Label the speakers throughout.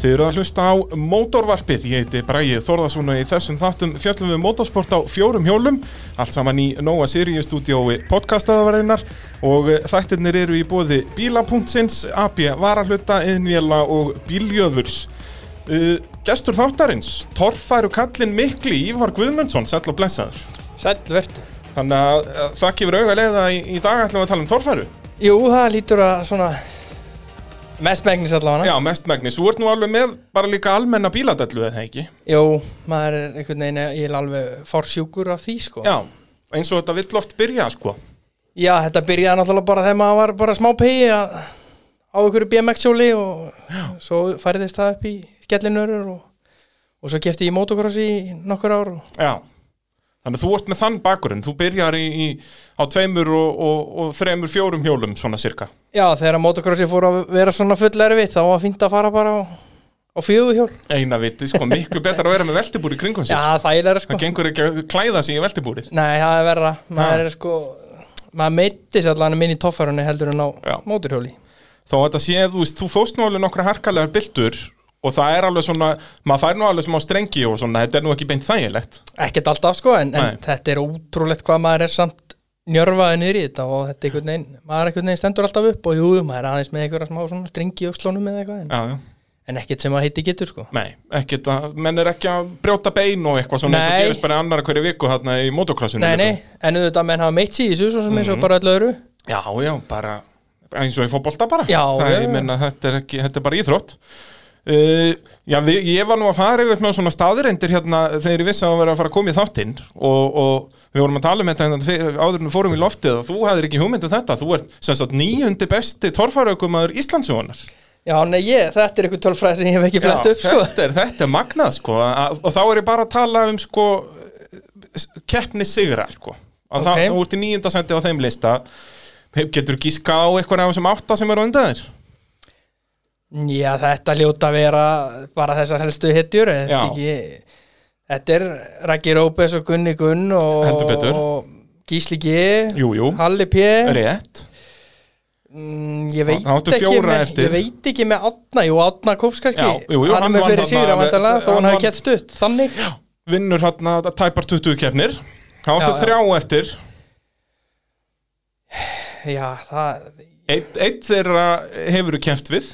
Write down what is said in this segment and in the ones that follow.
Speaker 1: Þið eru að hlusta á Mótorvarpið, ég heiti Bræði Þorðarssonu í þessum þáttum fjallum við motorsport á fjórum hjólum, allt saman í Nóa Sirius stúdiói podcastaðavarinnar og eh, þættirnir eru í bóði Bíla.sins, AB Varahluta, Eðnvjela og Bíljöfurs. Uh, gestur þáttarins, torfæru kallinn mikli Ívar Guðmundsson, sæll og blessaður.
Speaker 2: Sæll vertu.
Speaker 1: Þannig að eh, það gefur auga leiða í, í dag ætlum við að tala um torfæru.
Speaker 2: Jú, það lítur að svona mest megnis allavega.
Speaker 1: Já, mestmægnis, þú ert nú alveg með bara líka almenna bíladellu eða ekki?
Speaker 2: Jú, maður er einhvern veginn, ég er alveg fórsjúkur af því, sko.
Speaker 1: Já, eins og þetta vill oft byrja sko
Speaker 2: Já, þetta byrjaði náttúrulega bara þegar maður var bara smá pegi að á einhverju BMX-hjóli og Já. svo færðist það upp í skellinörur og, og svo kefti ég motocrossi í nokkur ár og
Speaker 1: Já Þannig að þú ert með þann bakurinn, þú byrjar í, í, á tveimur og, og, og þremur fjórum hjólum svona cirka
Speaker 2: Já, þegar að motocrossi fór að vera svona full erfið þá var fínt að fara bara á, á fjöguhjól
Speaker 1: Eina viti, sko, miklu betra að vera með veltibúri kringum
Speaker 2: Já,
Speaker 1: sér sko.
Speaker 2: það er sko
Speaker 1: Það gengur ekki að klæða sig í veltibúrið
Speaker 2: Nei, það er verra maður er sko maður meittis allan minni í toffarunni heldur en á
Speaker 1: Já.
Speaker 2: móturhjóli
Speaker 1: Þó að þetta sé, þú veist, þú fóst nú alveg nokkra harkalegar byltur og það er alveg svona, maður fær nú alveg sem á strengi og svona, þetta er nú ekki beint þægilegt
Speaker 2: ekkert alltaf sko en,
Speaker 1: Nei.
Speaker 2: en þetta er ótrúlegt hvað maður er samt njörfaði niður í þetta og þetta er einhvern veginn maður er einhvern veginn stendur alltaf upp og jú, maður er aðeins með einhverja smá svona stringi í öxlónum eða eitthvað en,
Speaker 1: Já, já,
Speaker 2: en ekkert sem að heiti getur sko
Speaker 1: nei, ekkert að, menn er ekki að brjóta bein og eitthvað svona eins og
Speaker 2: Nei.
Speaker 1: gerist bara annar hverju viku þarna í motocrossinu
Speaker 2: Nei,
Speaker 1: líka.
Speaker 2: nei, en auðvitað menn hafa meitt sig í þessu svo sem
Speaker 1: Mhm.
Speaker 2: eins og bara öll öðru
Speaker 1: Já, já, bara eins og í fótbolta bara
Speaker 2: Já,
Speaker 1: það,
Speaker 2: já,
Speaker 1: ég
Speaker 2: já.
Speaker 1: meina, þetta, er ekki, þetta er bara íþrótt uh, Já, við, ég var nú að fara yfir með svona staðreindir hérna þegar ég vissi að það var að fara að koma í þáttinn og, og við vorum að tala um þetta hérna, fe- áður en við fórum í loftið og þú hafðir ekki hugmynd um þetta þú ert sem sagt nýjundi besti torfaraukumæður Íslandsjónar
Speaker 2: Já, nei, ég, þetta er einhver tölfræð sem ég hef ekki flett upp sko
Speaker 1: þetta, er, þetta er magnað sko að, og þá er ég bara að tala um sko keppni sigra sko að
Speaker 2: Ok.
Speaker 1: okay. það úr til nýjunda sendi á þeim lista getur gíska á eitthvað af þessum átta sem eru á undan þér
Speaker 2: Já, þetta hljóta að vera bara þessar helstu hittjur þetta
Speaker 1: Já.
Speaker 2: er, ekki, þetta er Raggi Rópes og Gunni Gunn og,
Speaker 1: Heldur betur.
Speaker 2: og Gísli G
Speaker 1: Jú, jú.
Speaker 2: Halli P
Speaker 1: rétt
Speaker 2: mm, ég, veit
Speaker 1: Hann átti
Speaker 2: ekki
Speaker 1: fjóra
Speaker 2: með,
Speaker 1: eftir.
Speaker 2: ég veit ekki með Átna Jú, Átna Kóps kannski
Speaker 1: Já, jú, jú,
Speaker 2: hann
Speaker 1: hann
Speaker 2: er með
Speaker 1: vann
Speaker 2: fyrir
Speaker 1: þarna
Speaker 2: sigra
Speaker 1: með-
Speaker 2: vandalega þó
Speaker 1: hann
Speaker 2: hann hafi
Speaker 1: vann-
Speaker 2: gett stutt þannig
Speaker 1: vinnur hann að tæpar 20 keppnir hann átti
Speaker 2: Já, já.
Speaker 1: þrjá eftir
Speaker 2: Já, það
Speaker 1: eitt, eitt þeirra hefur kemst við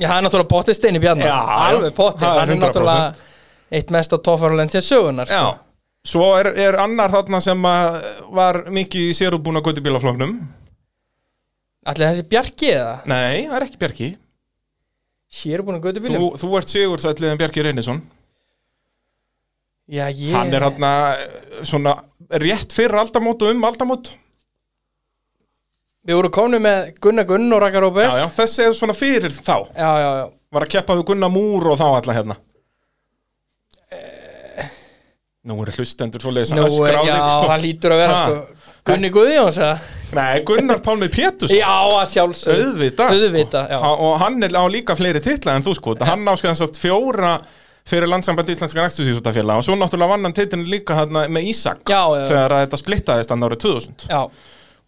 Speaker 2: Já, það er náttúrulega pottið steini bjarnar
Speaker 1: Já, já.
Speaker 2: Alveg pottið,
Speaker 1: Það er
Speaker 2: hann er
Speaker 1: 100%.
Speaker 2: náttúrulega eitt mesta tófarulegn til sögunar sko.
Speaker 1: já Svo er, er annar þarna sem að var mikið í sérubúna gott í bílaflóknum
Speaker 2: Ætli þessi Bjarki eða?
Speaker 1: Nei, það er ekki Bjarki
Speaker 2: Sér er búin að götu
Speaker 1: Þú, þú ert sigur sætliðin Bjarki Reynisson
Speaker 2: Já, ég
Speaker 1: Hann er hann svona rétt fyrir aldamót og um aldamót
Speaker 2: Við vorum komnið með Gunnar Gunn og Raka Rópes
Speaker 1: já, já, Þessi er svona fyrir þá
Speaker 2: já, já, já.
Speaker 1: Var að keppa við Gunnar Múr og þá alla hérna Eh. Nú eru hlustendur svo leiðis
Speaker 2: Nú, já, það lítur að vera
Speaker 1: Ha.
Speaker 2: sko. Gunni Guðjóns eða?
Speaker 1: Nei, Gunnar Pálmi Pétus
Speaker 2: Já, að sjálfsög
Speaker 1: Auðvitað,
Speaker 2: Auðvitað, já.
Speaker 1: sko. Ha- Og hann er á líka fleiri titla en þú sko Hann áskæðan satt fjóra fyrir landsamband íslenska nægstusísutafélag og svo náttúrulega vann hann titlinn líka hérna með Ísak
Speaker 2: Já, já, já.
Speaker 1: þegar að þetta splittaðist hann árið 2000
Speaker 2: Já,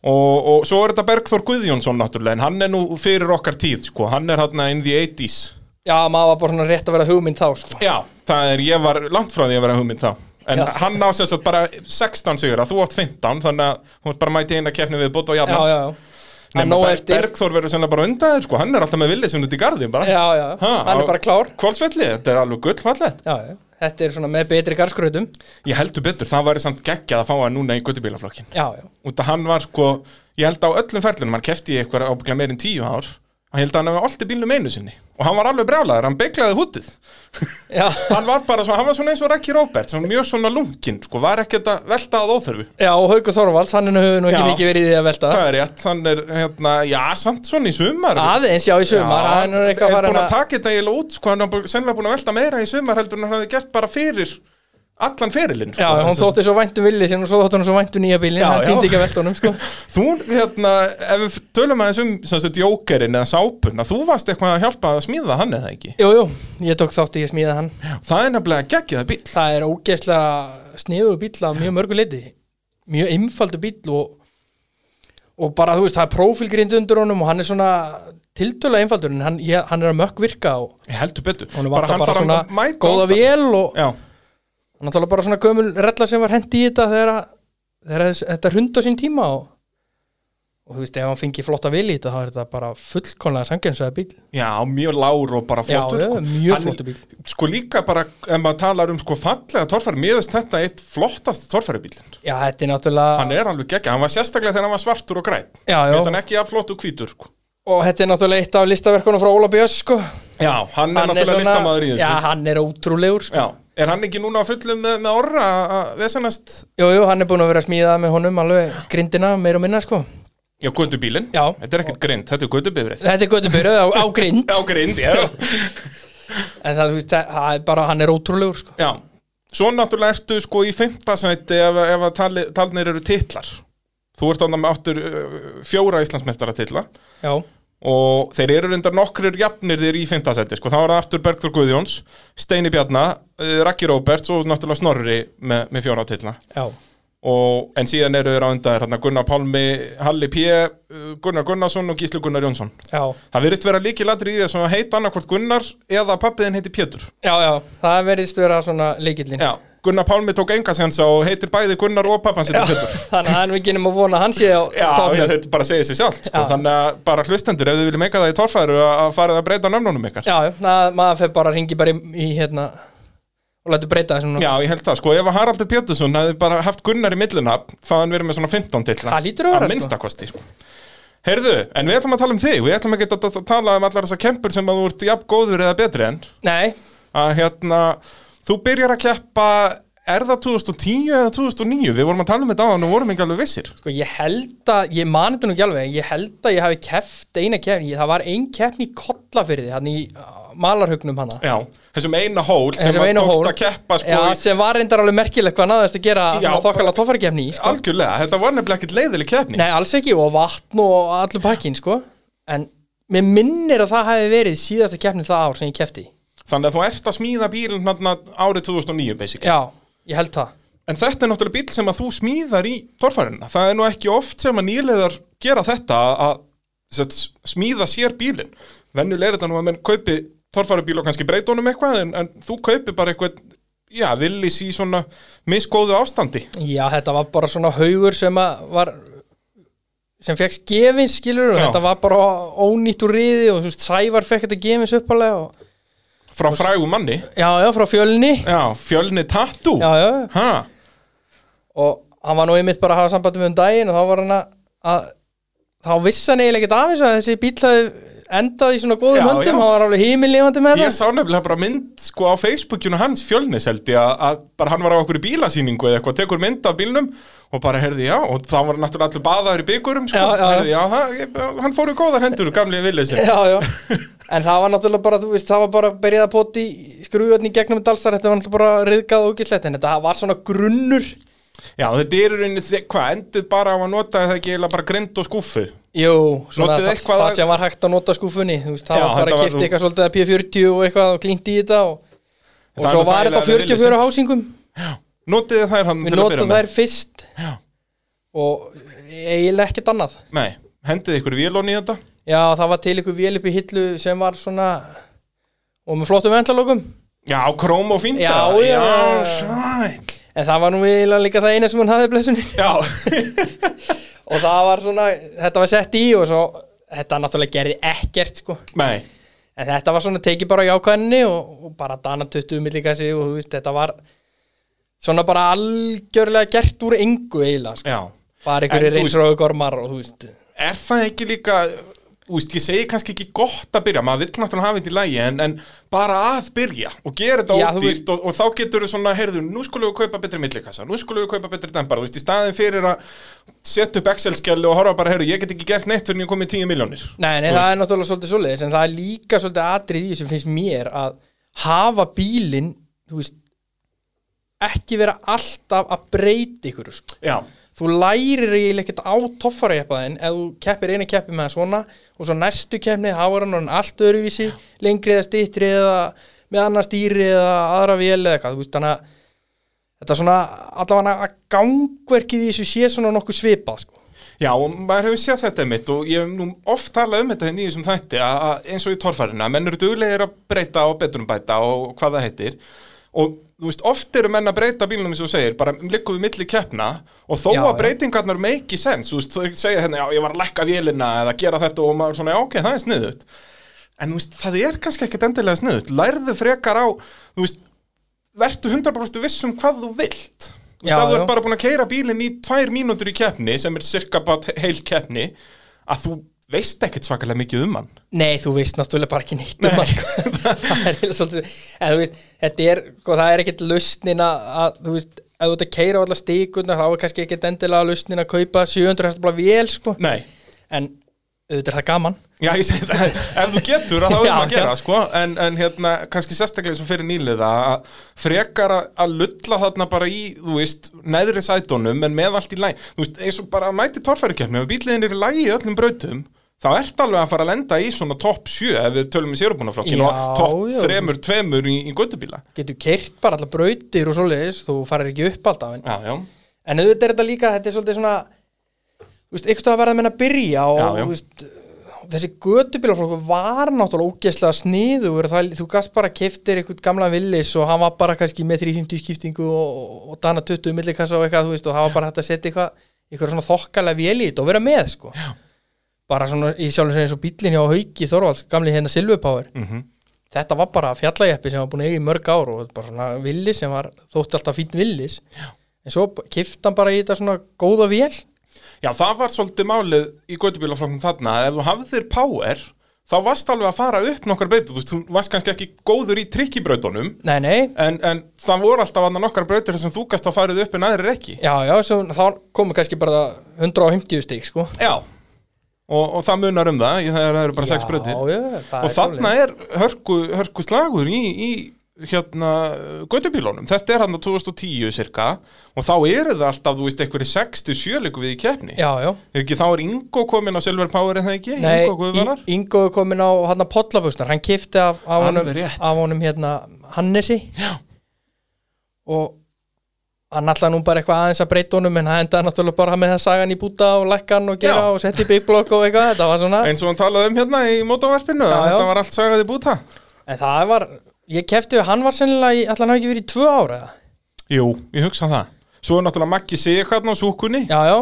Speaker 1: og, og svo er þetta Bergþór Guðjónsson náttúrulega, en hann er nú fyrir okkar tíð sko, hann er hann in the 80s
Speaker 2: já, maður var bara svona rétt að vera hugmynd þá sko.
Speaker 1: já, það er, ég var langt frá því að vera hugmynd þá en
Speaker 2: Já.
Speaker 1: hann á sér satt bara 16 sigur þú átt 15, þannig að hún er bara mæti eina keppni við bótt og
Speaker 2: Já,
Speaker 1: jafna
Speaker 2: já, já Hann
Speaker 1: Nema
Speaker 2: nóg
Speaker 1: Ber-
Speaker 2: eftir
Speaker 1: Bergþór verður sennilega bara undan þér sko, hann er alltaf með villið sem út í garðin bara
Speaker 2: Já, já,
Speaker 1: Ha,
Speaker 2: hann
Speaker 1: á-
Speaker 2: er bara klár
Speaker 1: Hvolsvelli, þetta er alveg gullfallett
Speaker 2: Já, já, þetta er svona með betri garðskröðum
Speaker 1: Ég heldur betur, það væri samt geggjað að fá hann núna í guttubílaflokkin
Speaker 2: Já, já,
Speaker 1: út að hann var sko, ég held á öllum ferlunum hann kefti í eitthvað ábygglega meir en tíu ár og ég held að hann hefði alltaf bílnum einu sinni og hann var alveg brjálaður, hann beiglaði hútið
Speaker 2: já,
Speaker 1: hann var bara svona, hann var svona eins og Rækki Róbert svona mjög svona lungin, sko, var ekkert að velta að óþörfu
Speaker 2: já og Haukur Þorvalds, hann er nú hefur nú ekki
Speaker 1: Já.
Speaker 2: mikið verið í því að velta
Speaker 1: það er rétt, hann er hérna, já, samt svona í sumar
Speaker 2: Aðeins, já, í sumar,
Speaker 1: Já,
Speaker 2: hann er eitthvað
Speaker 1: búinn
Speaker 2: farin
Speaker 1: að taka þetta eiginlega út, sko, hann er bú- sennilega búin að velta meira í sumar heldur en hann hefði gert bara fyrir allan ferilinn, sko
Speaker 2: Já, hún þótti svo væntum villið sinni og svo þótti hún svo væntum nýja bílinn
Speaker 1: Já,
Speaker 2: Hann
Speaker 1: já.
Speaker 2: týndi ekki að velta honum, sko
Speaker 1: Þú, hérna, ef við tölum aðeins um sem sagt jókerinn eða sápuna, þú varst eitthvað að hjálpa að smíða hann eða ekki?
Speaker 2: Jú, jú, ég tók þátt í að smíða hann
Speaker 1: Það er nefnilega geggjaða bíl.
Speaker 2: það er ógeðslega sniðu bíl að mjög mörgu leiti mjög einfaldu bíl og, og bara þú veist það er prófílgrind undir honum og hann er svona tiltölu einfaldur en hann, ég, hann er að mökk virka og
Speaker 1: Ég heldur betur
Speaker 2: Honum vantar
Speaker 1: hann
Speaker 2: bara
Speaker 1: þarf
Speaker 2: svona
Speaker 1: að mæta á
Speaker 2: góða
Speaker 1: stað.
Speaker 2: vél og
Speaker 1: Já,
Speaker 2: náttúrulega bara svona gömul rella sem var hendi í þetta þegar, að- þegar þess, þetta hrundi á sín tíma og, og þú veist ef hann fengi flotta vil í þetta þá er þetta bara fullkonlega sangjansöða bíl
Speaker 1: já, mjög lár og bara flottur
Speaker 2: já,
Speaker 1: sko.
Speaker 2: já, mjög
Speaker 1: Hann-
Speaker 2: flottu bíl
Speaker 1: Sko líka bara, ef maður talar um sko fallega torfæri, miðast þetta eitt flottast torfæribílinn.
Speaker 2: já þetta er náttúrulega
Speaker 1: Hann er alveg geggja, hann var sérstaklega þegar hann var svartur og græn.
Speaker 2: já,
Speaker 1: Mér finnst
Speaker 2: já,
Speaker 1: hann ekki að flott og hvítur, sko.
Speaker 2: og þetta er náttúrulega eitt af listaverkunum frá Óla Björns sko.
Speaker 1: Já, hann er náttúrulega
Speaker 2: svona-
Speaker 1: listamaður í þessu.
Speaker 2: já, hann er ótrúlegur sko.
Speaker 1: Já, er hann ekki núna á fullum með, með orra að vesanast?
Speaker 2: jú, jú, hann er búin að vera að smíða með honum alveg grindina meir og minna sko.
Speaker 1: Já, gödubílinn.
Speaker 2: Já.
Speaker 1: Þetta er ekkert grind, þetta er gödubifrið.
Speaker 2: þetta er göttubyrjuð á, á grind
Speaker 1: Já, grind, já.
Speaker 2: en það, þú veist, það, það er bara, hann er ótrúlegur sko.
Speaker 1: já, svo náttúrulega ertu sko í fimmtasæti ef, ef að tali, talnir eru titlar. Þú ert ánum áttur uh, fjóra Íslandsmeistara titla.
Speaker 2: já,
Speaker 1: og þeir eru reyndar nokkrir jafnir þeir í fintasæti, sko, þá er það aftur Bergþór Guðjóns, Steini Bjarna eh, Raggi Róberts og náttúrulega Snorri með, með fjóra titla
Speaker 2: já,
Speaker 1: og, en síðan eru þeir á undan hérna, Gunnar Pálmi, Halli P eh, Gunnar Gunnarsson og Gísli Gunnar Jónsson
Speaker 2: já
Speaker 1: það virðist vera líkilatri í þess að heita annarkvort Gunnar eða pappiðin heiti Pétur
Speaker 2: já, já, það verðist vera svona líkillin
Speaker 1: Já, Gunnar Pálmi tók engasensa og heitir bæði Gunnar og pappans heiti Pétur
Speaker 2: þannig að hann við genum að vona að hann sé á
Speaker 1: Já, já,
Speaker 2: topnum
Speaker 1: þetta bara segir sér sjálft sko.
Speaker 2: Já.
Speaker 1: þannig að bara hlustendur, ef þið viljum meika það í torfæru að fara að breyta nöfnunum ykkar
Speaker 2: já, já, það- maður fer bara ringi bara í, í hérna og lætur breyta þessu núna
Speaker 1: Já, ég held það, sko, ef að Haraldur Pétursson hefði bara haft Gunnar í millunafn, þá hann verið með svona 15 til
Speaker 2: Það lítur að vera, sko.
Speaker 1: minnstakosti, sko Heyrðu, en við ætlum að tala um þig, við ætlum ekki að geta að tala um allar þessar kempur sem að þú ert jafn góður eða betri en
Speaker 2: nei,
Speaker 1: að hérna, þú byrjar að keppa, er það 2010 eða 2009? Við vorum að tala um þetta á hann og vorum ekki alveg vissir
Speaker 2: Sko ég held að, ég mani þetta nú ekki alveg, ég held að ég hafi keft eina keppni, það var ein keppni í kollafyrði, hann í uh, malarhugnum hana.
Speaker 1: Já, þessum eina hól sem
Speaker 2: Þessum
Speaker 1: að
Speaker 2: eina
Speaker 1: tókst
Speaker 2: hól.
Speaker 1: að keppa, sko,
Speaker 2: Já,
Speaker 1: í,
Speaker 2: sem var reyndar alveg merkilegt hvað náðist að gera
Speaker 1: Já.
Speaker 2: svona þokkala tófarkeppni í, sko.
Speaker 1: algjörlega, þetta var nefnilega ekkert leiðileg keppni
Speaker 2: Nei, alls ekki, og vatn og allur pakkin, sko. En mér minnir að það hafi verið síðasta keppni það ár sem ég kefti.
Speaker 1: Þannig að þú ert að smíða bílinn hérna árið 2009, basically
Speaker 2: Já, ég held það.
Speaker 1: En þetta er náttúrulega bíl sem að þú smíðar í torfærinna. Það er nú ekki oft sem að nýlegar gera þetta að- að sett, smíða sér bílinn. Venjulega er þetta nú að menn kaupi torfærubíl og kannski breyta honum eitthvað en, en þú kaupi bara eitthvað, já, villis í svona misgóðu ástandi.
Speaker 2: Já, þetta var bara svona haugur sem að var sem fekk gefins, skilur, og
Speaker 1: Já.
Speaker 2: þetta var bara ónýtt úr riði og þú veist, Sævar fekk þetta gefins uppalega og
Speaker 1: Frá frægu manni.
Speaker 2: Já, já, frá fjölni
Speaker 1: Já, fjölni tattoo.
Speaker 2: Já, já,
Speaker 1: Ha,
Speaker 2: og hann var nú einmitt bara að hafa sambandi með um daginn og þá var hann að, að þá vissi hann eiginlega ekkert af þessu að þessi bíl hafði endað í svona góðum
Speaker 1: Já,
Speaker 2: höndum,
Speaker 1: já.
Speaker 2: hann var alveg hímilífandi með
Speaker 1: ég
Speaker 2: það
Speaker 1: sá nefnilega bara mynd sko á Facebookinu hans fjölnis held ég að- að bara hann var á okkur bílasýningu eða eitthvað, tekur mynd af bílnum og bara herði já og þá var náttúrulega allir baðaður í byggurum sko,
Speaker 2: Já, já, já.
Speaker 1: herði já, það, ég, hann fór í góðar hendur gamli villið sér,
Speaker 2: Já, já, en það var náttúrulega bara, þú veist, það var bara að byrjað að poti skrúðan í gegnum dalsar, þetta var náttúrulega bara riðgað og ógislegt, en þetta var svona grunnur
Speaker 1: já þetta er í rauninni þi- hvað, endið bara á að nota það ekki eiginlega bara grind og skúfu,
Speaker 2: Jú, svona
Speaker 1: Notið
Speaker 2: það,
Speaker 1: eitthvað
Speaker 2: það
Speaker 1: að-
Speaker 2: sem var hægt að nota skúfunni, þú veist, það
Speaker 1: Já,
Speaker 2: var bara
Speaker 1: þetta var
Speaker 2: að kipta
Speaker 1: nú-
Speaker 2: eitthvað svolítið að P40 og eitthvað og klínt í þetta og,
Speaker 1: Það
Speaker 2: og
Speaker 1: er
Speaker 2: svo
Speaker 1: nú
Speaker 2: var þetta á
Speaker 1: þægilega við
Speaker 2: 44 hásingum
Speaker 1: notið þið þær hann
Speaker 2: Við nota þær fyrst
Speaker 1: Já.
Speaker 2: og eiginlega ekkert annað
Speaker 1: Nei, hendið ykkur vélón í þetta
Speaker 2: Já, það var til ykkur vél upp í hillu sem var svona og með flottum vendlalokum en
Speaker 1: já, króm og fínda
Speaker 2: Já, já.
Speaker 1: já, sæll.
Speaker 2: það var nú eiginlega líka það eina sem hún hafði blessunni
Speaker 1: já,
Speaker 2: og það var svona, þetta var sett í og svo, þetta náttúrulega gerði ekkert sko,
Speaker 1: nei
Speaker 2: en þetta var svona tekið bara á jákvæðinni og, og bara dana 20 millika sig og þú veist, þetta var svona bara algjörlega gert úr engu eiginlega sko.
Speaker 1: já,
Speaker 2: bara
Speaker 1: En
Speaker 2: einhverju
Speaker 1: þú veist-
Speaker 2: reynsróðugormar og þú veist
Speaker 1: er það ekki líka úst, ég segi kannski ekki gott að byrja maður vil náttúrulega hafa þetta í lægi en, en bara að byrja og gera þetta
Speaker 2: Já, þú
Speaker 1: ódýrt og, og þá getur þú svona, heyrðu, nú skulum við kaupa betri millikassa, nú skulum við kaupa betri dempara þú veist, í staðin fyrir að setja upp Excel-skjali og horfa bara, heyrðu, ég get ekki gert neitt fyrir en ég komið 10 miljónir
Speaker 2: Nei, nei,
Speaker 1: Þú
Speaker 2: það er náttúrulega svolítið svoleiðis en það er líka svolítið atrið í því sem finnst mér að hafa bílinn, þú veist ekki vera alltaf að breyta ykkur sko.
Speaker 1: já,
Speaker 2: þú lærir eiginlega ekkert á toffarajeppaðin ef þú keppir einu keppi með hann svona og svo næstu keppni þá er hann orðinn allt öðruvísi lengri eða styttri eða með annar stýri eða aðra vél eða eitthvað þú veist, þannig að þetta svona allavega að gangverkið í þessu sé svona nokkuð svipað sko.
Speaker 1: Já, og maður hefur séð þetta mitt og ég hef nú oft talað um þetta hérna í þessum þætti að, að eins og í torfærina, menn eru duglegir að breyta og betrumbæta og hvað það heitir og þú veist, oft eru menn að breyta bílunum eins og þú segir, bara liggum við milli keppna og þó
Speaker 2: Já,
Speaker 1: að
Speaker 2: já.
Speaker 1: breytingarnar make sense, þú veist, þau segja hérna, já, ég var að lækka vélina eða gera þetta og maður svona, já, ok, það er sniðut en þú veist, það er kannski ekkit endilega sniðut lærðu frekar á, þú veist vertu 100% viss um hvað þú vilt Þú veist,
Speaker 2: Já,
Speaker 1: að þú
Speaker 2: já.
Speaker 1: ert bara búin að keira bílinn í tvær mínútur í keppni sem er cirka bara heil keppni að þú veist ekkert svakalega mikið um hann
Speaker 2: Nei, þú veist náttúrulega bara ekki neitt um allt Það er eiginlega svolítið En þú veist, þetta er, sko, það er ekkit lausnin að, að, þú veist, ef þú ert að keira allar stíkuna, þá er kannski ekkit endilega lausnin að kaupa 700 hestabla vél, sko
Speaker 1: Nei,
Speaker 2: En auðvitað er það gaman
Speaker 1: já ég segi það ef þú getur að þá erum
Speaker 2: Já,
Speaker 1: að gera
Speaker 2: já.
Speaker 1: sko. en, en hérna, kannski sérstaklega eins og fyrir nýliða að frekar að- að lulla þarna bara í, þú veist, neðri sætunum en með allt í læg, þú veist, eins og bara að mæti torfærukefni, ef bíliðin er í lægi í öllum brautum þá ert alveg að fara að lenda í svona topp 7 ef við tölum í sérubunaflokkin og
Speaker 2: Já,
Speaker 1: topp
Speaker 2: já.
Speaker 1: 3, 2 í, í göttubíla
Speaker 2: Getur keirt bara allar brautir og svoleiðis, þú farir ekki upp alltaf En,
Speaker 1: Já, já
Speaker 2: en auðvitað er þetta líka, þetta er svolítið svona, þú veist, eitthvað að verða meina að byrja og,
Speaker 1: Já, já.
Speaker 2: þú veist, þessi götubílaflokkur var náttúrulega ógeðslega sniður það, þú gast bara keftir eitthvað gamla villis og hann var bara kannski með 350 skiptingu og, og, og dana 20 millikassa og eitthvað þú veist, og það var bara hægt að setja eitthvað eitthvað svona þokkalega vél í þetta og vera með sko. bara svona í sjálfum sem eins og bílinn hjá Hauki Þorvalds, gamli hérna Silvupáver
Speaker 1: Mhm.
Speaker 2: þetta var bara fjallajeppi sem var búin að eiga í mörg ár og bara svona villis sem var þótti alltaf fín villis Já. en svo kifti hann bara í þetta svona góða vél
Speaker 1: Já, það var svolítið málið í göttubílaflokknum þarna að ef þú hafðir power þá varst alveg að fara upp nokkar beitur þú veist, þú varst kannski ekki góður í trikkibrautunum
Speaker 2: nei nei,
Speaker 1: en, en það voru alltaf annað nokkar brautir þar sem þú gast að farið upp en aðrir ekki
Speaker 2: Já, já, svo, þá komu kannski bara 150 stík, sko
Speaker 1: Já, og, og það munar um það í- það eru bara sex brautir
Speaker 2: Já, já, það
Speaker 1: og þarna er hörku, hörku slagur í, í hérna göttubílunum, þetta er hann 2010 cirka og þá eru það alltaf, þú veist, einhverju 67 leiku við í keppni
Speaker 2: Já, já,
Speaker 1: Er ekki, þá er Ingo komin á Silver Power en það ekki?
Speaker 2: nei,
Speaker 1: Ingo Guðvarar?
Speaker 2: Ingo er komin á hann að pollabuxnar, hann kifti af, af honum,
Speaker 1: Alveg rétt.
Speaker 2: af honum hérna Hannesi
Speaker 1: Já.
Speaker 2: og hann alltaf nú bara eitthvað aðeins að breyta honum en hann endaði náttúrulega bara með það sagan í búta og lækkan og gera
Speaker 1: Já.
Speaker 2: og setja í big block og eitthvað, þetta var svona en,
Speaker 1: eins og hann talaði um hérna í mótavarpinu
Speaker 2: Já,
Speaker 1: að
Speaker 2: já.
Speaker 1: þetta var allt sagaði búta
Speaker 2: það var, ég kefti við, hann var sennilega, í- ætli hann hafi ekki verið í tvö ára eða?
Speaker 1: Jú, ég hugsa það Svo er náttúrulega Maggi Sig hérna á súkunni
Speaker 2: Já, já,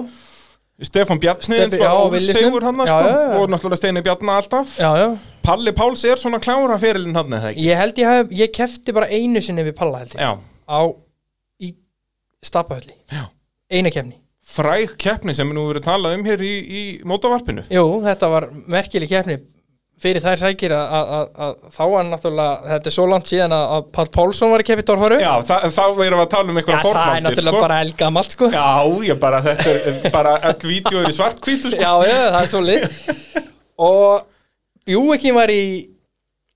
Speaker 1: Stefán Bjarnsniðins
Speaker 2: Stefán- já,
Speaker 1: var
Speaker 2: Villisnum.
Speaker 1: segur hann
Speaker 2: Já,
Speaker 1: sko.
Speaker 2: já, já.
Speaker 1: og náttúrulega Steini Bjarna alltaf
Speaker 2: já, já
Speaker 1: Palli Páls er svona klára fyrirlinn hann eða ekki
Speaker 2: Ég held ég hef, ég kefti bara einu sinni við palla held ég
Speaker 1: Já,
Speaker 2: á í stapahölli
Speaker 1: Já.
Speaker 2: eina kemni
Speaker 1: fræg keppni sem er nú verið talað um hér í, í mótavarpinu
Speaker 2: jú, þetta var merkileg kemni fyrir þær sækir að- að að- að þá var náttúrulega þetta er svo langt síðan að, að Pall Pálsson var í keppi Dorfaru
Speaker 1: Já, þa þá erum við að tala um
Speaker 2: það
Speaker 1: einhverja
Speaker 2: er
Speaker 1: formáttir
Speaker 2: náttúrulega
Speaker 1: sko.
Speaker 2: bara elgamalt sko já.
Speaker 1: Já, ég bara, þetta er bara öll vídeo er í svartkvítu sko,
Speaker 2: já, það er svo lit og Bjúekin var í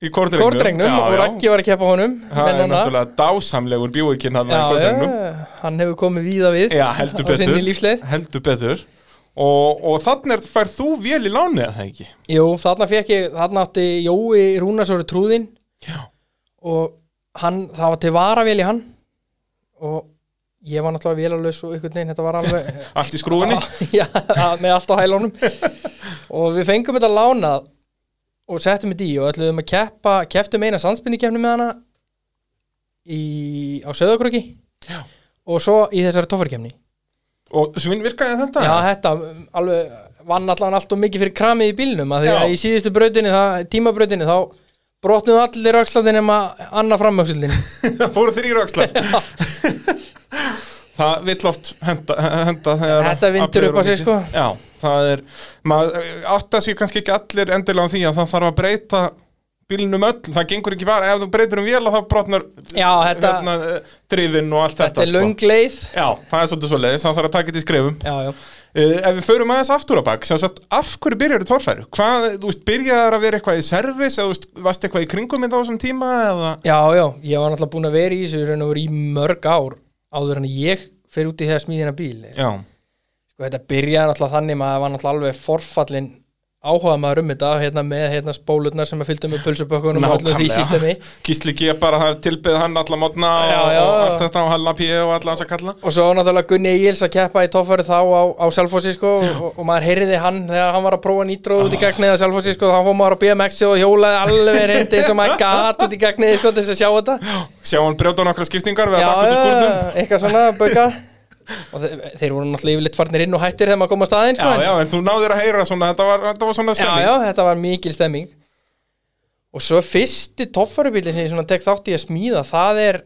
Speaker 1: í kordrengnum,
Speaker 2: kordrengnum
Speaker 1: Já,
Speaker 2: og
Speaker 1: já.
Speaker 2: Raggi var að keppa honum
Speaker 1: Það er
Speaker 2: mennana.
Speaker 1: náttúrulega dásamlegur bjóikinn hann í
Speaker 2: já,
Speaker 1: kordrengnum
Speaker 2: já, hann hefur komið víða við
Speaker 1: Já, heldur
Speaker 2: á sinni
Speaker 1: betur,
Speaker 2: lífsleið
Speaker 1: heldur betur. Og, og þannig er, fær þú vel í láni að það ekki
Speaker 2: jú, þarna fekk ég, þarna átti Jói Rúnarsóri trúðinn
Speaker 1: Já,
Speaker 2: og hann, það var til varavél í hann og ég var náttúrulega vélalös og ykkur neginn, þetta var alveg
Speaker 1: Allt í skrúinni
Speaker 2: já, með allt á hælunum og við fengum þetta lánað og settum þetta í og ætluðum að keppa keftum eina sandspinnikeppni með hana í, á Söðakröki
Speaker 1: Já.
Speaker 2: og svo í þessari tófarkeppni
Speaker 1: Og svinn virkaði þetta
Speaker 2: já, þetta um, alveg vann allan allt og mikið fyrir kramið í bílnum að því
Speaker 1: Já.
Speaker 2: að í síðustu brautinni, það, tímabrautinni þá brotnuðu allir öxlandin nema annað framöxlindin
Speaker 1: Það fóru þrýra öxla Það vill oft henda, henda þegar
Speaker 2: Þetta vindur
Speaker 1: aflið er
Speaker 2: upp á
Speaker 1: of
Speaker 2: sig,
Speaker 1: mikið.
Speaker 2: sko.
Speaker 1: Já, það er maður átta sér kannski ekki allir endilega á því að það þarf að breyta bílnum öll, það gengur ekki bara ef þú breytir um vél að það brotnar
Speaker 2: Já, þetta-
Speaker 1: hérna, drifin og allt þetta, sko.
Speaker 2: Þetta er löng leið
Speaker 1: Já, það er svolítið svo leiðis, það þarf að taka þetta í skrefum
Speaker 2: Já, já
Speaker 1: Uh, ef við förum aðeins aftur á bak sem sagt, af hverju byrjar þú torfæru? Hvað, þú veist, byrjar að vera eitthvað í servis eða þú veist, varst eitthvað í kringum minn á þessum tíma eða,
Speaker 2: Já, já, ég var náttúrulega búin að vera í þessu í raun og veru í mörg ár áður en ég fer út í þegar smíðina bíl
Speaker 1: já,
Speaker 2: Sko, þetta byrjaði náttúrulega þannig maður var náttúrulega alveg forfallin áhuga maður um þetta hérna, með hérna, spólurnar sem að fylgdu með pulsubökkunum og öllu því
Speaker 1: Nákvæmlega.
Speaker 2: sístemi
Speaker 1: Gísli G bara hafði tilbyð hann alla mótna
Speaker 2: Já,
Speaker 1: og,
Speaker 2: já,
Speaker 1: og
Speaker 2: já.
Speaker 1: allt þetta og Halla P og alla þessa kalla
Speaker 2: og svo náttúrulega Gunni Egils að keppa í toffari þá á, á Selfossi sko, og, og maður heyriði hann þegar hann var að prófa nýtróð
Speaker 1: Ah.
Speaker 2: út í gagnið á Selfossi sko, þá fór maður á BMX og hjólaði alveg reyndi eins og maður gat út í gagnið sko, til þess að sjá þetta
Speaker 1: Sjá hann brjóta nokkra skiptingar við
Speaker 2: Já,
Speaker 1: að bakka út í skúrnum
Speaker 2: já, eitthvað svona bauka og þeir, þeir voru náttúrulega yfirleitt farnir inn og hættir þegar maður kom á staðinn sko,
Speaker 1: Já, já, en þú náður að heyra svona, þetta var, þetta var svona
Speaker 2: já,
Speaker 1: stemming
Speaker 2: já, þetta var mikil stemming og svo fyrsti toffarubíli sem ég svona tek þátt í að smíða það er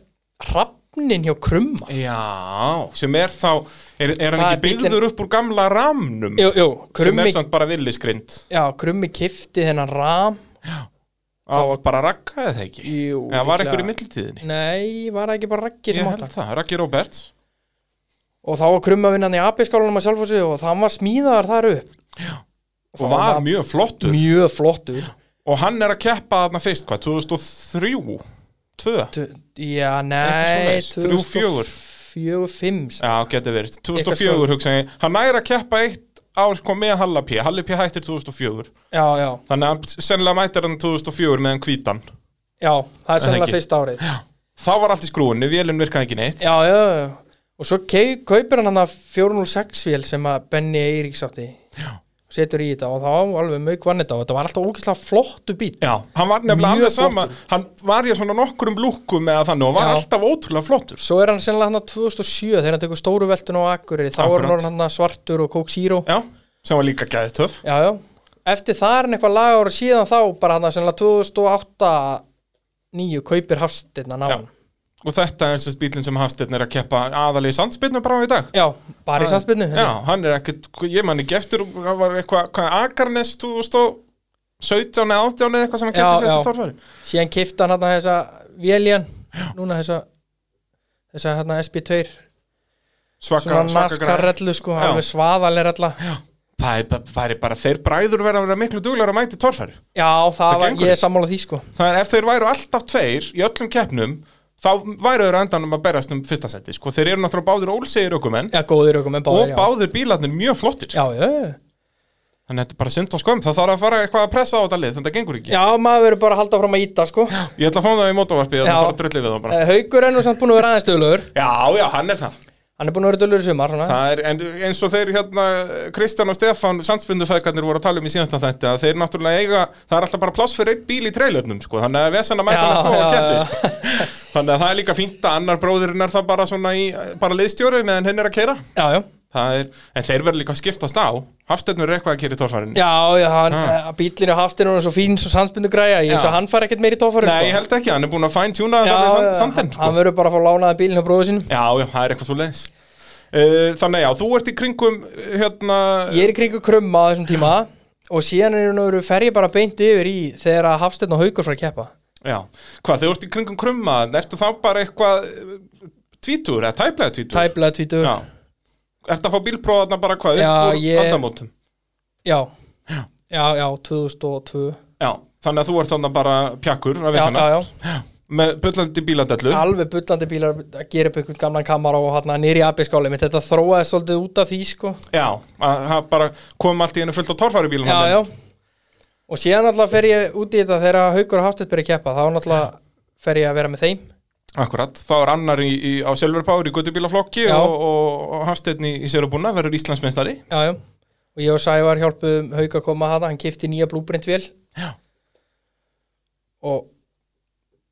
Speaker 2: hrafnin hjá krumma
Speaker 1: Já, sem er þá, er, er hann
Speaker 2: Það
Speaker 1: ekki
Speaker 2: er bíllinn-
Speaker 1: byggður upp úr gamla ramnum
Speaker 2: jú, jú,
Speaker 1: sem
Speaker 2: krummi,
Speaker 1: er samt bara villiskrind
Speaker 2: já, krummi kifti þennan ram
Speaker 1: af bara rakka eða ekki
Speaker 2: jú,
Speaker 1: eða var
Speaker 2: líklega.
Speaker 1: einhver í millitíðinni
Speaker 2: Nei, var það ekki bara Raggi
Speaker 1: Ég
Speaker 2: sem átt
Speaker 1: held
Speaker 2: það?
Speaker 1: það, Raggi Róberts
Speaker 2: Og þá var krummavinnan í AB-skálanum að sjálfhósi og það var smíðaðar þar upp.
Speaker 1: og var mjög flottur
Speaker 2: Mjög flottur.
Speaker 1: og hann er að keppa þarna fyrst, hvað, 2003 2,
Speaker 2: Tu- Já, nei,
Speaker 1: Eitthvað svoleiðis. Þrjú,
Speaker 2: 2005.
Speaker 1: já, getur verið
Speaker 2: Eitthvað
Speaker 1: 2004 hugsa ég, hann er að keppa eitt ár sko með Halla P, Halli P hættir 2004
Speaker 2: Já, já,
Speaker 1: þannig að sennilega mætir hann 2004 meðan hvítan
Speaker 2: já, það er
Speaker 1: ekki.
Speaker 2: sannlega fyrst árið. Já,
Speaker 1: þá var allt í skrúinu, vélinn virkaði ekki neitt
Speaker 2: já, já. já. Og svo kei- kaupir hann hann að 406-vél sem að Benny Eiríks átti. Já. Og setur í þetta og þá var alveg mög vannit á. Þetta var alltaf ógeðslega flottu bíl.
Speaker 1: Já, hann var nefnilega
Speaker 2: Mjög
Speaker 1: alveg sama Hann var í svona nokkrum lúkkum eða þannig og var
Speaker 2: Já.
Speaker 1: alltaf ótrúlega flottur
Speaker 2: Svo er hann sennilega hann að 2007 þegar hann tekur stóru veltun á Akureyri. Þá er
Speaker 1: Akkurat.
Speaker 2: hann orðinn hann svartur og kók síró.
Speaker 1: Já, sem var líka gæðið töf
Speaker 2: Já, já. Eftir það er hann eitthvað lagára síðan þá, bara hann að sennilega 2008-9 kaupir hafstinn að ná
Speaker 1: Já.
Speaker 2: hann.
Speaker 1: Og þetta er þessi bílinn sem Hafsteinn er að keppa aðalegi sandsbyrnu bara á í dag
Speaker 2: Já, bara í sannsbyrnu.
Speaker 1: Já, hann er ekkert, ég man ekki eftir hann var eitthvað, hvað, Akarnes 2017 eða 18 eða eitthvað sem hann
Speaker 2: Já,
Speaker 1: kætti sér
Speaker 2: já.
Speaker 1: eftir torfæri
Speaker 2: Síðan kipta hann hann þessa Véljan, núna þessa, þessa hérna SB2,
Speaker 1: Svaka,
Speaker 2: svona
Speaker 1: svaka
Speaker 2: naskar
Speaker 1: græð
Speaker 2: rellu sko,
Speaker 1: Já.
Speaker 2: alveg svaðalir rella. Já,
Speaker 1: Það er, bara- það er bara, þeir bræður verða að vera miklu duglegar að mæti torfæri
Speaker 2: það,
Speaker 1: Það
Speaker 2: var,
Speaker 1: gengur
Speaker 2: ég
Speaker 1: ekki.
Speaker 2: er sammála því sko.
Speaker 1: Það er ef þeir væru alltaf tveir í öllum keppnum þá væru þeir á endanum að berast um fyrsta seti sko. þeir eru náttúrulega báðir ólsegir ökumenn
Speaker 2: Já, góður ykkur, menn
Speaker 1: og
Speaker 2: báðir, já.
Speaker 1: báðir bílarnir mjög flottir
Speaker 2: Já, já, já.
Speaker 1: þannig að þetta er bara synd og skömm það þarf að fara eitthvað að pressa á þetta lið þetta gengur ekki
Speaker 2: Já, maður verður bara að halda fram að íta sko.
Speaker 1: ég ætla að fá það í mótavarpi þannig
Speaker 2: Já.
Speaker 1: að fara að drulli við það bara
Speaker 2: Eh, Haukur er nú samt búin að vera aðeins dölur.
Speaker 1: já já hann er það,
Speaker 2: Hann er búin að vera dölur í sumar, svona.
Speaker 1: það er, en, eins og þeir hérna Kristján og Stefan sandsbindufæðgarnir voru að tala um í síðasta þetta að þeir náttúrulega eiga það er alltaf bara pláss fyrir eitt bíl í trailernum sko. þannig að vesen að mæta
Speaker 2: Já,
Speaker 1: með tvo að
Speaker 2: já, já.
Speaker 1: keppni sko. þannig að það er líka fínt að annar bróðurinn er það bara svona í bara liðstjóri meðan hinn er að keira
Speaker 2: Já, já.
Speaker 1: er, en þeir verður líka að skiptast á Hafstefnur er eitthvað að keira í torfarinu
Speaker 2: Já, já, hann,
Speaker 1: Ha.
Speaker 2: ah. bílinu hafstinn og svo fín svo sandsbyndu græja, ég eins
Speaker 1: Já.
Speaker 2: og hann fær ekkert meiri tófari
Speaker 1: Nei, ég held ekki, hann er búin að fæntjúna þetta við sandin sko.
Speaker 2: sko. Hann verður bara að fá lánaða bílinu á bróðu sínum
Speaker 1: Já, já, það er eitthvað svo leiðis Þannig já, þú ert í kringum hérna
Speaker 2: Ég er í kringu krumma á þessum tíma og síðan er hann verið fer ég bara beint yfir í þegar að hafstinn og haukur fara að keppa
Speaker 1: Já, hvað, þú ert í kringum krumma Ertu þá bara eitthvað eh, tvítugur, eða tæplega tvítugur
Speaker 2: Tæplega tvítur,
Speaker 1: Já
Speaker 2: já.
Speaker 1: Ertu að fá bílpróðarna bara hvað
Speaker 2: Já,
Speaker 1: upp úr
Speaker 2: ég-
Speaker 1: aldamótum
Speaker 2: Já. já, 2002
Speaker 1: Já, þannig að þú ert þannig bara pjakkur að
Speaker 2: Já,
Speaker 1: vissanast
Speaker 2: já,
Speaker 1: Með bullandi bíladellu
Speaker 2: Alveg bullandi bílar að gera upp einhvern gamlan kamara og hérna hann nýri abiskáli mitt Þetta þróaði svolítið út af því sko
Speaker 1: Já, að, að bara kom allt í hennu fullt á torfæri bílum
Speaker 2: já, já. og síðan náttúrulega fer ég út í þetta þegar Haukur og Hafstedt byrja að keppa þá náttúrulega fer ég að vera með þeim
Speaker 1: Akkurat, þá er annar í, í, á Silver Power í guttubílaflokki
Speaker 2: Já.
Speaker 1: og, og, og Hafsteinni í Sérubúna verður Íslandsmeistari
Speaker 2: já, já. og ég og Sævar hjálpuðum Hauk að koma hana, hann kipti nýja blúbrint vél
Speaker 1: Já.
Speaker 2: og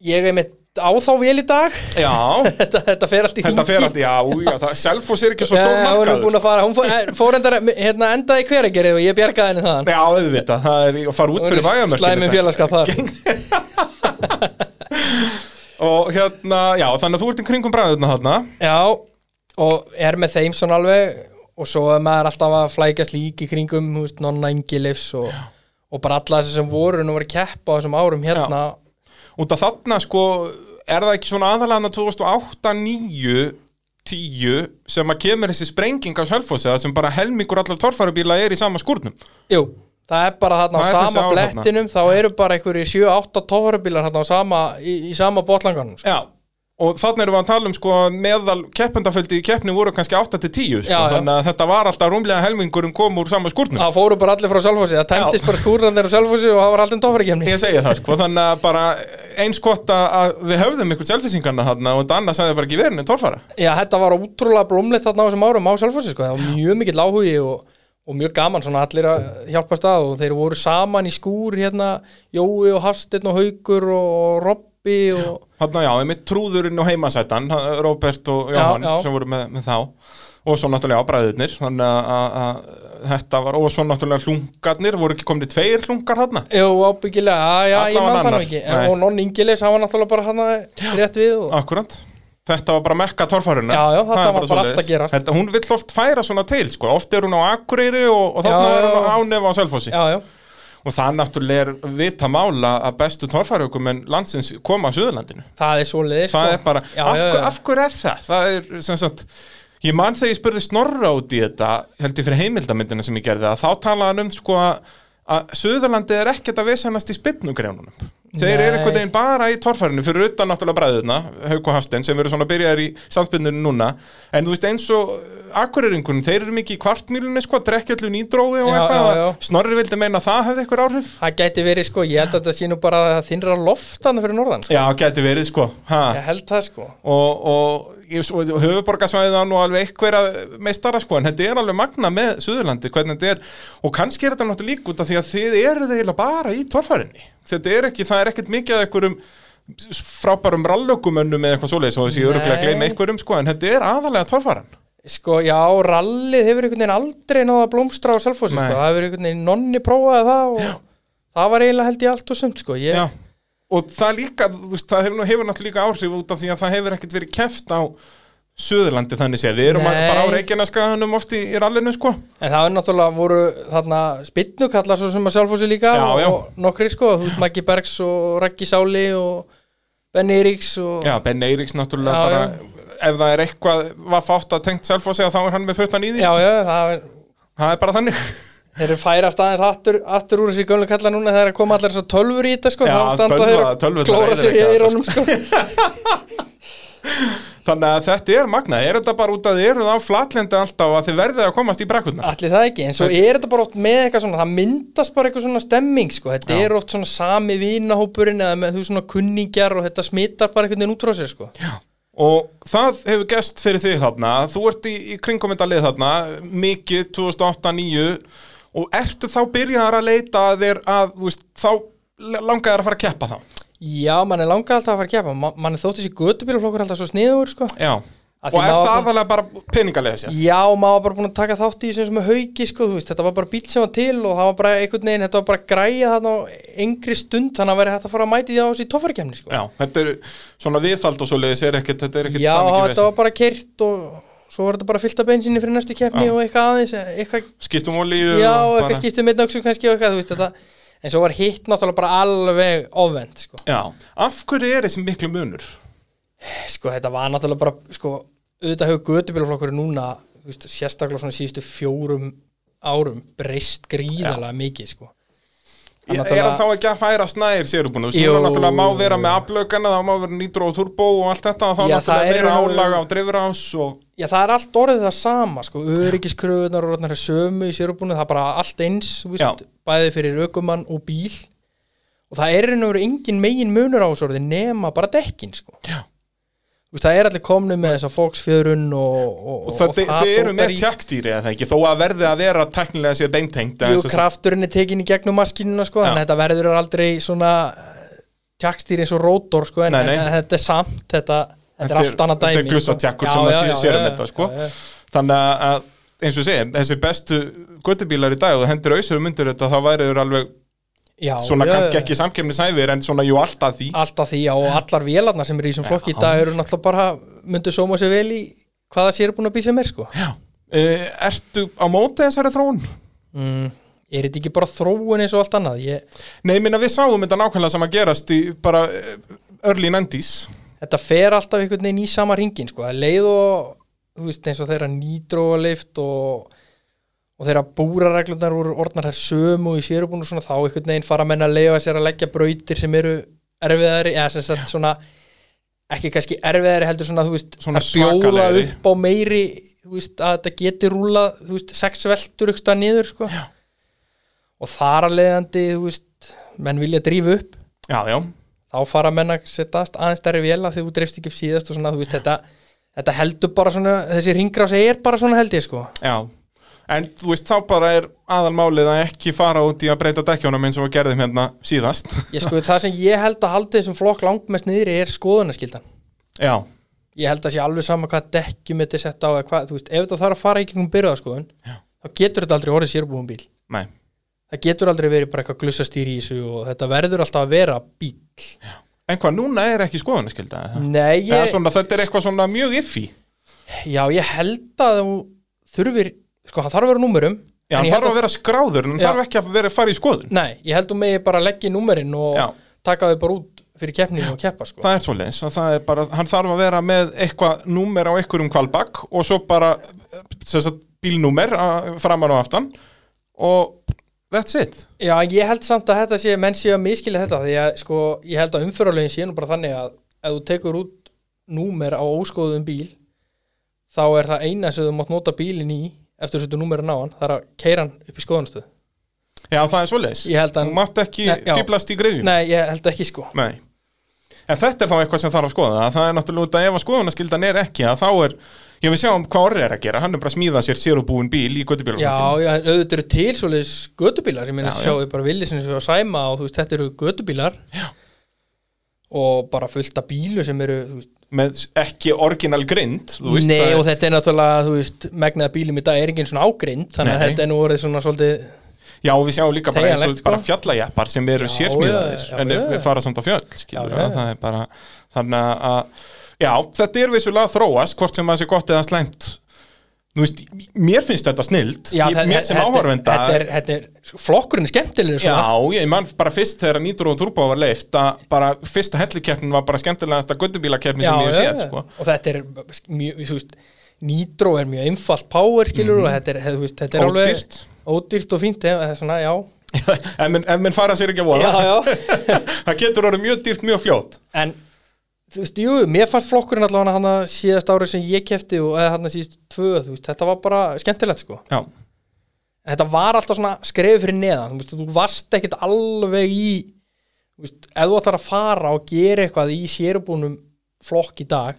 Speaker 2: ég er með á þá vél í dag
Speaker 1: Já,
Speaker 2: þetta, þetta fer allt í
Speaker 1: þetta fer allt, já, já, það Selfoss er ekki svo stór
Speaker 2: Já, hún er búin
Speaker 1: markaður
Speaker 2: að fara, hún fór, eh, fór endara, hérna endaði í hveragerið og ég bjargaði henni þaðan
Speaker 1: Já, auðvitað, það er í- að fara út fyrir vægamörkinu
Speaker 2: Slæmi félagskap þar
Speaker 1: Og hérna, já, þannig að þú ert í kringum bræðurna þarna
Speaker 2: Já, og er með þeim svona alveg og svo er maður alltaf að flækjast lík í kringum, þú veist, nonna engilifs og, og bara alla þessi sem voru nú voru að keppa á þessum árum hérna
Speaker 1: Út af þarna, sko, er það ekki svona aðalega hana 2008, 9, 10 sem að kemur þessi sprenging á Selfossi það sem bara helmingur allar torfærubíla er í sama skúrnum
Speaker 2: Jú, það er bara þarna á
Speaker 1: Það er þessi
Speaker 2: sama
Speaker 1: ár þarna.
Speaker 2: blettinum þá eru bara einhverjir 7-8 tófarubílar þarna á sama, í, í sama botlanganum sko.
Speaker 1: Já, og þannig erum við að tala um sko að meðal keppendaföldi í keppni voru kannski 8 til 10 sko,
Speaker 2: Já, já.
Speaker 1: þannig að þetta var alltaf rúmlega helmingurum kom úr sama skúrnum
Speaker 2: það fóru bara allir frá Selfossi, það tæmtist bara skúrarnir á Selfossi og það var alltaf tófarikemni
Speaker 1: Ég segja það sko, þannig að bara eins gott að- að við höfðum ykkur selfisingarna þarna og þetta annars sagði bara ekki verið en torfara
Speaker 2: Já, þetta var ótrúlega blómlegt þarna á þessum árum á Selfossi, sko. það var mjög mikill áhugi og, og mjög gaman svona allir að hjálpa stað og þeir voru saman í skúr hérna, Jói og Hafsteinn og Haukur og Robbi og
Speaker 1: Þannig að já, einmitt trúðurinn og heimasætan hann- Róbert og Jóhann
Speaker 2: já.
Speaker 1: sem voru með, með þá og svo náttúrulega ábræðirnir þannig að- að að þetta var og svo náttúrulega hlungarnir, voru ekki komni tveir hlungar þarna
Speaker 2: Jó, ábyggilega, já, já,
Speaker 1: Allavega
Speaker 2: ég mann það nú
Speaker 1: annar,
Speaker 2: ekki
Speaker 1: nei.
Speaker 2: en, og nonn Ingilis, hann var náttúrulega bara hann rétt við og,
Speaker 1: Akkurat Þetta var bara mekka torfaruna
Speaker 2: Já, já, þetta
Speaker 1: Það er
Speaker 2: var bara allt
Speaker 1: svoleiðis.
Speaker 2: að gerast.
Speaker 1: þetta, Hún vill oft færa svona til, sko Oft er hún á Akureyri og, og
Speaker 2: Já,
Speaker 1: þarna er hún
Speaker 2: já,
Speaker 1: á
Speaker 2: já.
Speaker 1: ánefa á Selfossi
Speaker 2: já, já,
Speaker 1: Og það náttúrulega er vita mála að bestu torfæraukum en landsins koma að Suðurlandinu
Speaker 2: það er svo leiðis
Speaker 1: það er bara,
Speaker 2: Sko, já,
Speaker 1: af,
Speaker 2: já,
Speaker 1: hver,
Speaker 2: já.
Speaker 1: af hver er það? það er, sem sagt, ég man þegar ég spurði Snorra út í þetta held ég fyrir heimildamindina sem ég gerði að þá talaði hann um sko að, að Suðurlandi er ekkert að vesennast í spinnugreinunum þeir eru
Speaker 2: Nei.
Speaker 1: einhvern veginn bara í torfærinu fyrir utan náttúrulega bræðuna, Hauk og Hafstein sem eru svona byrjar í samspinninu núna en þú veist eins og akkureringunum þeir eru mikið í kvartmýlunni sko, drekkjallun í drófi og
Speaker 2: Já,
Speaker 1: eitthvað,
Speaker 2: já, já.
Speaker 1: að Snorri vildi meina að það hefði eitthvað áhrif
Speaker 2: það gæti verið sko, ég held að þetta sé nú bara þinnra loftana fyrir norðan sko.
Speaker 1: Já, gæti verið sko ha.
Speaker 2: ég held það sko
Speaker 1: og, og, ég- og höfuborgarsvæðið á nú alveg einhverja meistara sko en þetta er alveg magna með Suðurlandi hvernig þetta er og kannski er þetta náttúrulega líka út af því að þið eru eiginlega bara í torfærinni þetta er ekki, það er ekkert mikið að einhverjum s- frábærum rallökumönnum eða eitthvað svoleiðis og þessi ég öruglega
Speaker 2: Nei.
Speaker 1: gleyma einhverjum sko en þetta er aðalega torfæran
Speaker 2: sko, já, rallið hefur einhvern veginn aldrei náða blómstra á selfósi sko.
Speaker 1: Nei.
Speaker 2: það hefur einhvern veginn nonni prófaði það og það var eiginlega held ég allt og sumt sko. ég,
Speaker 1: Já. og það líka, þú veist, það hefur, nú- hefur náttúrulega líka áhrif út af því að það hefur ekkert verið keft á Suðurlandi þannig séð, við erum
Speaker 2: Nei.
Speaker 1: bara á Reykjaneskaganum oft í, í rallinu sko
Speaker 2: en það er náttúrulega voru þarna spinnukallar svo sem að selfósi líka
Speaker 1: Já, já.
Speaker 2: og nokkri sko, þú veist Maggi Bergs og Raggi Sáli og Benny Ríks og
Speaker 1: Já, Ben Eiríks náttúrulega
Speaker 2: Já,
Speaker 1: bara ef það er eitthvað var fátt að tengt Selfossi að þá er hann með puttan í því
Speaker 2: já,
Speaker 1: sko.
Speaker 2: já það er
Speaker 1: það er bara þannig
Speaker 2: Þeir eru færast aðeins aftur, aftur úr þessi gömlu kalla núna þegar koma allar þessar tölvur í þetta sko
Speaker 1: Já,
Speaker 2: þá standa
Speaker 1: tölva-
Speaker 2: þeir að
Speaker 1: tölvurnar
Speaker 2: klóra sér í
Speaker 1: eyðileggja
Speaker 2: eironum sko
Speaker 1: þannig að þetta er magna, er þetta bara út að þið eruð á flatlendi alltaf að þið verðið að komast í brekkurnar
Speaker 2: Allir það ekki, en svo er þetta bara oft með eitthvað svona það myndast bara eitthvað svona stemming sko þetta
Speaker 1: Já.
Speaker 2: er oft svona sami vinahópurinn eða með þú svona kunningjar og þetta smitar bara einhvern veginn út frá sér sko Já,
Speaker 1: og það hefur gest fyrir þig þarna þú ert í, í kringkomendalið þarna mikið 2008-2009 og ertu þá byrjaðar að leita að þér að, þú veist, þá langaðar að fara að keppa þá
Speaker 2: mann er langað alltaf að fara að kepa man, mann er þótt þessi götubílaflokkur alltaf svo sniður sko
Speaker 1: Já, og
Speaker 2: Að því
Speaker 1: er
Speaker 2: maður-
Speaker 1: það aðalega bara peningalega sér
Speaker 2: Já, maður var bara búin að taka þátt í þessum sem er hauki sko, þú veist, þetta var bara bíl sem var til og það var bara einhvern veginn, þetta var bara græja þarna á engri stund, þannig að verið hægt að fara að mæti því á þessi tófarkemni sko.
Speaker 1: Já, þetta er svona viðhald og svoleiðis er ekkert, þetta er ekkert
Speaker 2: Já,
Speaker 1: það mikið vesen.
Speaker 2: þetta var bara kert og svo var þetta bara fyllt af bensinni fyrir næstu keppni
Speaker 1: Já.
Speaker 2: og eitthvað aðeins eitthvað,
Speaker 1: skiptum olíu
Speaker 2: Já,
Speaker 1: og
Speaker 2: eitthvað skiptum með náksum kannski og eitthvað, þú veist þetta en svo var hitt náttúrulega bara alveg ofvend sko.
Speaker 1: Já, af hverju er þessi miklu munur?
Speaker 2: sko, þetta var náttúrulega bara sko, auðvitað hefur götubílaflokkur núna þú veist, sérstaklega svona síðustu fjórum árum breyst gríðalega mikið sko.
Speaker 1: Er
Speaker 2: náttúrulega-
Speaker 1: hann þá ekki að færa snær sérubúinu? Þú
Speaker 2: Jú.
Speaker 1: veist, núna náttúrulega má vera með aflaugana, þá má vera nýtró og turbo og allt þetta og þá
Speaker 2: Já, það
Speaker 1: náttúrulega
Speaker 2: er
Speaker 1: meira
Speaker 2: nú-
Speaker 1: álag á dreifurás og...
Speaker 2: Já, það er allt orðið það sama, sko, öryggiskröfunar og orðnar sömu í sérubúinu, það er bara allt eins, þú veist,
Speaker 1: Já.
Speaker 2: bæði fyrir ökumann og bíl og það er ennur engin megin munur á þessu orði nema bara dekkin, sko.
Speaker 1: Já.
Speaker 2: Þú veist, það er allir komnu með þessa fóksfjörun og, og,
Speaker 1: Og það, þið eru með tjaktýri eða ekki, þó að verði að vera teknilega sér beintengt eða
Speaker 2: Jú,
Speaker 1: sem sagt-
Speaker 2: krafturinn er tekin í gegnum maskinuna, sko,
Speaker 1: Já.
Speaker 2: en þetta verður aldrei svona tjaktstýr eins og rótor, sko, en,
Speaker 1: Nei, nei.
Speaker 2: en þetta er samt, þetta, þetta er allt annað dæmi, sko.
Speaker 1: Þetta er glusatjakkur sem að sé- sér um þetta, sko
Speaker 2: já, já.
Speaker 1: Þannig að- að, eins og ég segi, þessir bestu göttubílar í dag og hendur auðsörum um undir þetta, þá væri þau alveg
Speaker 2: Já,
Speaker 1: svona
Speaker 2: já,
Speaker 1: kannski
Speaker 2: já.
Speaker 1: ekki samkemnisæfir en svona jú alltaf því
Speaker 2: alltaf því já, og allar vélarnar sem eru í þessum flokki í dag eru náttúrulega bara myndu sóma sér vel í hvaða sér er búin að býsa mér sko
Speaker 1: Já. Eh, Ertu á móti þessari þróun?
Speaker 2: mm, er þetta ekki bara þróun eins og allt annað ég,
Speaker 1: Nei, minna við sáum þetta nákvæmlega sem að gerast í bara eh, early 90s
Speaker 2: þetta fer alltaf einhvern veginn í sama ringin sko, að leið og þú veist eins og þeirra nýdróalift og, og þeirra búrareglunar voru orðnar þær sömu í sérubúinu og svona þá einhvern veginn fara menn að leiða sér að leggja brautir sem eru erfiðari eða sem sagt svona ekki kannski erfiðari heldur svona, þú veist,
Speaker 1: Svona
Speaker 2: að bjóla
Speaker 1: svakalegri.
Speaker 2: upp á meiri, þú veist, að þetta geti rúla, þú veist, sex veltur ykkur niður, sko. Já. Og þar að leiðandi, þú veist, menn vilja drífa upp,
Speaker 1: já, já,
Speaker 2: þá fara menn að setjast aðeins stærri vél að því þú dreifst ekki upp síðast og svona, þú veist, þetta, þetta heldur bara svona, þessi ringrás er bara svona held ég, sko.
Speaker 1: já en þú veist þá bara er aðalmálið að ekki fara út í að breyta dekkjónum eins og við gerðum hérna síðast
Speaker 2: Ég sko, það sem ég held að haldi þessum flokk langmest niðri er skoðunaskildan.
Speaker 1: já,
Speaker 2: Ég held að sé alveg sama hvað dekkjum þetta er sett á eða hvað, þú veist, ef þetta þarf að fara í kringum byrjaðaskoðun,
Speaker 1: Já.
Speaker 2: þá getur þetta aldrei orðið sérbúum bíl.
Speaker 1: nei,
Speaker 2: Það getur aldrei verið bara eitthvað glussastýri í þessu og þetta verður alltaf að vera bíl.
Speaker 1: en hvað núna er ekki skoðunaskylda eða?
Speaker 2: Nei, Mm, ég,
Speaker 1: eða svona þetta er eitthvað svona mjög iffi
Speaker 2: já, ég held að þú þurfir, sko, það þarf að vera á númerum.
Speaker 1: já,
Speaker 2: en
Speaker 1: hann
Speaker 2: ég held
Speaker 1: þarf að vera skráður en hann
Speaker 2: Já.
Speaker 1: þarf ekki að vera að fara í skoðun
Speaker 2: Nei, ég held um megi bara að leggja í númerin og
Speaker 1: Já.
Speaker 2: taka þau bara út fyrir keppninu og keppa sko.
Speaker 1: það er svoleiðis að það er bara, hann þarf að vera með eitthvað númer á einhverjum kvalbak og svo bara sem sagt, bílnúmer að- framan og aftan og that's it
Speaker 2: Já, ég held samt að þetta sé, menn sé að miskilja þetta því að sko, ég held að umfyrarlegin sé nú bara þannig að ef þú tekur út númer á óskoðum bíl þá er það eina sem þú mátt nota bílinn í eftir þessu númerin á hann, það er að keira hann upp í skoðanstöð.
Speaker 1: já það er svoleiðis,
Speaker 2: Ég held að hann-
Speaker 1: þú mátt ekki
Speaker 2: Nei, já.
Speaker 1: fýblast í greiðjum
Speaker 2: Nei, ég held ekki sko.
Speaker 1: Nei. En þetta er þá eitthvað sem þarf að skoða að það er náttúrulega út að ef að skoðunaskildan er ekki að þá er, ég vil sjá um hvað orðið er að gera hann er bara að smíða sér sér og búin bíl í göttubílum
Speaker 2: Já, já, en auðvitað eru til svoleiðis gödubílar, ég meina
Speaker 1: Já, já.
Speaker 2: sjáðu bara villið sem við á sæma og þú veist, þetta eru gödubílar
Speaker 1: Já.
Speaker 2: og bara fullt af bílu sem eru, þú veist,
Speaker 1: með ekki orginal grind þú veist,
Speaker 2: Nei,
Speaker 1: það er-
Speaker 2: og þetta er náttúrulega, þú veist, megnaða bílum í dag er enginn svona ágrind, þannig að
Speaker 1: Nei.
Speaker 2: þetta er nú orðið svona svolítið,
Speaker 1: Já, og við sjáum líka bara eins og
Speaker 2: Teygjanlegt, sko.
Speaker 1: bara fjallajeppar sem eru
Speaker 2: Já,
Speaker 1: sérsmíðaðir
Speaker 2: já, já,
Speaker 1: en
Speaker 2: já.
Speaker 1: við fara samt á fjöll skilur,
Speaker 2: Já, já.
Speaker 1: já, það er bara þannig að, já, þetta er vissulega að þróast hvort sem það sé gott eða slæmt Nú veist, mér finnst þetta snild
Speaker 2: já, þe-
Speaker 1: mér sem
Speaker 2: þetta-
Speaker 1: áhorfenda
Speaker 2: Þetta er, þetta er, sko, flokkurinn er skemmtilegur
Speaker 1: Já,
Speaker 2: svona,
Speaker 1: ég man bara fyrst þegar Nitro og Turbo var leift að bara fyrsta hellikeppnin var bara skemmtilegasta göttubílakeppni sem ég hef séð, sko
Speaker 2: og þetta er mjög, þú veist, Nitro er mjög einfalt power, skilur, og þetta er, þú veist, þetta er
Speaker 1: Mhm. Ódýrt.
Speaker 2: alveg ódýrt og fínt, eða svona, já,
Speaker 1: ef menn, ef menn fara sér ekki að
Speaker 2: já,
Speaker 1: voða
Speaker 2: já,
Speaker 1: það getur orðið mjög dýrt, mjög fljótt
Speaker 2: en þú veist, jú, mér fannst flokkurinn allavega hann að síðast árið sem ég kefti og eða hann að síðast tvö, þú veist, þetta var bara skemmtilegt, sko.
Speaker 1: Já,
Speaker 2: En þetta var alltaf svona skrefi fyrir neðan þú, veist, þú varst ekkit alveg í þú veist, ef þú ætlar að fara og gera eitthvað í sérubúnum flokk í dag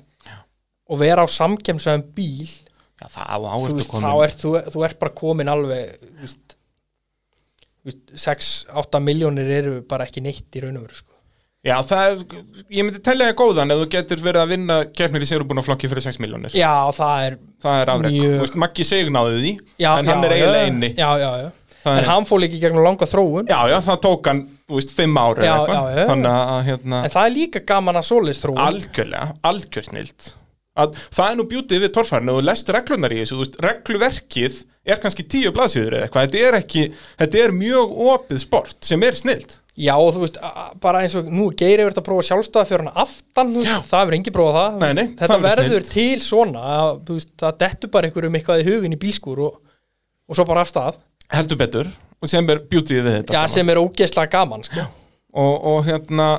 Speaker 2: og vera á samkemsaðum bíl
Speaker 1: já það á
Speaker 2: þú
Speaker 1: áhertu
Speaker 2: veist, þá
Speaker 1: komin
Speaker 2: ert þú, þú ert bara komin alveg þú veist, þú veist, 6-8 miljónir eru bara ekki neitt í raun og veru sko.
Speaker 1: Já, það er, ég myndi telja það góðan ef þú getur verið að vinna keppnir í sérubunaflokki fyrir 6 miljónir
Speaker 2: já það er
Speaker 1: Það er afrek,
Speaker 2: Mjög-
Speaker 1: þú veist, Maggi segnaði því
Speaker 2: já,
Speaker 1: en hann
Speaker 2: já,
Speaker 1: er eiginlega
Speaker 2: já,
Speaker 1: inni
Speaker 2: já, já, já.
Speaker 1: Það er-
Speaker 2: en hann fór líka í gegnum langa þróun
Speaker 1: Já, já, það tók hann, þú veist, 5 ára
Speaker 2: Já, já, já.
Speaker 1: Þannig að, hérna,
Speaker 2: en það er líka gaman að svoleiðs þróun
Speaker 1: algjörlega, algjör snilt að það er nú bjútið við torfærinu og þú lest reglunar í þessu, þú veist, regluverkið er kannski tíu blaðsýður eða eitthvað þetta er ekki, þetta er mjög opið sport sem er snilt
Speaker 2: Já, og þú veist, a- a- bara eins og nú geiri verið að prófa sjálfstæða fyrir hana aftan, þú veist, það verður engi prófa það
Speaker 1: Nei, nei,
Speaker 2: Þetta
Speaker 1: það verður
Speaker 2: verður til svona að, þú veist, það dettur bara einhverjum eitthvað í hugin í bílskúr og, og svo bara aftað,
Speaker 1: heldur betur og sem er bjútið við þetta
Speaker 2: já,
Speaker 1: saman.
Speaker 2: sem er ógeðslega gaman sko.
Speaker 1: og, og hérna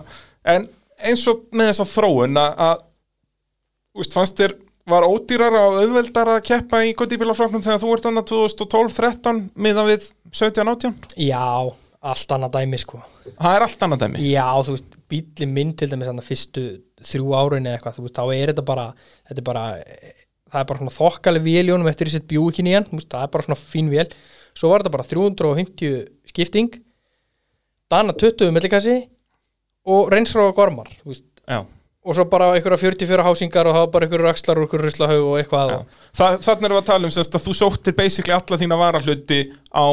Speaker 1: en eins og með þessa þróun að, að þú veist, fannst þér var ódýrara og auðveldara að keppa í góðdýbílafloknum þegar þú ert annað 2012-13 miðan við 17-18
Speaker 2: Já, allt annað dæmi sko.
Speaker 1: það er allt annað dæmi
Speaker 2: Já, þú veist, bíli minn til dæmis þannig fyrstu þrjú árin eða eitthvað, þú veist, þá er þetta bara þetta er bara, það er bara svona þokkaleg vél í honum eftir þessi bjúkin í hann þú veist, það er bara svona fín vél, svo var þetta bara 350 skipting dana 20 millikassi og reynsra og gormar, þú veist
Speaker 1: Já.
Speaker 2: og svo bara einhverja 44 hásingar og það var bara einhverja axlar og einhverja ruslahaug og eitthvað og,
Speaker 1: Þa, Þannig erum við að tala um semst, að þú sóttir basically alla þína varahluti á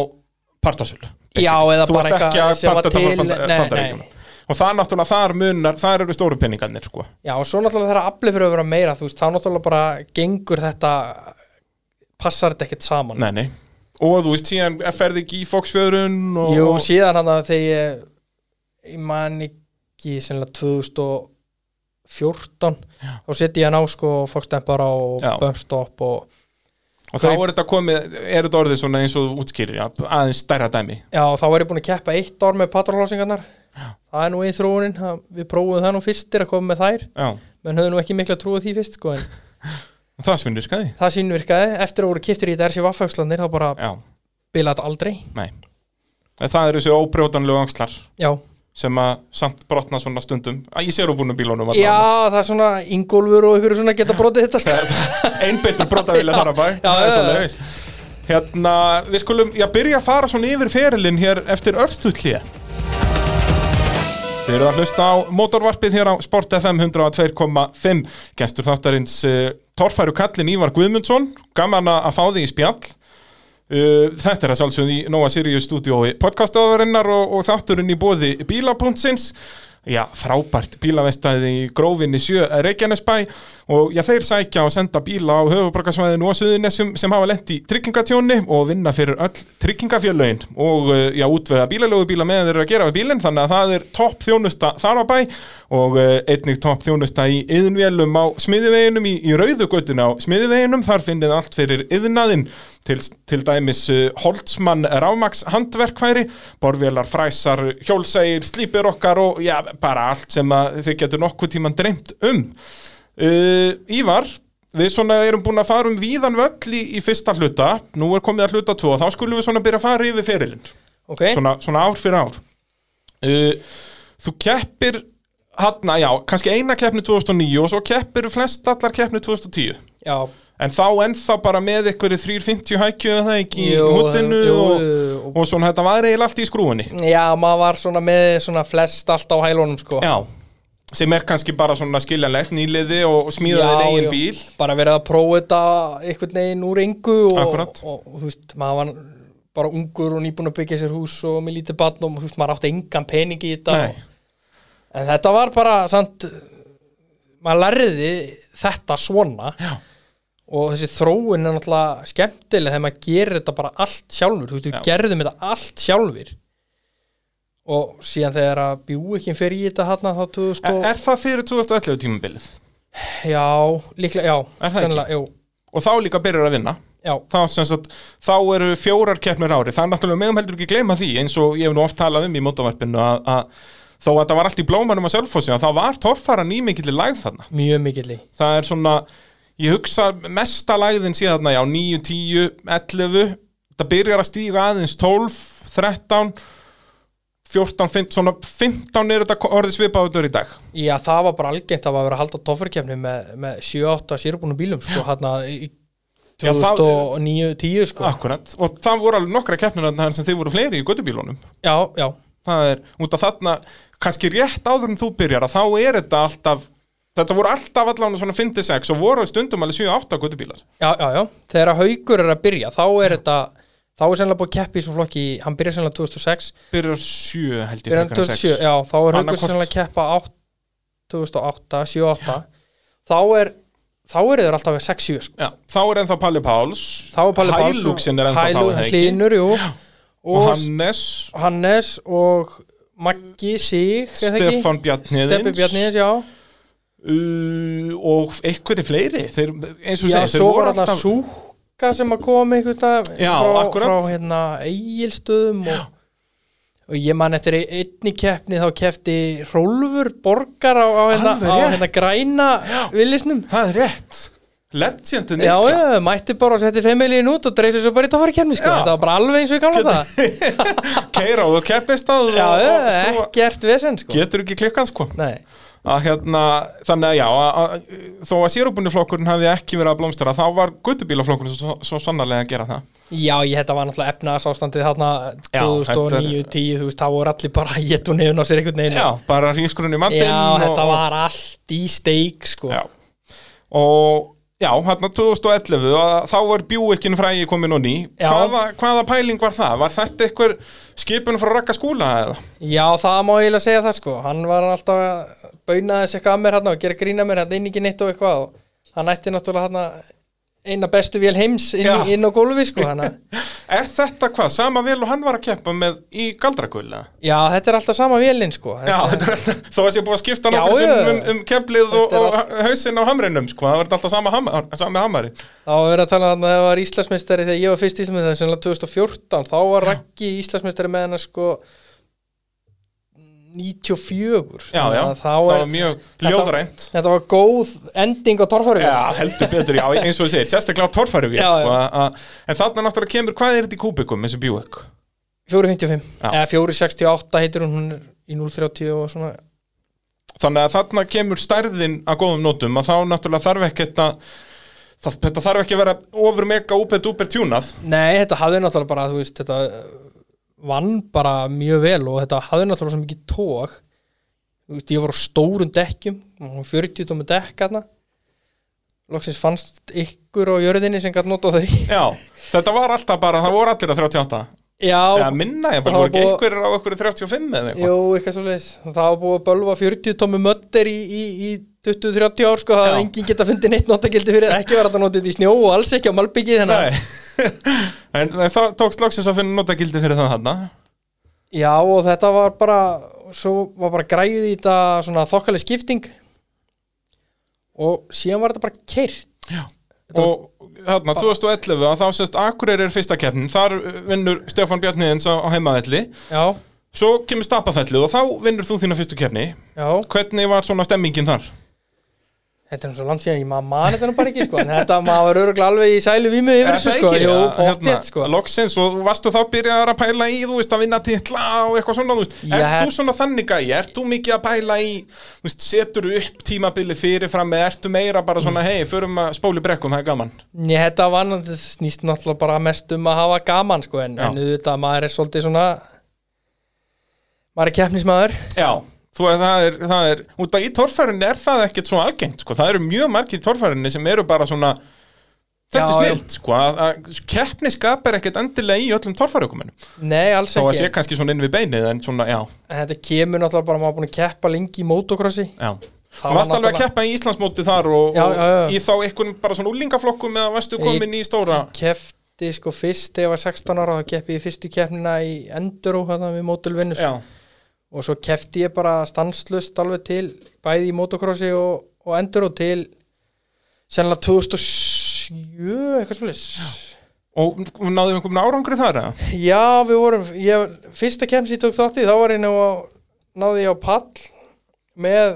Speaker 1: partasölu
Speaker 2: Já, eða
Speaker 1: Þú
Speaker 2: bara
Speaker 1: ert ekki
Speaker 2: eitthvað
Speaker 1: að
Speaker 2: sem var
Speaker 1: panta þetta
Speaker 2: til-
Speaker 1: frá Banda-
Speaker 2: nei,
Speaker 1: bandaríkjunum Og það náttúrulega, þar munar, þar eru stóru peningarnir sko.
Speaker 2: Já, og svo náttúrulega þegar aflið fyrir að vera meira, þú veist, þá náttúrulega bara gengur þetta passar þetta ekkert saman
Speaker 1: Nei, nei Og þú veist, síðan ferði ekki í Foxfjörun og,
Speaker 2: Jú,
Speaker 1: og,
Speaker 2: síðan hann að þegar ég, ég man ekki sennilega 2014 þá setja ég hann á sko fokstempara og
Speaker 1: Já.
Speaker 2: bumpstopp og
Speaker 1: og þá er þetta komið, er þetta orðið svona eins og þú útskýrir já, aðeins stærra dæmi
Speaker 2: já, þá var ég búin að keppa eitt ár með patrólhásingarnar það er nú einn þróunin það- við prófum það nú fyrstir að koma með þær
Speaker 1: já,
Speaker 2: menn höfðu nú ekki mikla trú á því fyrst sko, en
Speaker 1: það svinnir skæði
Speaker 2: það sínvirkaði eftir að voru kistir í þetta RC Vaffhagslandir þá bara
Speaker 1: já,
Speaker 2: bilaði þetta aldrei
Speaker 1: nei En það eru þessi óbrjótanlegu angslar
Speaker 2: já,
Speaker 1: sem að samt brotna svona stundum að ég sér úr búinu bílónum
Speaker 2: já það er svona ingólfur og ykkur svona geta brotið þetta sko.
Speaker 1: einbyttur brotavíli þar að bæ
Speaker 2: já,
Speaker 1: Það er
Speaker 2: já,
Speaker 1: svoleiðis. Hérna, við skulum, já, byrja að fara svona yfir ferilinn hér eftir örstutlið Þið eru að hlusta á mótorvarpið hér á Sport FM 102.5 Gestur þáttarins uh, Torfæru Kallin Ívar Guðmundsson Gaman að að fá því í spjall Uh, þetta er að sjálfsögum í Nóa Sirius stúdiói podcastaðurinnar og, og þátturinn í bóði bíla.sins Já, frábært bílavestæði í grófinni 7 Reykjanesbæ og já, þeir sækja og senda bíla á höfubrakarsvæðinu og suðunessum sem hafa lent í tryggingatjóni og vinna fyrir öll tryggingafjörlaugin og uh, já, útvega bílalögu bíla meðan þeir eru að gera við bílinn þannig að það er topp þjónusta þar á bæ og uh, einnig topp þjónusta í yðinvélum á smiðiveginum í, í rauðugötun á smiðiveginum þar finnið allt fyrir yðnaðinn til, til dæmis uh, Holtzmann Rámax handverkfæri, borvélar, fræsar, hjólsægir, slípir okkar og já, bara allt sem að þið getur nokkuð tíman dreymt um. Uh, Ívar, við svona erum búin að fara um víðan völl í, í fyrsta hluta, nú er komið að hluta tvo og þá skulum við svona byrja að fara yfir ferilinn,
Speaker 2: ok,
Speaker 1: svona, svona ár fyrir ár. Uh, þú keppir, hann, já, kannski eina keppni 2009 og svo keppir flest allar keppni 2010.
Speaker 2: já
Speaker 1: En þá ennþá bara með ykkur 350 hækju eða það ekki
Speaker 2: Jú,
Speaker 1: í húttinu
Speaker 2: jú,
Speaker 1: og,
Speaker 2: jú, og-
Speaker 1: og svona þetta var eiginlega allt í skrúinni.
Speaker 2: já, maður var svona með svona flest allt á hælunum sko
Speaker 1: Já. Sem er kannski bara svona skiljanlegt nýliði og, og smíðaði eigin bíl.
Speaker 2: bara verið að prófa þetta einhvern veginn úr engu og,
Speaker 1: Akkúrat.
Speaker 2: og, og þú veist, maður var bara ungur og nýbúin að byggja sér hús og með lítið barn og þú veist, maður átti engan pening í þetta
Speaker 1: Nei.
Speaker 2: og, en þetta var bara samt, maður lærði þetta svona
Speaker 1: Já.
Speaker 2: og þessi þróun er náttúrulega skemmtileg þegar maður gerir þetta bara allt sjálfur þú veist, við
Speaker 1: Já.
Speaker 2: gerðum þetta allt sjálfur og síðan þegar að bjúikin fyrir í þetta hann þá 2000
Speaker 1: Er,
Speaker 2: og-
Speaker 1: er það fyrir 2011 tímabilið?
Speaker 2: Já, líklega, já
Speaker 1: Er það ekki?
Speaker 2: sennilega, Jú,
Speaker 1: Og þá líka byrjar að vinna.
Speaker 2: já,
Speaker 1: Þá, sem sagt, þá eru fjórar keppnir ári. Það er náttúrulega meðum heldur ekki gleyma því eins og ég hef nú oft talað um í mótavarpinu að, að þó að það var allt í blómanum að sjálffósi að þá var torfara nýmikillir lægð þarna.
Speaker 2: mjög mikilli
Speaker 1: það er svona ég hugsa mesta lægðin síðan já, 9, 10, 11 það byrjar að stíga aðeins 12 13 14, 15, svona 15 er þetta orðið svipaður í dag
Speaker 2: Já, það var bara algengt að vera að halda toffurkefni með, með 7-8 sérbúnum bílum sko, hann að
Speaker 1: Já, það-
Speaker 2: 2009-10 sko.
Speaker 1: akkurat, og það voru alveg nokkra keppnir þarna sem þið voru fleiri í göttubílunum
Speaker 2: Já, já,
Speaker 1: það er, út af þarna kannski rétt áður en þú byrjar að þá er þetta alltaf þetta voru alltaf allan svona 56 og voru stundum alveg 7-8 göttubílar
Speaker 2: já, já, já Þegar að haugur er að byrja, þá er þetta þá er sennilega búið að keppi í svona flokki hann byrja sennilega 2006
Speaker 1: byrjar 7 held ég
Speaker 2: byrja hann
Speaker 1: frekar en
Speaker 2: 2007, já, þá er haugur
Speaker 1: Annaðhvort-
Speaker 2: sennilega að keppa 8, 2008, 7-8 þá er þá eru þeir alltaf við 6-7 sko.
Speaker 1: Já, þá er ennþá Palli Páls
Speaker 2: þá er Palli Páls og-
Speaker 1: Hæluxin er ennþá þá
Speaker 2: Hælug-
Speaker 1: er það ekki?
Speaker 2: Hlynur, jú
Speaker 1: Og
Speaker 2: og
Speaker 1: Hannes,
Speaker 2: Hannes og Maggi Sig er það ekki?
Speaker 1: Stefan Bjarniðins
Speaker 2: Stebbi Bjarniðins, já
Speaker 1: uh, Og einhverju fleiri þeir, Eins og
Speaker 2: Já,
Speaker 1: segir, þeir
Speaker 2: svo var
Speaker 1: voru
Speaker 2: alltaf
Speaker 1: alltaf
Speaker 2: Súka sem að koma einhvern dag
Speaker 1: Já,
Speaker 2: frá,
Speaker 1: akkurat.
Speaker 2: frá hérna Egilstöðum og, og ég man eftir einni keppni þá kefti Rólfur Borgar á, á, hérna,
Speaker 1: Alveg
Speaker 2: á
Speaker 1: rétt.
Speaker 2: hérna græna villisnum
Speaker 1: Það er rétt Legendin
Speaker 2: Já,
Speaker 1: Nikla.
Speaker 2: já, mætti bara og setti femilíin út og dreysið svo bara í tófari kemni sko,
Speaker 1: Já.
Speaker 2: þetta var bara alveg eins og ég gamla það
Speaker 1: Keira og keppist að
Speaker 2: Já,
Speaker 1: og, og,
Speaker 2: já,
Speaker 1: skrúa.
Speaker 2: ekkert vesen sko
Speaker 1: Getur ekki klikkað sko
Speaker 2: Nei,
Speaker 1: að hérna, þannig að já að, að, þó að sérubuniflokkurinn hafi ekki verið að blómstara þá var guttubílaflokkurinn svo, svo sannarlega að gera það
Speaker 2: Já, ég þetta var náttúrulega efnaðsástandið þarna
Speaker 1: Já,
Speaker 2: 2009, 10, þú veist, þá voru allir bara að getu nefn á sér einhvern veginn
Speaker 1: Já, bara hrískurinn í
Speaker 2: Já,
Speaker 1: mandinn
Speaker 2: þetta var allt í steik, sko
Speaker 1: Já. Og já, hérna 2011 að þá var bjúikinn frægi komin og ný
Speaker 2: Já.
Speaker 1: hvaða, hvaða pæling var það? Var þetta einhver skipun frá rakka skúla eða?
Speaker 2: Já, það má ég að segja það, sko Hann var alltaf að bauna þessi eitthvað að mér hann og gera grína mér, hann inn ekki neitt og eitthvað og hann ætti náttúrulega hann eina bestu vél heims inn,
Speaker 1: Já.
Speaker 2: inn á gólfi, sko hana.
Speaker 1: Er þetta hvað? Sama vel og hann var að keppa með í galdrakul eða?
Speaker 2: Já, þetta er alltaf sama vélinn, sko
Speaker 1: Já, þetta er alltaf, þó að sé búið að skipta
Speaker 2: Já,
Speaker 1: nokkur
Speaker 2: já.
Speaker 1: sinnum um, um keflið og,
Speaker 2: Þetta er
Speaker 1: og hausinn á hamrinum sko, það verður alltaf sama, hamar, sama hamari
Speaker 2: Þá var verið að tala um að það var Íslandsmeistari þegar ég var fyrst Íslandsmeistari, sennilega 2014 þá var Raggi Íslandsmeistari með hennar sko mm, 94
Speaker 1: Já, já,
Speaker 2: þannig að
Speaker 1: það
Speaker 2: þá
Speaker 1: var
Speaker 2: er,
Speaker 1: mjög ljóðrænt
Speaker 2: þetta var góð ending á torfæru
Speaker 1: Já, heldur betur, já, eins og ég segir, sérstaklega torfæruvél
Speaker 2: Já, já.
Speaker 1: sko, a- a- En þarna náttúrulega kemur, hvað er þetta í kúbikum, þessi Buick?
Speaker 2: 4.55
Speaker 1: Já.
Speaker 2: eða 4.68 heitir hún, hún er í 0.30 og svona
Speaker 1: Þannig að þarna kemur stærðin að góðum nótum að þá náttúrulega þarf ekkert að það, þetta þarf ekki að vera ofur mega úper dúper tjúnað
Speaker 2: nei, þetta hafði náttúrulega bara, þú veist, þetta eh, vann bara mjög vel og þetta hafði náttúrulega svo mikið tók þú veist, ég var á stórum dekkjum og 40 tómi dekk aðna loksins fannst ykkur á jörðinni sem gætt nota þau
Speaker 1: Já, þetta var alltaf bara, það voru allir að 38
Speaker 2: já,
Speaker 1: Eða minna, ég
Speaker 2: Það
Speaker 1: bara voru ekki
Speaker 2: var búið-
Speaker 1: einhverjir á einhverju 35 eða eitthvað
Speaker 2: Jú, eitthvað svo leiðis Það var búið að bölva 40 tómi mötter í, í, í 20-30 ár sko, það
Speaker 1: Já.
Speaker 2: hafði enginn geta fundið neitt notagildi fyrir það. ekki var þetta notið í snjó og alls ekki á malbyggi þannig að-
Speaker 1: Nei En það tókst loksins að finna notagildi fyrir það hana
Speaker 2: Já, og þetta var bara svo var bara græðið í þetta svona þokkaleg skipting og síðan var þetta bara keirt
Speaker 1: Og hérna, 2011, að þá sérst Akureyri er fyrsta keppnin, þar uh, vinnur Stefán Bjarniðins á, á heimaðelli
Speaker 2: Já,
Speaker 1: Svo kemur stapafellið og þá vinnur þú þína fyrstu keppni
Speaker 2: já,
Speaker 1: Hvernig var svona stemmingin þar?
Speaker 2: þetta er svo langt síðan ég maður mani þetta nú bara ekki sko, en þetta maður var öruglega alveg í sælu vímu yfir
Speaker 1: Er
Speaker 2: þessu
Speaker 1: það
Speaker 2: sko,
Speaker 1: ekki? hérna,
Speaker 2: jú,
Speaker 1: Ja,
Speaker 2: pottþétt sko
Speaker 1: Loksins og varstu þá byrjaðar að pæla í þú veist að vinna titla og eitthvað svona þú veist,
Speaker 2: Ég
Speaker 1: Ert
Speaker 2: hef-
Speaker 1: þú svona þannig gæi? Ert þú mikið að pæla í þú veist, setur þú upp tímabili fyrirfram eða ertu meira bara svona hei, förum að spóli brekkum, það er gaman
Speaker 2: Nei, þetta var náttúrulega- þetta snýst náttúrulega bara mest um að hafa gaman sko en,
Speaker 1: Já.
Speaker 2: en auðvitað maður er svolítið svona maður er keppnismæður
Speaker 1: Já Þú veist, það er, það er, út að í torfærunni er það ekkert svo algengt, sko, það eru mjög margir í torfærunni sem eru bara svona þetta er
Speaker 2: Já, já.
Speaker 1: snilt, sko, að, að keppni skapar ekkert endilega í öllum torfærukumunum
Speaker 2: Nei, alls
Speaker 1: þá að sé
Speaker 2: ekki
Speaker 1: kannski svona inn við beinið, en svona, já,
Speaker 2: En þetta kemur náttúrulega bara maður búin að keppa lengi í motocrossi
Speaker 1: já Það
Speaker 2: Það
Speaker 1: varst alveg að
Speaker 2: náttúrulega-
Speaker 1: keppa í Íslandsmóti þar og,
Speaker 2: Já,
Speaker 1: og
Speaker 2: já, já.
Speaker 1: í þá einhvern bara svona úlingaflokkum eða varstu
Speaker 2: Ég-
Speaker 1: komin í stóra
Speaker 2: Keppti sko fyrst þegar ég var 16 ára þá keppi ég fyrstu keppnina í Enduro þarna við Motul
Speaker 1: Já,
Speaker 2: og svo kefti ég bara stanslust alveg til bæði í motocrossi og, og Enduro til sennilega 2007 eitthvað svolítið
Speaker 1: og náðum einhvern árangri þar eða?
Speaker 2: Já, við vorum, ég, fyrsta kemst ég tók þátt í, þá var ég nú á, náði ég á pall með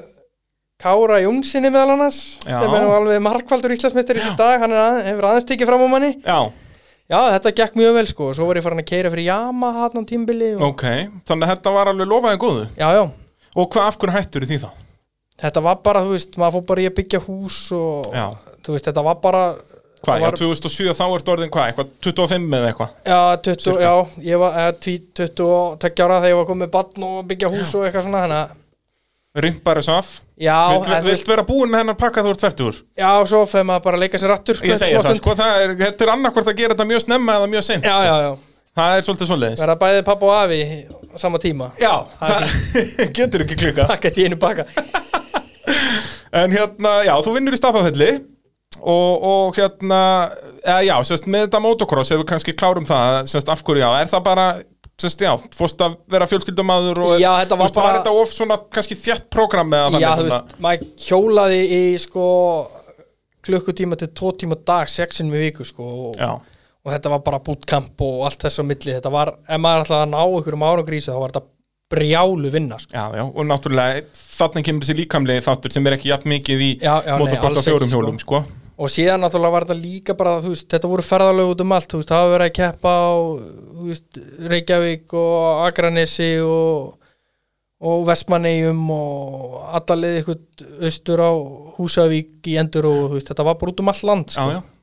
Speaker 2: Kára Jónssoni meðal annars,
Speaker 1: Já.
Speaker 2: sem er nú alveg markvaldur Íslandsmeistar í þessu dag, hann er að, hefur aðeins tekið fram um á manni.
Speaker 1: Já,
Speaker 2: Já, þetta gekk mjög vel sko, og svo var ég farin að keira fyrir Yamaha hann á tímbili og,
Speaker 1: ok Þannig að þetta var alveg lofaði góðu
Speaker 2: já, já,
Speaker 1: Og hvað af hverju hættur því þá?
Speaker 2: þetta var bara, þú veist, maður fór bara í að byggja hús og,
Speaker 1: Já.
Speaker 2: þú veist, þetta var bara,
Speaker 1: Hvað,
Speaker 2: það var,
Speaker 1: já, 2007 þá ertu orðin hvað, eitthvað 25 eða eitthvað
Speaker 2: Já, 20, já, ég var eh, 20 22 ára þegar ég var komið með barn og að byggja hús og eitthvað svona, þannig að
Speaker 1: Rimpar þessu af
Speaker 2: Já,
Speaker 1: Vilt,
Speaker 2: en þú veist-
Speaker 1: vilt vera búin með hennar pakka þú ert tvertur
Speaker 2: Já, og svo fyrir maður bara að leika sér aftur
Speaker 1: Ég segi það, sko, það er, þetta er annarkvort að gera þetta mjög snemma eða mjög seint
Speaker 2: Já, já, já,
Speaker 1: Það er svolítið svoleiðis
Speaker 2: verða bæði pappa og afi á sama tíma
Speaker 1: Já,
Speaker 2: Það er
Speaker 1: það getur ekki klika
Speaker 2: Takk að ég einu baka
Speaker 1: En hérna, já, þú vinnur í stapafelli og, og hérna eða, já, sérst, með þetta motocross ef við kannski klárum það, sérst, af hverju já er það bara, sérst, já, fórst að vera fjölskyldamaður og
Speaker 2: Já, þetta var
Speaker 1: Þú veist,
Speaker 2: bara-
Speaker 1: var þetta of svona, kannski þjætt prógram eða
Speaker 2: Já, þú
Speaker 1: þannig svona
Speaker 2: veist, maður hjólaði í sko klukkutíma til tvo tíma á dag, sexin með viku sko og,
Speaker 1: Já,
Speaker 2: og þetta var bara bootcamp og allt þess á milli þetta var, ef maður ætlaði að ná einhverjum árangrísu þá var þetta brjálu vinna sko
Speaker 1: já, já, og náttúrulega þannig kemur þessi líkamlegi þáttur sem er ekki jafn mikið í
Speaker 2: Já, já, nei,
Speaker 1: motocross
Speaker 2: alls
Speaker 1: á fjórum
Speaker 2: ekki, sko.
Speaker 1: hjólum, sko,
Speaker 2: og síðan náttúrulega var þetta líka bara þú veist, þetta voru ferðalög út um allt þú veist, það var verið að keppa á þú veist, Reykjavík og Akranesi og, og Vestmannegjum og allalið ykkur austur á Húsavík í Endur og veist, þetta var bara út um allt land sko.
Speaker 1: Já, já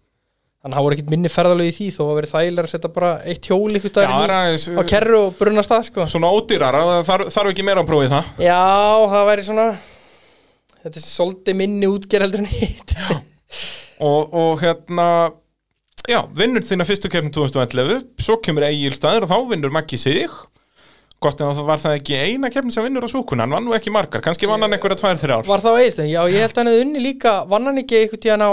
Speaker 2: þannig að það voru ekkert minni ferðalög í því þó að verið þægilega að setja bara eitt hjól ykkur
Speaker 1: Já, það er
Speaker 2: dagar
Speaker 1: aðeins,
Speaker 2: á kerru og brunast það sko.
Speaker 1: svona ódýrar, þarf, þarf ekki meira að prófið það
Speaker 2: já, það væri svona þetta er svolítið minni útgerð heldur en hitt
Speaker 1: og, og hérna já, vinnur þína fyrstu keppni 2011 svo kemur Egil staður og þá vinnur Maggi sig gott en það var það ekki eina keppni sem vinnur á súkun hann vann nú ekki margar, kannski vann hann einhverja tvær þrjár ár
Speaker 2: Var það á Egilstöðum? Já, ég held að hann hefði unni líka vann hann ekki einhvern tíðan á,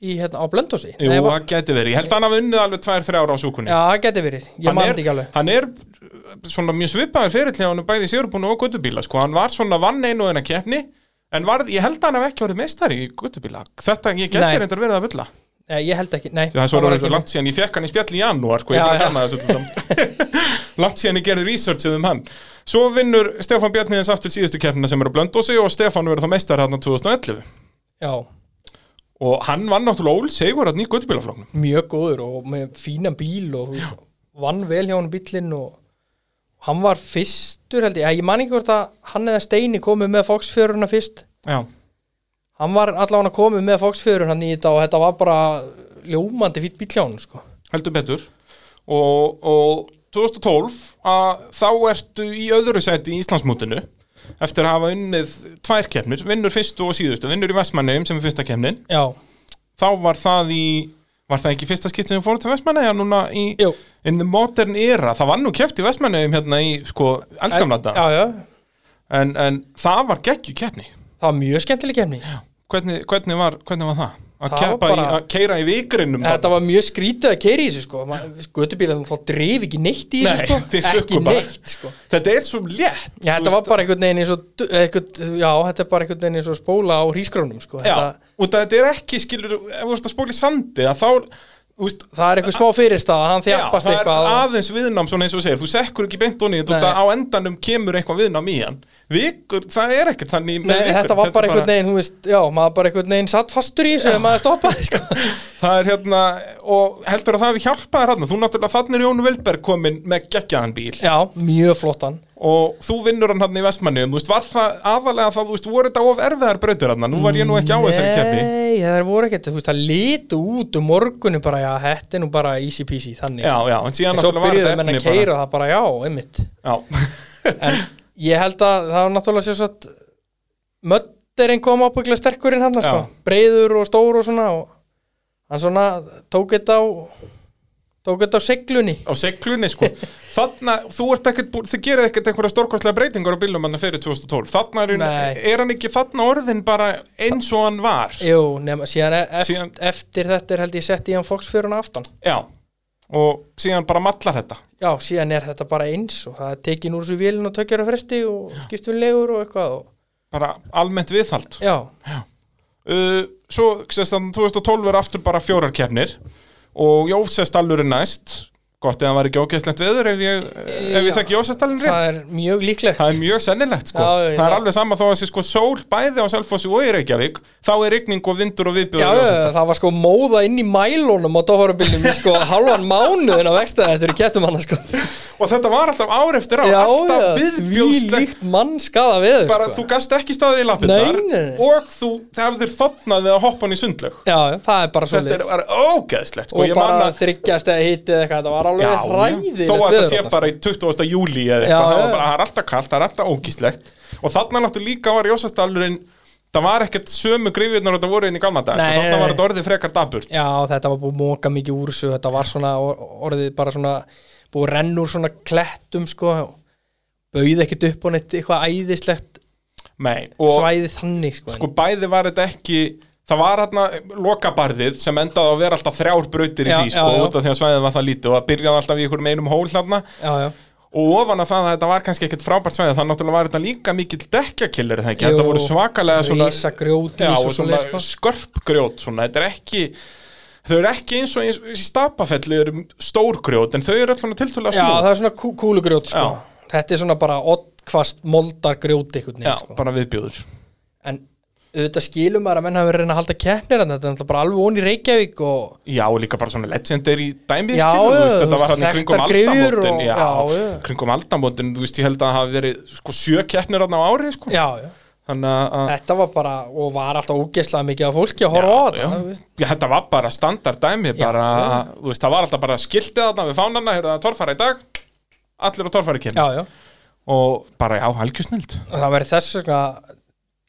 Speaker 2: í, hérna, á Blöndósi
Speaker 1: Jú,
Speaker 2: Nei, var,
Speaker 1: það gæti verið, ég held að hann hafi unnið alveg tvær þrjár á súkunni
Speaker 2: Já, það geti verið, ég
Speaker 1: hann,
Speaker 2: man
Speaker 1: er,
Speaker 2: þetta ekki alveg
Speaker 1: hann er uh, svona mjög svipaður fyrirlega hann er bæði í sérbúinu og guttubíla sko. hann var svona vann einu og eina keppni en varð, ég held að hann hef ekki orðið meistari í guttubíla þetta, ég geti
Speaker 2: Nei.
Speaker 1: reyndar verið að bulla
Speaker 2: Nei, ég held ekki, nei
Speaker 1: Já, það er svo
Speaker 2: var
Speaker 1: orðið
Speaker 2: ekki-
Speaker 1: langt síðan ég fekk hann í spjall í janúar sko, ég er
Speaker 2: Já,
Speaker 1: búin að
Speaker 2: já.
Speaker 1: gana þessu öllu saman langt síðan ég gerði researchið um hann svo vinnur Stefán Bjarniðins aftur síðustu keppnina sem er á Blöndósi og Stefán verður þá meistar hann 2011
Speaker 2: Já,
Speaker 1: og hann vann náttúrulega ól segur hann í guttbílaflóknum
Speaker 2: mjög góður og með fínan bíl og þú veist, vann vel hjá hann bílinn og hann var fyrstur held ég, ég man ekki hvort að hann eða Steini komið með Fox-fjöruna fyrst
Speaker 1: já,
Speaker 2: hann var allavega komið með Fox-fjöruna í þetta og þetta var bara ljómandi fýtt bíl hjá hann sko.
Speaker 1: heldur betur og, og 2012 að þá ertu í öðru sæti í Íslandsmótinu eftir að hafa unnið tvær keppnir, vinnur fyrstu og síðustu vinnur í Vestmanneum sem er fyrsta keppnin
Speaker 2: Já,
Speaker 1: þá var það í var það ekki fyrsta skipt sem við fórum til Vestmanneja núna í
Speaker 2: jú
Speaker 1: in the modern era, það var nú keft í Vestmanneum hérna í sko eldgamlanda
Speaker 2: Já, já,
Speaker 1: en, en það var geggju keppni
Speaker 2: það var mjög skemmtileg kemni
Speaker 1: hvernig, hvernig, var, hvernig var það? að
Speaker 2: Það var
Speaker 1: keppa í,
Speaker 2: bara-
Speaker 1: að keira í vikrinum
Speaker 2: Eh, Þetta var mjög skrítið að keira í þessu sko Götubílar þá drif ekki neitt í
Speaker 1: Nei,
Speaker 2: þessu
Speaker 1: þeir
Speaker 2: sko Ekki
Speaker 1: sökku bara.
Speaker 2: neitt sko
Speaker 1: þetta er svo létt
Speaker 2: Já,
Speaker 1: þú
Speaker 2: þetta var bara einhvern veginn eins og einhvern, Já, þetta er bara einhvern veginn eins og spóla á hrísgrónum sko.
Speaker 1: já,
Speaker 2: þetta,
Speaker 1: út að þetta er ekki skilur, ef þú ert að spóla í sandi að þá, þú veist
Speaker 2: Það er einhver smá fyrirstaða, hann
Speaker 1: Já,
Speaker 2: þjappast
Speaker 1: það er
Speaker 2: eitthvað og-
Speaker 1: aðeins viðnám svona eins og þú segir, þú sekkur ekki beint onni þetta
Speaker 2: Nei.
Speaker 1: á endanum kemur eitthvað viðnám í hann Vikur, það er ekkert þannig með
Speaker 2: Nei,
Speaker 1: vikur,
Speaker 2: þetta var bara einhvern veginn, þú veist, já, maður bara einhvern veginn satt fastur í þessu ef maður stoppaði, sko.
Speaker 1: Það er hérna, og heldur að það hefði hjálpað þér hérna, þú náttúrulega þannig er Jón Vilberg komin með geggjaðan bíl
Speaker 2: Já, mjög flottan.
Speaker 1: og þú vinnur hann hann í Vestmanniðum, þú veist, var það aðalega það, þú veist, voru þetta of erfiðar brautir hann, nú var ég nú ekki á þessari kefni.
Speaker 2: Nei, það voru ekkert, þú veist, það litu út um morgunum bara, já, þetta er nú bara easy peasy, þannig. sko.
Speaker 1: Já, já, en síðan
Speaker 2: en svo
Speaker 1: náttúrulega var
Speaker 2: byrjuðu
Speaker 1: þetta
Speaker 2: menn
Speaker 1: efni
Speaker 2: að keira það bara, já, einmitt.
Speaker 1: bara. Já,
Speaker 2: En ég held að það var náttúrulega sérsagt, mötterinn kom ábygglega sterkurinn hann, sko,
Speaker 1: Já.
Speaker 2: breiður og stór og svona, og hann svona tók þetta á, tók þetta á seglunni.
Speaker 1: á seglunni, sko. Þarna, þú ert ekkert, bú- þið gerið ekkert einhverja stórkostlega breytingar á bílum hann fyrir 2012. Þarna er,
Speaker 2: Nei.
Speaker 1: hann- er hann ekki þarna orðin bara eins og hann var.
Speaker 2: Jú, nema, síðan, e- eft,
Speaker 1: Síðan-
Speaker 2: eftir þetta er held ég sett í hann Fox fyrir hann aftan
Speaker 1: Já, og síðan bara mallar þetta.
Speaker 2: Já, síðan er þetta bara eins og það er tekin úr þessu vélinn og tökjara fresti og skipt við legur og eitthvað og,
Speaker 1: Bara almennt viðhald.
Speaker 2: Já,
Speaker 1: uh, svo sérst, þarna 2012 er aftur bara fjórar keppnir og Jósefstallur er næst gott eða hann var ekki ógeðslegt veður ef ég, ef
Speaker 2: Já.
Speaker 1: ég þekki Jósefstallin
Speaker 2: það
Speaker 1: rétt
Speaker 2: er mjög líklegt
Speaker 1: það er mjög sennilegt sko
Speaker 2: Já, já,
Speaker 1: það er
Speaker 2: já.
Speaker 1: alveg sama þó að sé sko sól bæði á Selfossi og í Reykjavík þá er rigning og vindur og
Speaker 2: Já,
Speaker 1: viðbjöður
Speaker 2: já, það var sko móða inn í mælónum á dófarabildum í sko halvan mánuðin af ekstra þetta eru kettum hann sko
Speaker 1: og þetta var alltaf ár eftir á
Speaker 2: Já,
Speaker 1: alltaf
Speaker 2: já,
Speaker 1: viðbjóðslegt
Speaker 2: líkt mannskaða veður
Speaker 1: bara
Speaker 2: sko.
Speaker 1: þú gast ekki staðið í lappirnar
Speaker 2: Nei, nei, nei.
Speaker 1: og þú hefðir þotnað við að hoppa hann í sundlaug
Speaker 2: Já, já, það er bara svo
Speaker 1: þetta er, er ógeðslegt sko.
Speaker 2: Og
Speaker 1: Ég man
Speaker 2: bara
Speaker 1: að-
Speaker 2: þryggjast eða hitið eitthvað, þetta var
Speaker 1: Já,
Speaker 2: alveg ræðið
Speaker 1: þó að þetta sé bara í 20. júli eða
Speaker 2: sko. Já,
Speaker 1: eitthvað, það var
Speaker 2: já.
Speaker 1: bara, það er alltaf kallt, það er alltaf ógíslegt og þarna náttúrulega líka var Jósastallurinn það var ekkert sömu grifjurnar og þetta voru inn í gamla dag, sko,
Speaker 2: Nei,
Speaker 1: þarna var
Speaker 2: nei, nei.
Speaker 1: þetta orðið frekar daburt
Speaker 2: Já, þetta var búið að móka mikið úr þessu þetta var svona or- orðið bara svona búið að renna úr svona klettum sko, bauð ekkert upp á neitt eitthvað æðislegt
Speaker 1: Nei, og
Speaker 2: svæði þannig sko,
Speaker 1: sko bæði var þetta ekki það var hérna lokabarðið sem endaði á að vera alltaf þrjár brautir í
Speaker 2: Já,
Speaker 1: því, sko,
Speaker 2: já, já.
Speaker 1: út af því að svæðið var það lítið og það byrjaði alltaf í einhverjum einum hól hérna
Speaker 2: en, já, já.
Speaker 1: og ofan að það að þetta var kannski ekkert frábært svæðið, þannig náttúrulega var þetta líka mikill dekjakillir, það ekki,
Speaker 2: Jú,
Speaker 1: þetta voru svakalega svona
Speaker 2: Rísa grjót
Speaker 1: Já,
Speaker 2: og
Speaker 1: og svona
Speaker 2: sko.
Speaker 1: skörp grjót svona, þetta er ekki þau eru ekki eins og eins, eins í stapafelli eru stór grjót, en þau eru alltaf tiltölulega
Speaker 2: Já, það
Speaker 1: smúð
Speaker 2: er svona kú kúlugrjót sko. þetta er svona bara oddkvast moldargrjót einhvern
Speaker 1: Já,
Speaker 2: veginn sko.
Speaker 1: bara viðbjóður
Speaker 2: en auðvitað skilum maður að menn hafa verið að reyna að halda keppnir þarna, þetta er náttúrulega bara alveg ón í Reykjavík og
Speaker 1: Já, og líka bara svona legendary dæmi
Speaker 2: Já,
Speaker 1: skilur, þú
Speaker 2: já,
Speaker 1: þetta
Speaker 2: þú
Speaker 1: var hann í
Speaker 2: þekktar
Speaker 1: kringum
Speaker 2: gryfjur
Speaker 1: aldamótin
Speaker 2: og-
Speaker 1: já,
Speaker 2: já, já.
Speaker 1: kringum aldamótin, þú veist, ég held að það hafi verið sko sjö keppnir hann á ári, sko
Speaker 2: já, já.
Speaker 1: Þannig að,
Speaker 2: þetta var bara og var alltaf ógeðslega mikið af fólki að horfa á
Speaker 1: já,
Speaker 2: þetta þú veist.
Speaker 1: já, þetta var bara standard dæmi,
Speaker 2: Já,
Speaker 1: bara,
Speaker 2: já.
Speaker 1: þú veist, það var alltaf bara skiltið þarna við fánana, hérna það er torfara í dag allir á torfara kemur,
Speaker 2: já, já
Speaker 1: og bara, já, halkjusnild
Speaker 2: og það væri þess vegna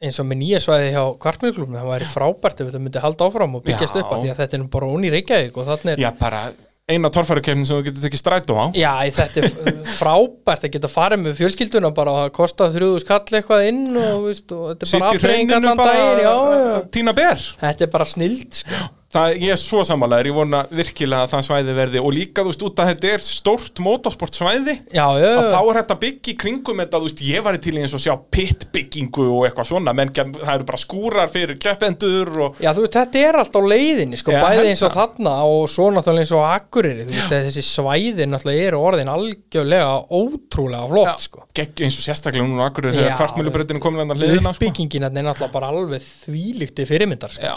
Speaker 2: eins og með nýja svæði hjá kvartmjöglum það væri frábært ef þetta myndi halda áfram og byggjast
Speaker 1: Já.
Speaker 2: upp af því að þetta er nú bara ón í Reykjavík og þannig er,
Speaker 1: Já, bara eina torfærukefni sem þú getur tekið strætó á
Speaker 2: já, í þetta er frábært að geta farið með fjölskylduna bara og það kosta þrjúðu skall eitthvað inn og, þú veist, og þetta er bara
Speaker 1: Sitt í
Speaker 2: aftreying
Speaker 1: hreinu
Speaker 2: allan
Speaker 1: bara
Speaker 2: daginn já, já.
Speaker 1: Tína ber
Speaker 2: þetta er bara snild sko.
Speaker 1: Það, ég er svo samanlegaður, ég vona virkilega að það svæði verði og líka þú veist út að þetta er stórt motorsport svæði
Speaker 2: já, já,
Speaker 1: að þá
Speaker 2: já,
Speaker 1: er þetta byggi kringum þetta, þú veist, ég var til eins og sjá pittbyggingu og eitthvað svona, menn gem- það eru bara skúrar fyrir keppendur og
Speaker 2: já, þú veist, þetta er allt á leiðinni, sko,
Speaker 1: Já,
Speaker 2: bæði
Speaker 1: held
Speaker 2: eins og þarna og svo náttúrulega eins og á Akureyri, þú veist, þessi svæði náttúrulega eru orðin algjörlega ótrúlega flott, sko.
Speaker 1: gegg eins og sérstaklega núna akkur
Speaker 2: Já,
Speaker 1: þegar kvartmjölubreytinu komin andan hliðina sko.
Speaker 2: Uppbyggingin þarna er náttúrulega bara alveg þvílíkti fyrirmyndar, sko.
Speaker 1: Já,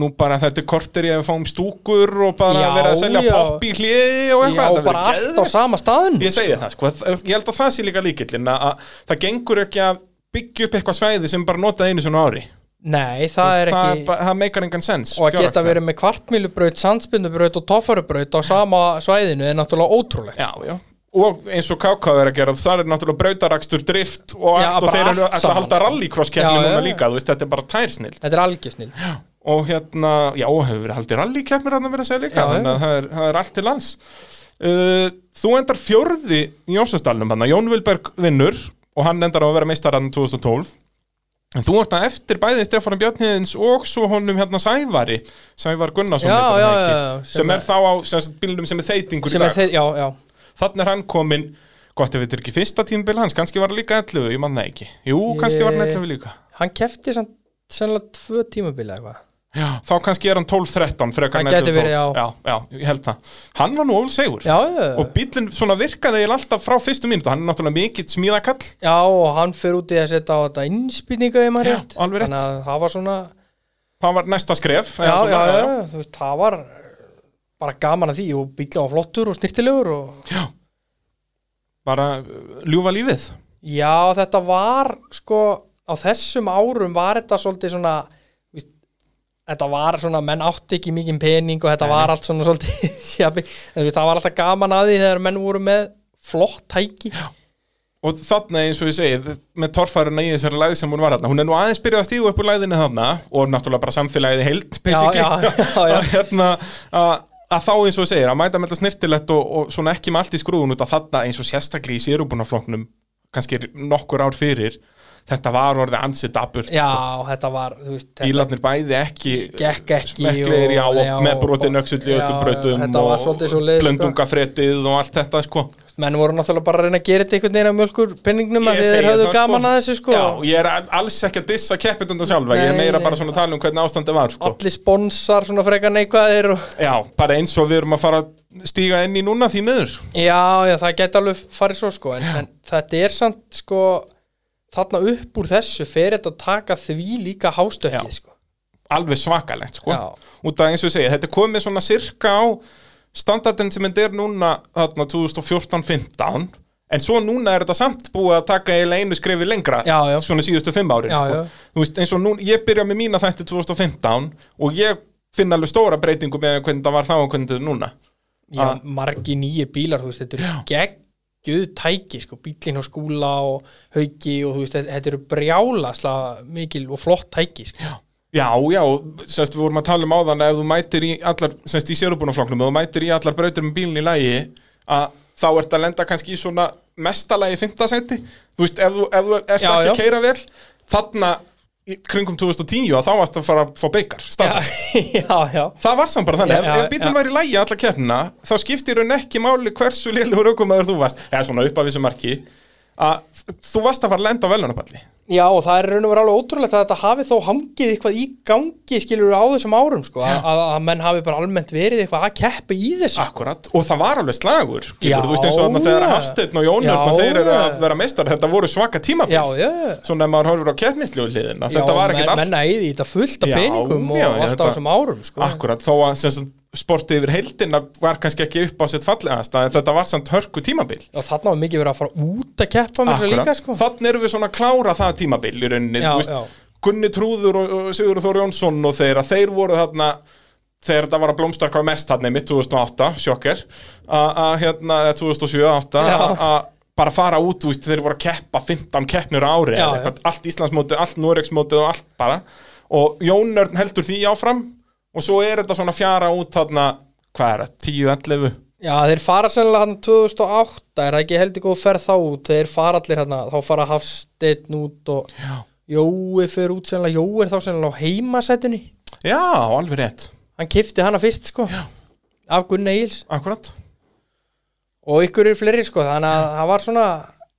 Speaker 1: nú bara þetta er kortir ég að fáum stúkur og bara
Speaker 2: Já,
Speaker 1: vera að selja
Speaker 2: já.
Speaker 1: popp í hliði og
Speaker 2: Já,
Speaker 1: eitthvað þetta
Speaker 2: bara
Speaker 1: verður
Speaker 2: allt á
Speaker 1: geðveikt.
Speaker 2: sama staðinu.
Speaker 1: Ég segi það, sko, að- ég held að það sé líka líkillin að, að það gengur ekki að byggja upp eitthvað svæði sem bara notað einu svona á ári
Speaker 2: Nei, það
Speaker 1: Þú
Speaker 2: er
Speaker 1: veist,
Speaker 2: ekki...
Speaker 1: bara- það meikar engan sens
Speaker 2: og að geta
Speaker 1: fjárhagslega.
Speaker 2: verið með kvartmýlubraut, sandspinnubraut og toffarubraut á sama svæðinu er náttúrulega ótrúlegt
Speaker 1: Já, já Og eins og KK er að gera, það er náttúrulega brautarakstur, drift og
Speaker 2: Já,
Speaker 1: allt og
Speaker 2: bara
Speaker 1: þeir eru
Speaker 2: allt
Speaker 1: ætla að halda
Speaker 2: saman, sko.
Speaker 1: rallycross-keppni
Speaker 2: Já,
Speaker 1: núna
Speaker 2: já, já.
Speaker 1: líka, þú veist, þetta er bara tærsnill
Speaker 2: þetta er algjörsnill
Speaker 1: og hérna, já, og hefur verið haldið rallykeppnir hann að vera að segja líka,
Speaker 2: Já, já.
Speaker 1: þannig að það er, það er allt til lands uh, Þú endar fjórði í Jónsastalnum hann, Jón Vilberg vinnur og hann endar á að vera meistarann 2012 En þú ert að eftir bæði Stefán Bjarniðins og svo honum hérna Sævari, Sævar Gunnarsson
Speaker 2: Já,
Speaker 1: heitir hann
Speaker 2: já,
Speaker 1: ekki,
Speaker 2: já, já,
Speaker 1: sem,
Speaker 2: sem
Speaker 1: er þá á sem sagt, bílnum sem er þeytingur í
Speaker 2: sem
Speaker 1: dag
Speaker 2: er þeir, já, já,
Speaker 1: Þannig er hann kominn, gott ef þetta er ekki fyrsta tímabil hans, kannski var hann líka 11, ég manna ekki. Jú, kannski var hann
Speaker 2: Ég-
Speaker 1: 11 líka.
Speaker 2: hann kefti samt sennilega tvö tímabili eða eitthvað
Speaker 1: Já, þá kannski er hann 12-13 frekar en
Speaker 2: Hann gæti
Speaker 1: 11-12.
Speaker 2: verið, já.
Speaker 1: já, já, ég held það. Hann var nú ólsegur.
Speaker 2: já, já,
Speaker 1: Og bílinn svona virkaði eiginlega alltaf frá fyrstu mínútu, hann er náttúrulega mikill smíðakall.
Speaker 2: já, og hann fer út í að setja á þetta innspýtinga ef maður
Speaker 1: Já,
Speaker 2: rétt
Speaker 1: alveg rétt.
Speaker 2: þannig að það var svona
Speaker 1: Það var næsta skref.
Speaker 2: já,
Speaker 1: eða
Speaker 2: já,
Speaker 1: svona,
Speaker 2: já, þú veist, það var bara gaman að því og bíla var flottur og snirtilegur og
Speaker 1: Bara uh, ljúfa lífið.
Speaker 2: já, þetta var sko, á þessum árum var þetta svolítið svona víst, þetta var svona, menn átti ekki mikið pening og þetta var allt svona svolítið sjabi, en þú veist, það var alltaf gaman að því þegar menn voru með flott tæki já,
Speaker 1: Og þarna eins og ég segi, með torfæruna í þessari læði sem hún var þarna, hún er nú aðeins byrjað að stígu upp úr læðinu þarna og náttúrulega bara samfélagið í heild, basically.
Speaker 2: já, já, já.
Speaker 1: að, hérna, að, að þá eins og þú segir að mæta með þetta snirtilegt og, og svona ekki með allt í skrúðun út að þarna eins og sérstaklega í sérubunafloknum kannski nokkur ár fyrir þetta var orðið ansið daburt
Speaker 2: þetta var, þú veist þetta
Speaker 1: bílarnir bæði ekki
Speaker 2: gekk ekki
Speaker 1: smekklegir
Speaker 2: og-
Speaker 1: já og
Speaker 2: já,
Speaker 1: með
Speaker 2: og-
Speaker 1: brotin öxull í
Speaker 2: já,
Speaker 1: öllum brautum
Speaker 2: þetta var
Speaker 1: og
Speaker 2: svolítið svoleiðis, sko.
Speaker 1: blöndungafretið og allt þetta sko
Speaker 2: menn voru náttúrulega bara að reyna að gera þetta einhvern veginn að mjölkur penningnum að
Speaker 1: Ég
Speaker 2: því
Speaker 1: segi
Speaker 2: þeir höfðu
Speaker 1: það,
Speaker 2: gaman að þessu sko
Speaker 1: Já, ég er alls ekki að dissa keppindundan sjálfa Ég er
Speaker 2: Nei,
Speaker 1: meira
Speaker 2: nei.
Speaker 1: bara svona að tala um hvernig ástandi var sko.
Speaker 2: allir sponsar svona frekar neikvæðir og
Speaker 1: Já, bara eins og við erum að fara að stíga inn í núna því miður
Speaker 2: Já, já, það geti alveg farið svo sko en, en þetta er samt sko þarna upp úr þessu fer þetta að taka því líka hástökkið
Speaker 1: Já.
Speaker 2: sko
Speaker 1: alveg svakalegt sko.
Speaker 2: Já.
Speaker 1: út af eins og ég segi, þetta er komið svona cirka á standardin sem þetta er núna þarna 2014-15 en svo núna er þetta samt búið að taka eiginlega einu skrefi lengra
Speaker 2: Já, já.
Speaker 1: svona síðustu fimm árin
Speaker 2: Já,
Speaker 1: sko.
Speaker 2: já.
Speaker 1: Þú veist, eins og núna, ég byrja með mína þætti 2015 og ég finn alveg stóra breytingu með hvernig það var þá og hvernig þetta er núna
Speaker 2: Já,
Speaker 1: Ah.
Speaker 2: margi nýju bílar, þú veist, þetta eru geggjuð tæki sko, bílinn og skúla og hauki og þú veist, þetta- þetta eru brjálasla mikil og flott tæki sko Já,
Speaker 1: Já, já, og, sérst, við vorum að tala um áðan að ef þú mætir í allar, sérst, í sérubunaflokknum ef þú mætir í allar brautir með bílinn í lægi að þá ert að lenda kannski í svona mestalagi fimmtasæti þú veist, ef þú, ef þú ert
Speaker 2: Já,
Speaker 1: ekki
Speaker 2: já.
Speaker 1: að keira vel þarna í kringum 2010 að þá varst að fara að fá byggar
Speaker 2: já, já, já,
Speaker 1: Það var samt bara þannig,
Speaker 2: Já,
Speaker 1: ef,
Speaker 2: já,
Speaker 1: ef bílinn
Speaker 2: já.
Speaker 1: væri í lægi allar keppnina þá skiptir hún ekki máli hversu lélugur aukumæður þú varst, eða svona upp af þessu marki að þú varst að fara að lenda á velunapalli
Speaker 2: já og það er raun og verið alveg ótrúlegt að þetta hafi þó hangið eitthvað í gangi skilur á þessum árum sko, að, að menn hafi bara almennt verið eitthvað að keppa í þessu sko.
Speaker 1: Akkurat, og það var alveg slagur já,
Speaker 2: Já,
Speaker 1: Þú veist eins og þarna þegar
Speaker 2: já.
Speaker 1: Hafsteinn og Jónur
Speaker 2: Já,
Speaker 1: þeir eru að
Speaker 2: já.
Speaker 1: vera meistar, þetta voru svaka tímabil
Speaker 2: sko. Já, já, já
Speaker 1: Svona ef maður horfir á keppnislegu hliðina Þetta
Speaker 2: já,
Speaker 1: var ekkit
Speaker 2: menn,
Speaker 1: allt
Speaker 2: menn æði í þetta fullt af
Speaker 1: Já,
Speaker 2: peningum
Speaker 1: já,
Speaker 2: og
Speaker 1: já,
Speaker 2: allt á
Speaker 1: þetta-
Speaker 2: þessum árum sko.
Speaker 1: Akkurat, þó að sem sagt, sportið yfir heildina var kannski ekki upp á sitt fallegast en þetta var samt hörku tímabil
Speaker 2: og þarna var mikið verið að fara út að keppa með þessu líka sko.
Speaker 1: þannig erum við svona að klára það tímabil í rauninni,
Speaker 2: Já,
Speaker 1: þú veist,
Speaker 2: já.
Speaker 1: Gunni Trúður og, og Sigur Þór Jónsson og þeir að þeir voru þarna þegar þetta var að blómstra hvað mest þarna í mitt 2008, sjokker að að, hérna, eða 2007-2008
Speaker 2: Já.
Speaker 1: að- að bara fara út, þú veist, þeir voru að keppa 15 keppnur á ári eða
Speaker 2: Já, já.
Speaker 1: eitthvað, allt Íslandsmótið, allt Noregsmótið og allt bara og Jón Örn heldur því áfram og svo er þetta svona fjara út þarna, hvað er það, 10-11
Speaker 2: já, þeir fara sennilega hann 2008 er það ekki heldur góð ferð þá út þeir fara allir hann, þá fara Hafsteinn út og
Speaker 1: Já.
Speaker 2: Jói fer út sennilega Jói er þá sennilega á heimasætunni
Speaker 1: Já, alveg rétt
Speaker 2: Hann hann kifti hana fyrst sko
Speaker 1: Já.
Speaker 2: af Gunni Eils
Speaker 1: akkurat
Speaker 2: og ykkur eru fleiri sko þannig að það var svona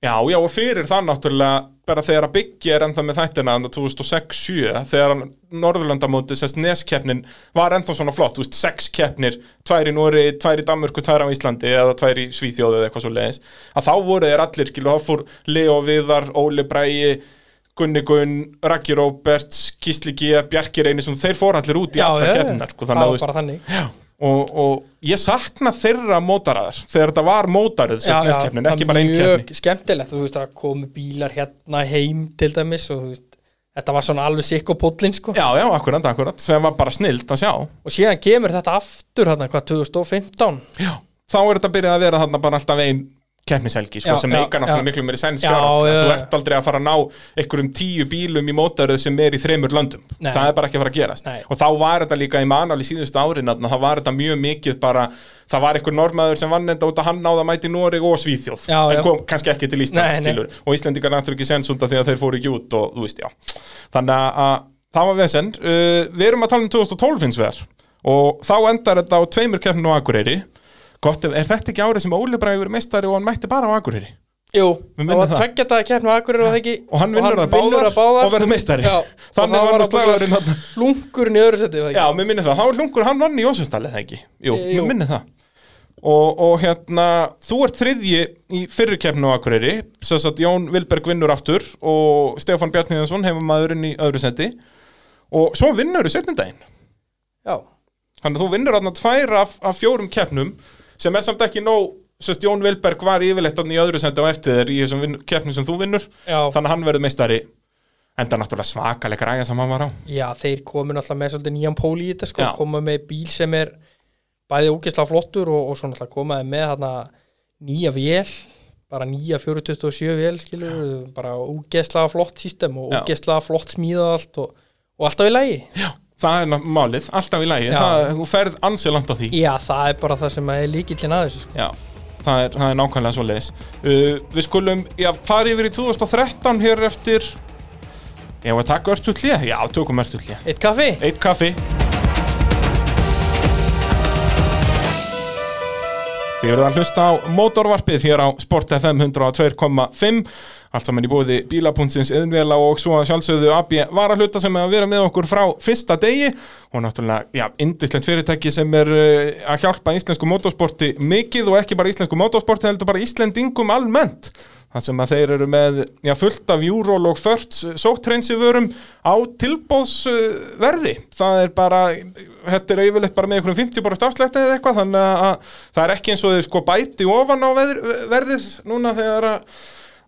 Speaker 1: Já, já, og fyrir það náttúrulega bara þegar að byggja er ennþá með þættina þarna 2006-7, þegar Norðurlandamóti, sérst neskeppnin, var ennþá svona flott, þú veist, sex keppnir tvær í Nóri, tvær í Danmörku, tvær á Íslandi eða tvær í Svíþjóðu eða eitthvað svo leiðis að þá voru þeir allir, skilu, þá fór Leo Viðar, Óli Bræi Gunni Gunn, Raggi Róberts Kísli G, Bjarki Reynisson, þeir fór allir út í
Speaker 2: já,
Speaker 1: alla
Speaker 2: já,
Speaker 1: keppninar, sko, þannig að
Speaker 2: það
Speaker 1: þú
Speaker 2: var
Speaker 1: veist
Speaker 2: bara þannig
Speaker 1: Já, og, og ég sakna þeirra mótaraðar þegar þetta var mótarið, sérst neskeppnin,
Speaker 2: það
Speaker 1: ekki bara einn keppni
Speaker 2: mjög skemmtilegt þú veist að komu bílar hérna heim til dæmis og þú veist þetta var svona alveg sikk og pótlinn sko
Speaker 1: Já, já, akkurat, akkurat, sem var bara snilt að sjá
Speaker 2: og síðan kemur þetta aftur hérna hvað 2015
Speaker 1: Já Þá er þetta byrjað að vera þarna bara alltaf ein keppnishelgi, sko,
Speaker 2: Já,
Speaker 1: sem
Speaker 2: já,
Speaker 1: meika náttúrulega
Speaker 2: já.
Speaker 1: miklu meiri sens
Speaker 2: Já,
Speaker 1: fjárhagslega
Speaker 2: já,
Speaker 1: Þú
Speaker 2: já.
Speaker 1: ert aldrei að fara að ná einhverjum tíu bílum í mótaröð sem er í þremur löndum
Speaker 2: Nei.
Speaker 1: Það er bara ekki að fara að gerast
Speaker 2: Nei.
Speaker 1: Og þá var þetta líka í manal í síðustu árin þarna, Það var þetta mjög mikið bara Það var einhver normaður sem vann þetta út að hann náða mæti Noreg og Svíþjóð
Speaker 2: Já,
Speaker 1: En
Speaker 2: já.
Speaker 1: kom kannski ekki til Íslands,
Speaker 2: Nei, nei.
Speaker 1: skilur Og Íslendingar náttúrulega ekki sens út af því að þeir fóru ekki út og þú veist, já Þannig að það var vesend uh, Við erum að tala um 2012 hins vegar Og þá endar þetta á tveimur keppnum á Akureyri Gott, ef, er þetta ekki árið sem Óli Bræður meistari og hann mætti bara á Akureyri?
Speaker 2: Jú,
Speaker 1: Við
Speaker 2: það
Speaker 1: minnum
Speaker 2: var
Speaker 1: það.
Speaker 2: tveggja dag að keppna Akureyri og það ekki
Speaker 1: Og hann vinnur það báðar,
Speaker 2: það báðar.
Speaker 1: og verður meistari
Speaker 2: Já, og
Speaker 1: Þannig
Speaker 2: það
Speaker 1: var nú
Speaker 2: var
Speaker 1: slagurinn þarna.
Speaker 2: Lungurinn í öðru seti
Speaker 1: Já, mér minni það, þá er hlungur hann vann í Jósefstalið, það ekki? Jú,
Speaker 2: E,
Speaker 1: mér
Speaker 2: jú.
Speaker 1: minni það og, og hérna, þú ert þriðji í fyrri keppnu á Akureyri Sess að Jón Vilberg vinnur aftur og Stefán Bjarniðansson hefur maðurinn í öðru sendi og svo vinnur þú setnindaginn
Speaker 2: Já,
Speaker 1: Þannig að þú vinnur þarna tvær af, af fjórum keppnum sem er samt ekki nóg Sest Jón Vilberg var yfirleitt þarna í öðru sendi á eftir þér í þessum vin- keppnum sem þú vinnur
Speaker 2: já,
Speaker 1: þannig að hann verður meistari enda náttúrulega svakalega ræja sem hann var á
Speaker 2: já, þeir komu náttúrulega með svolítið nýjan pól í þetta sko,
Speaker 1: Já.
Speaker 2: komu með bíl sem er bæði ógeðslega flottur og, og svo náttúrulega komaði með þarna nýja vél bara nýja 427 vél skilur, við, bara ógeðslega flott system og
Speaker 1: Já.
Speaker 2: ógeðslega flott smíðað allt og, og alltaf í lagi
Speaker 1: það er ná- málið, alltaf í lagi
Speaker 2: Já.
Speaker 1: það, þú ferð ansið langt á því
Speaker 2: Já, það er bara það sem er líkillin að þessu sko.
Speaker 1: Já, það er, það er nákvæmlega svo leiðis uh, Við skulum, já, fara yfir í 2013 hér eftir Ég var að taka örstullið, já, tökum örstullið
Speaker 2: Eitt kaffi?
Speaker 1: Eitt kaffi Þið verða að hlusta á mótorvarpið hér á Sport FM 102.5 Allt saman í bóði bílapunnsins yðnvela og svo að sjálfsögðu AB var að hluta sem er að vera með okkur frá fyrsta degi og náttúrulega, já, indislegt fyrirtæki sem er uh, að hjálpa íslensku motorsporti mikið og ekki bara íslensku motorsporti heldur bara íslendingum almennt þar sem að þeir eru með já, fullt af júról og förts sóttreinsivörum á tilbóðsverði það er bara, þetta er yfirleitt bara með einhverjum 50 bara stafslætti eða eitthvað þannig að- að það er ekki eins og þeir sko bæti ofan á veður, verðið núna þegar að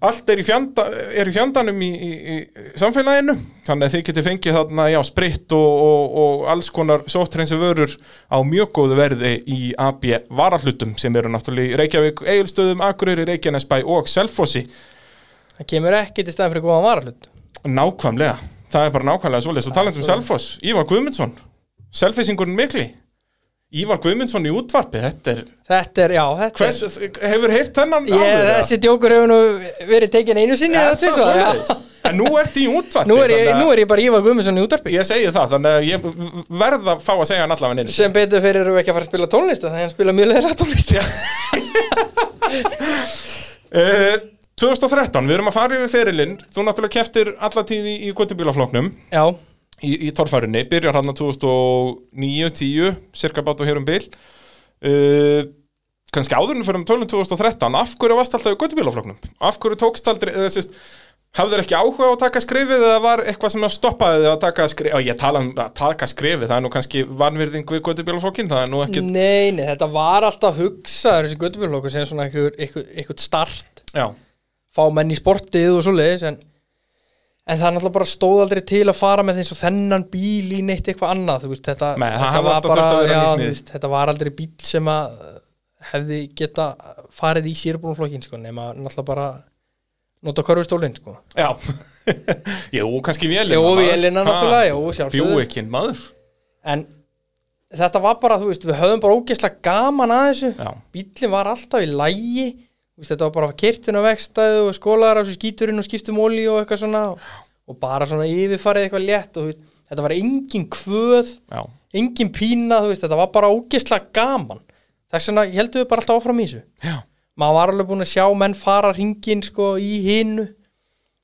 Speaker 1: allt er í, fjanda, er í fjandanum í, í, í samfélaginu þannig að þið getið fengið þarna já, spritt og, og, og alls konar sóttreinsi vörur á mjög góðu verði í AB varahlutum sem eru náttúrulega í Reykjavík, Egilstöðum, Akureyri, Reykjanesbæ og Selfossi
Speaker 2: Það kemur ekki til staðan fyrir góðan varahlut
Speaker 1: nákvæmlega, það er bara nákvæmlega svoleiðis og talandi um Selfoss, Ívar Guðmundsson Selfissingurinn mikli Ívar Guðmundsson í útvarpi, þetta er
Speaker 2: Þetta er, já, þetta
Speaker 1: hvers, hefur heyrt hennan
Speaker 2: er ég,
Speaker 1: áður, eða?
Speaker 2: Þessi djókur hefur nú verið tekin einu sinni
Speaker 1: Er
Speaker 2: eða
Speaker 1: það
Speaker 2: tvisvar, já.
Speaker 1: svoleiðis? En nú ert í útvarpi
Speaker 2: nú, er ég,
Speaker 1: þannig að-
Speaker 2: nú er ég bara Ívar Guðmundsson í útarpi
Speaker 1: Ég segi það, þannig að ég verð að fá að segja hann allavega neins
Speaker 2: Sem betur fyrir erum við ekki að fara að spila tónlist Þannig að hann spila mjög leðilega tónlist
Speaker 1: uh, 2013, við erum að fara yfir ferilinn Þú náttúrulega keftir alla tíð í, í kvotubílafloknum
Speaker 2: Já,
Speaker 1: í, í torfærinni, byrjar hann á 2009-10 cirka bát og hér um bil uh, kannski áðurinn fyrir um tölum 2013 af hverju varst alltaf í kvotubílafloknum? Af hverju tókst aldrei, eða sérst Hafður ekki áhuga á að taka skrifið eða var eitthvað sem að stoppaði þig að taka skrifið? Já, ég tala um að taka skrifið, það er nú kannski vanvirðing við kvotubílaflokkinn, það er nú ekki...
Speaker 2: nei, nei, þetta var alltaf hugsaður þessi Guðbjörnlokkur sem svona einhver- einhver- eitthvað start
Speaker 1: Já,
Speaker 2: fá menn í sportið og svo leiðis en, en það er náttúrulega bara stóð aldrei til að fara með eins og þennan bíl í neitt eitthvað annað þú veist, þetta,
Speaker 1: Nei, það
Speaker 2: þetta
Speaker 1: hafði alltaf þurft að vera ný
Speaker 2: já,
Speaker 1: smíð.
Speaker 2: þú veist, þetta var aldrei bíl sem að hefði geta farið í sérbúnflokkin sko, nema náttúrulega bara nota körfustólinn sko.
Speaker 1: já. Jú, kannski vélina.
Speaker 2: og
Speaker 1: maður.
Speaker 2: vélina
Speaker 1: Ha,
Speaker 2: náttúrulega jú, sjálfsögðu.
Speaker 1: Bjúikinn, maður.
Speaker 2: en þetta var bara, þú veist, við höfum bara ógeðslega gaman að þessu
Speaker 1: Já.
Speaker 2: bílinn var alltaf í lægi veist, þetta var bara kertin á vegstæðu og skólaðar á þessu skíturinn og skiptum olí og eitthvað svona og, og bara svona yfirfarið eitthvað létt og þú veist, þetta var engin kvöð
Speaker 1: Já,
Speaker 2: engin pína, þú veist, þetta var bara ógislega gaman þess vegna heldum við bara alltaf áfram í þessu
Speaker 1: já,
Speaker 2: maður var alveg búin að sjá menn fara ringin sko í hinu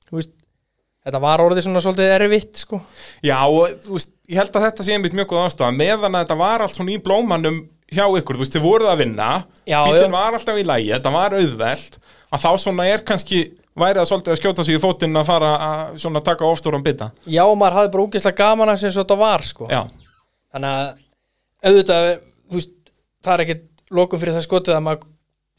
Speaker 2: þú veist, þetta var orðið svona svolítið erfitt sko
Speaker 1: já og, þú veist, ég held að þetta sé einmitt mjög góð ástæða meðan að þetta var allt svona í blómanum hjá ykkur, þú veist, þið voruð að vinna
Speaker 2: Já, já.
Speaker 1: bílinn var alltaf í lægi, þetta var auðvelt að þá svona er kannski værið að svolítið að skjóta sig í fótinn að fara að svona taka ofstóran bita
Speaker 2: já, maður hafði bara ógislega gaman að sem þetta var sko
Speaker 1: já,
Speaker 2: þannig að auðvitað, þú veist, það er ekkit lokum fyrir það skotið að maður